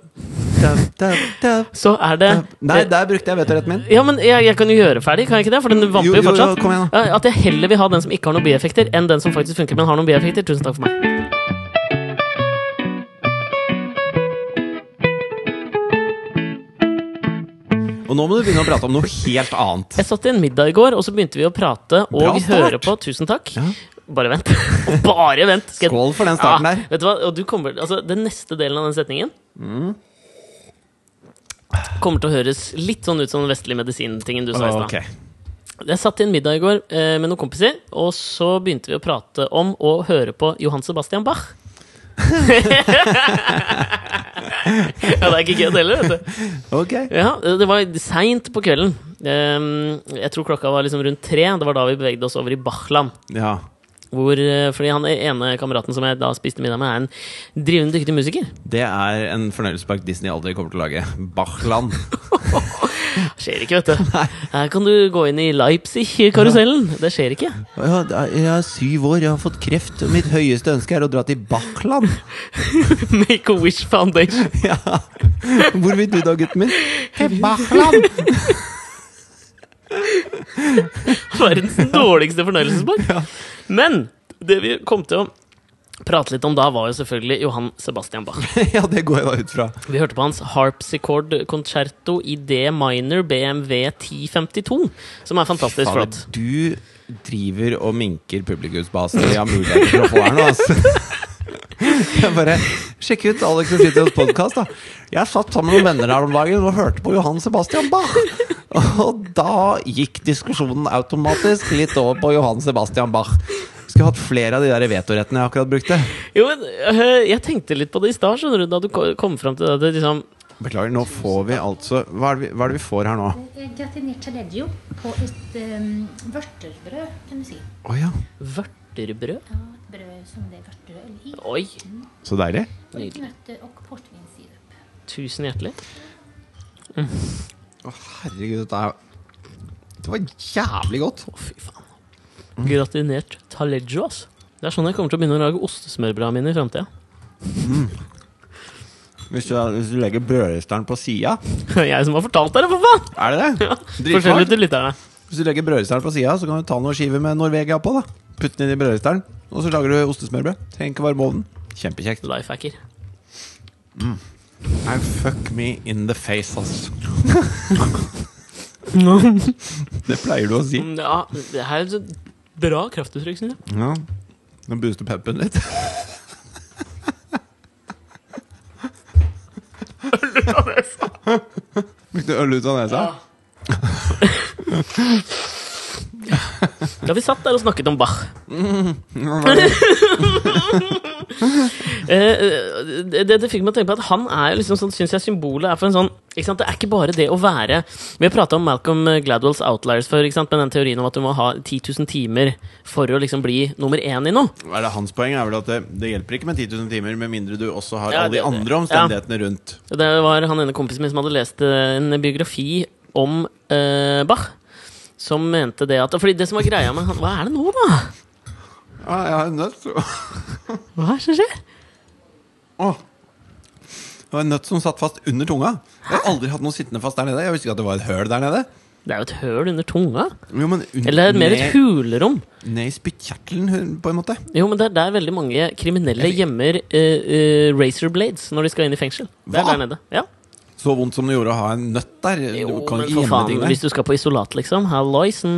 da, da, da. Så er det Nei, der brukte jeg vetoretten min. Ja, men jeg, jeg kan jo gjøre ferdig, kan jeg ikke det? For den Jo, vamper jo jo, jo, fortsatt. kom igjen Ja, At jeg heller vil ha den som ikke har noen bieffekter, enn den som faktisk funker, men har noen bieffekter. Tusen takk for meg. Og nå må du begynne å prate om noe helt annet. Jeg satt i en middag i går, og så begynte vi å prate Bra og start. høre på. Tusen takk. Ja. Bare vent. Bare vent. Skal jeg- Ah, Skål for den starten der. Vet du hva? Og du kommer, altså, den neste delen av den setningen Mm. kommer til å høres litt sånn ut som den vestlige medisintingen du sa i stad. Ok. Jeg satt i en middag i går eh, med noen kompiser, og så begynte vi å prate om å høre på Johan Sebastian Bach. ja, det er ikke kødd heller, vet du. Ok. Ja, det var seint på kvelden. Ehm, Jeg tror klokka var liksom rundt tre. Det var da vi bevegde oss over i Bachland. Ja. Hvor, eh, fordi han ene kameraten som jeg da spiste middag med, er en drivende dyktig musiker. Det er en fornøyelsespark Disney aldri kommer til å lage. Bachland. Skjer ikke, vet du. Her kan du gå inn i Leipzig-karusellen. Det skjer ikke. Ja, da- jeg er syv år, jeg har fått kreft, og mitt høyeste ønske er å dra til Bachland. Make a Wish Foundation. Ja. Hvor vil du da, gutten min? Til Bachland! Verdens dårligste fornøyelsespark. Men det vi kom til å prate litt om da, var jo selvfølgelig Johan Sebastian Bach. Ja, det går jeg da ut fra. Vi hørte på hans harpsichord-konserto i D minor BMW 1052, som er fantastisk Fader, flott. du driver og minker publikumsbasen vi har mulighet til å få her nå, altså. Jeg bare Sjekk ut Alex og Fritjofs podkast, da. Jeg satt sammen med venner her om dagen og hørte på Johan Sebastian Bach. Og da gikk diskusjonen automatisk litt over på Johan Sebastian Bach. Skulle hatt flere av de der vetorettene jeg akkurat brukte. Jo, men øh, Jeg tenkte litt på det i stad, skjønner du, da du ko- kom fram til det. at det liksom, Beklager, nå får vi altså Hva er det vi, hva er det vi får her nå? Gratinert taleggio på et um, vørterbrød, kan du si. Å ja. Vørterbrød? Ja, et brød som det er vørterøl i. Oi, Så deilig. Og litt nøtter og portvinsirup. tusen hjertelig. Å herregud, dette er Det var jævlig godt. Å, fy faen. Gratinert taleggio, ass. Det er sånn jeg kommer til å begynne å lage ostesmørbrødene mine i framtida. Hvis du, hvis du legger brødristeren på sida jeg som har fortalt dere, for faen! Er det det? Forskjellig Dritfart. til lytterne. Hvis du legger brødristeren på sida, så kan du ta noen skiver med Norvegia på. da Putt den inn i brødristeren, og så lager du ostesmørbrød. Trenger ikke varme ovnen. Kjempekjekt. Lifehacker. Nei, fuck me in the face, ass. det pleier du å si. Mm, Ja, det her er et bra kraftuttrykk, syns jeg. Ja. Nå booster pumpen litt. Fikk du øl ut av nesa? Da vi satt der og snakket om Bach. Eh, det, det fikk meg til å tenke på at han er jo liksom sånn, synes jeg symbolet er for en sånn ikke sant? Det er ikke bare det å være Vi har prata om Malcolm Gladwells Outliers før, ikke sant? med den teorien om at du må ha 10 000 timer for å liksom bli nummer én i noe. Er det hans poeng er vel at det, det hjelper ikke med 10 000 timer, med mindre du også har Ja, alle de det- det- andre omstendighetene rundt. Det var han ene kompisen min som hadde lest eh, en biografi om eh, Bach. Som mente det at Fordi det som var greia med han Hva er det nå, da? Ah, jeg har en nøtt. Hva er det som skjer? Åh. Det var en nøtt som satt fast under tunga. Jeg har aldri hatt noe sittende fast der nede. Jeg visste ikke at det var et høl der nede. Det er jo et høl under tunga. Jo, men un- Eller det er mer et ned- hulrom. Ned i spyttkjertelen, hun- på en måte. Jo, men det er der veldig mange kriminelle gjemmer eh, eh, razor blades når de skal inn i fengsel. Det er Hva? der nede. Ja. Så vondt som det gjorde å ha en nøtt der. Jo, du kan men ikke for gjemme faen, ting hvis der. du skal på isolat, liksom. Halloisen.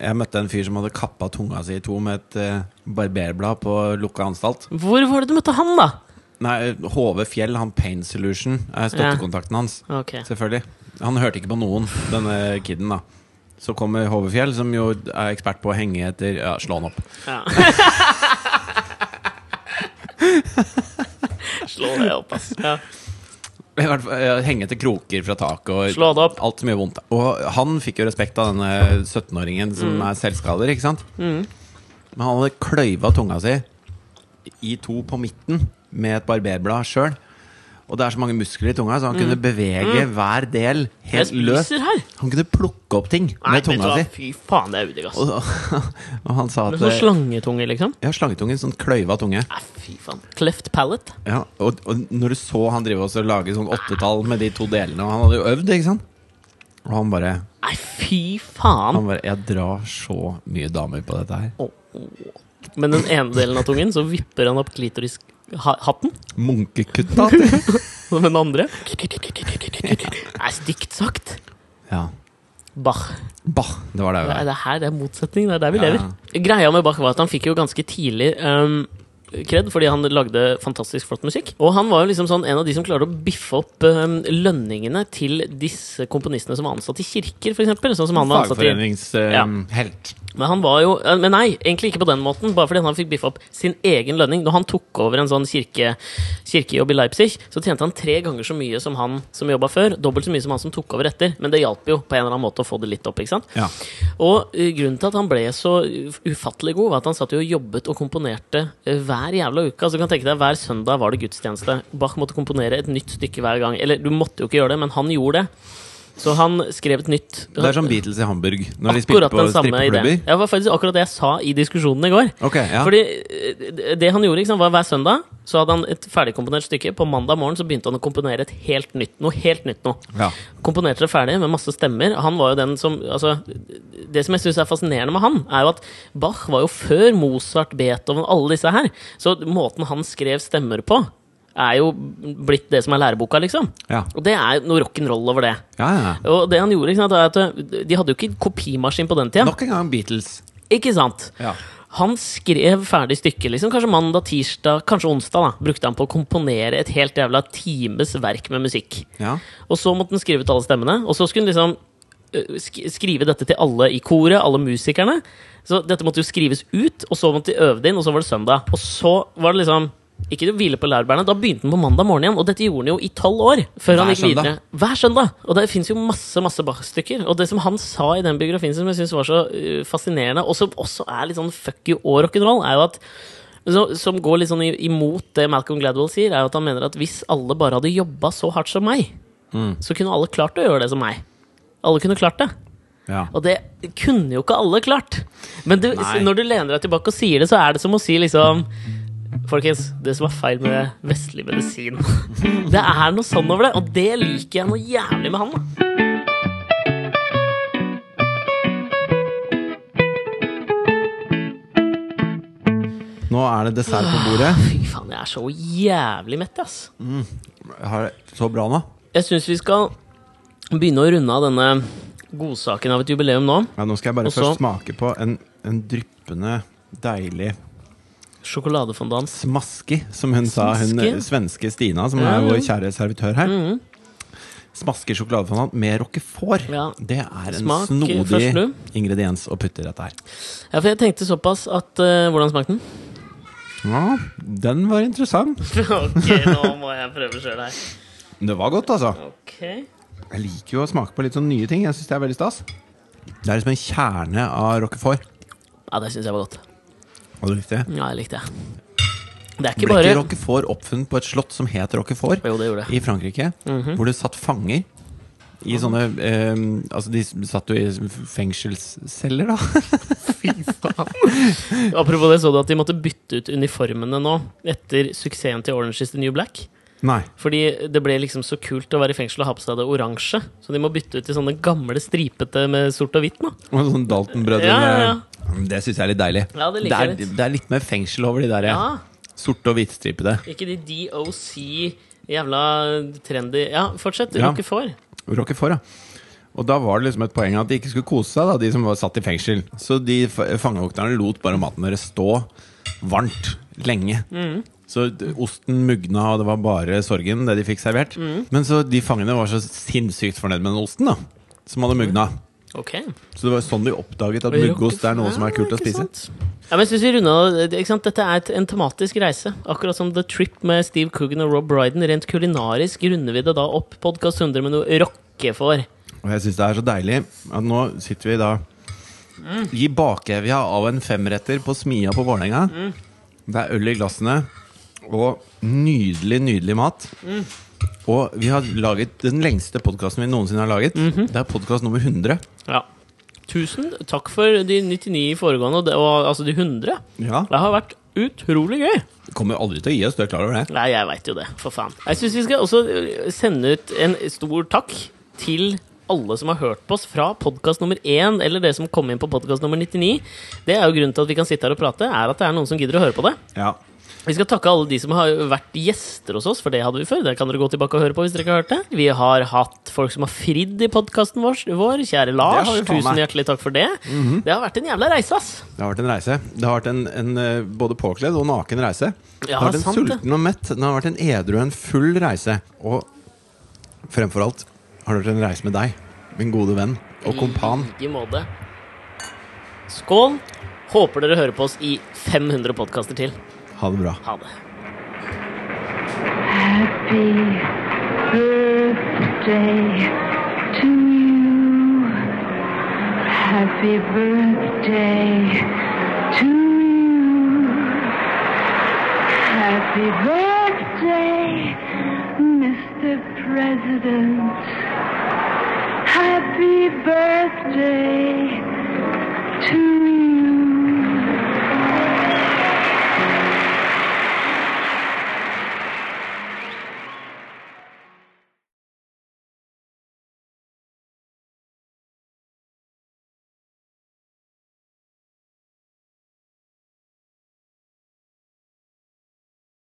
Jeg møtte en fyr som hadde kappa tunga si i to med et eh, barberblad på lukka anstalt. Hvor var det du møtte han, da? Nei, HV Fjell, han Pain Solution, er støttekontakten hans. Ok. Selvfølgelig. Han hørte ikke på noen, denne kiden, da. Så kommer HV Fjell, som jo er ekspert på å henge etter Ja, slå han opp. Ja. Slå deg opp, ass. Ja. I hvert fall, eh, Henge etter kroker fra taket og Slå det opp. alt så mye vondt. Og han fikk jo respekt av denne 17-åringen som Mm. er selvskader, ikke sant? Men han hadde kløyva tunga si i to på midten med et barberblad sjøl. Og det er så mange muskler i tunga, så han kunne bevege hver del Mm. Jeg helt løst. spiser her. Han kunne plukke opp ting Nei, med vet du hva? tunga si. Fy faen, det er udigg, ass. Og, og han sa Med at sånn slangetunge, liksom. Ja, slangetunge. Sånn kløyva tunge. Nei, fy faen. Cleft palate. Ja, og, og når du så han drive og lage sånn åttetall med de to delene, og han hadde jo øvd, ikke sant? Og han bare, Nei, fy faen. han bare Jeg drar så mye damer på dette her. Åh. Men den ene delen av tungen, så vipper han opp klitoris-hatten. Munkekutta. til. Og den andre Nei, stygt sagt. Ja. Bach. Bah, det var det Det er, jo. det her, det er motsetning. Det er der vi Ja, lever. Greia med Bach var at han fikk jo ganske tidlig um, kred fordi han lagde fantastisk flott musikk. Og han var jo liksom sånn en av de som klarte å biffe opp um, lønningene til disse komponistene som var ansatt i kirker, for eksempel Sånn som han var ansatt i Fagforeningshelt. Men han var jo eh, Men nei, egentlig ikke på den måten, bare fordi han fikk biffa opp sin egen lønning. Når han tok over en sånn kirke, kirkejobb i Leipzig, så tjente han tre ganger så mye som han som jobba før. Dobbelt så mye som han som tok over etter. Men det hjalp jo på en eller annen måte å få det litt opp, ikke sant? Ja. Og eh, grunnen til at han ble så uf- ufattelig god, var at han satt jo og jobbet og komponerte eh, hver jævla uke. Altså du kan tenke deg, Hver søndag var det gudstjeneste. Bach måtte komponere et nytt stykke hver gang. Eller du måtte jo ikke gjøre det, men han gjorde det. Så han skrev et nytt Det er som Beatles i Hamburg, når de spilte Akkurat på den samme ideen. strippeklubber. Det var faktisk akkurat det jeg sa i diskusjonen i går. Ok, ja. Fordi eh, det han gjorde, ikke sant, var hver søndag så hadde han et ferdigkomponert stykke. På mandag morgen så begynte han å komponere et helt nytt noe. helt nytt noe. ja. Komponerte det ferdig med masse stemmer. Han var jo den som, altså, Det som jeg syns er fascinerende med han, er jo at Bach var jo før Mozart, Beethoven, alle disse her. Så måten han skrev stemmer på, er jo blitt det som er læreboka, liksom. Ja. Og det er jo noe rock'n'roll over det. Ja, ja. Og det han gjorde, ikke sant, er at eh, de hadde jo ikke kopimaskin på den tida. Nok en gang Beatles. Ikke sant? Ja. Han skrev ferdig stykket, liksom. Kanskje mandag, tirsdag, kanskje onsdag. da Brukte han på å komponere et helt jævla times verk med musikk. Ja. Og så måtte han skrive ut alle stemmene. Og så skulle han liksom øh, sk- skrive dette til alle i koret, alle musikerne. Så dette måtte jo skrives ut, og så måtte de øve det inn, og så var det søndag. Og så var det liksom ikke å hvile på laurbærene. Da begynte han på mandag morgen igjen, og dette gjorde han jo i tolv år. Før han Hver gikk videre. søndag. Hver søndag. Og det fins jo masse masse Bach-stykker. Og det som han sa i den biografien som jeg syns var så øh, fascinerende, og som også er litt sånn fuck you og rock'n'roll, er jo at så, som går litt sånn i- imot det Malcolm Gladwell sier, er jo at han mener at hvis alle bare hadde jobba så hardt som meg, så kunne alle klart å gjøre det som meg. Alle kunne klart det. Ja. Og det kunne jo ikke alle klart. Men du, Nei. når du lener deg tilbake og sier det, så er det som å si liksom Folkens, det som er feil med vestlig medisin Det er noe sånn over det, og det liker jeg noe jævlig med han. da Nå er det dessert på bordet. Fy faen, jeg er så jævlig mett, ass. Har det så bra nå? Jeg syns vi skal begynne å runde av denne godsaken av et jubileum nå. Ja, nå skal jeg bare Og så- først smake på en, en dryppende, deilig Sjokoladefondans. smaski, som hun sa, hun Smaski? eh, svenske Stina, som Ja, Mm. er ja. vår kjære servitør her. smasker sjokoladefanan med roquefort. Ja. Det er en Smak, snodig først du. ingrediens å putte i dette her. Ja, for jeg tenkte såpass at eh, Hvordan smakte den? Ja, den var interessant. ok, nå må jeg prøve sjøl her. Det var godt, altså. Ok Jeg liker jo å smake på litt sånn nye ting. Jeg synes Det er veldig stas. Det er liksom en kjerne av roquefort. Ja, det syns jeg var godt. Var det riktig? Ja, jeg likte det. Det er ikke Ble bare ikke roquefort oppfunnet på et slott som het roquefort Jo, det gjorde det. i Frankrike? Mhm. Hvor det satt fanger i sånne eh, Altså, de satt jo i fengselsceller, da. Fy faen. Apropos det, så du at de måtte bytte ut uniformene nå etter suksessen til Orange is the New Black? Nei. Fordi det ble liksom så kult å være i fengsel og ha på seg det oransje, så de må bytte ut til sånne gamle stripete med sort og hvitt nå. Og sånn Dalton-brødre Ja, ja, med- Det syns jeg er litt deilig. Ja, det liker er, jeg litt. det er litt mer fengsel over de der Ja, sorte og hvitstripede. ikke de DOC jævla trendy Ja, fortsett. Ja. Roquefort. Roquefort, ja. Og da var det liksom et poeng at de ikke skulle kose seg, da, de som var satt i fengsel. Så de f- fangevokterne lot bare maten deres stå varmt lenge. Mm. Så d- osten mugna, og det var bare sorgen, det de fikk servert. Mm. Men så de fangene var så sinnssykt fornøyd med den osten, da. Som hadde mugna. Ok. Så det var sånn de oppdaget at Roquefort. muggost er noe som er kult Ja, å ikke spise. sant. Ja, men jeg synes vi runder, av- ikke sant? Dette er et, en tematisk reise. Akkurat som The Trip med Steve Coogan og Rob Brydon. Rent kulinarisk runder vi det da opp podkast 100 med noe rockefår. Og jeg syns det er så deilig at nå sitter vi da i bakevja av en femretter på smia på Vålerenga. Det er øl i glassene og nydelig, nydelig mat. Og vi har laget den lengste podkasten vi noensinne har laget. Det er podkast nummer 100. Ja. Tusen takk for de 99 foregående, og, det, og altså de 100. Ja, Det har vært utrolig gøy. Kommer aldri til å gi oss, du er klar over det? Nei, jeg veit jo det, for faen. Jeg syns vi skal også øh, sende ut en stor takk til alle som har hørt på oss fra podkast nummer én, eller dere som kom inn på podkast nummer 99. Det er jo grunnen til at vi kan sitte her og prate, er at det er noen som gidder å høre på det. Ja. Vi skal takke alle de som har vært gjester hos oss, for det hadde vi før. Det kan dere gå tilbake og høre på hvis dere ikke har hørt det. Vi har hatt folk som har fridd i podkasten vår, vår. Kjære Lars, Det har vi faen meg. Mhm. tusen hjertelig takk for det. Det har vært en jævla reise, ass. Det har vært en reise. Det har vært en, en eh, både påkledd og naken reise. det Ja, har vært en sant det. sulten og mett. Det har vært en edru og en full reise. Og fremfor alt har det vært en reise med deg, min gode venn og kompan. I like måte. Skål. Håper dere hører på oss i 500 podkaster til. Ha det bra. Ha det. Happy birthday to you. Happy birthday to you. Happy birthday, Mr. President. Happy birthday to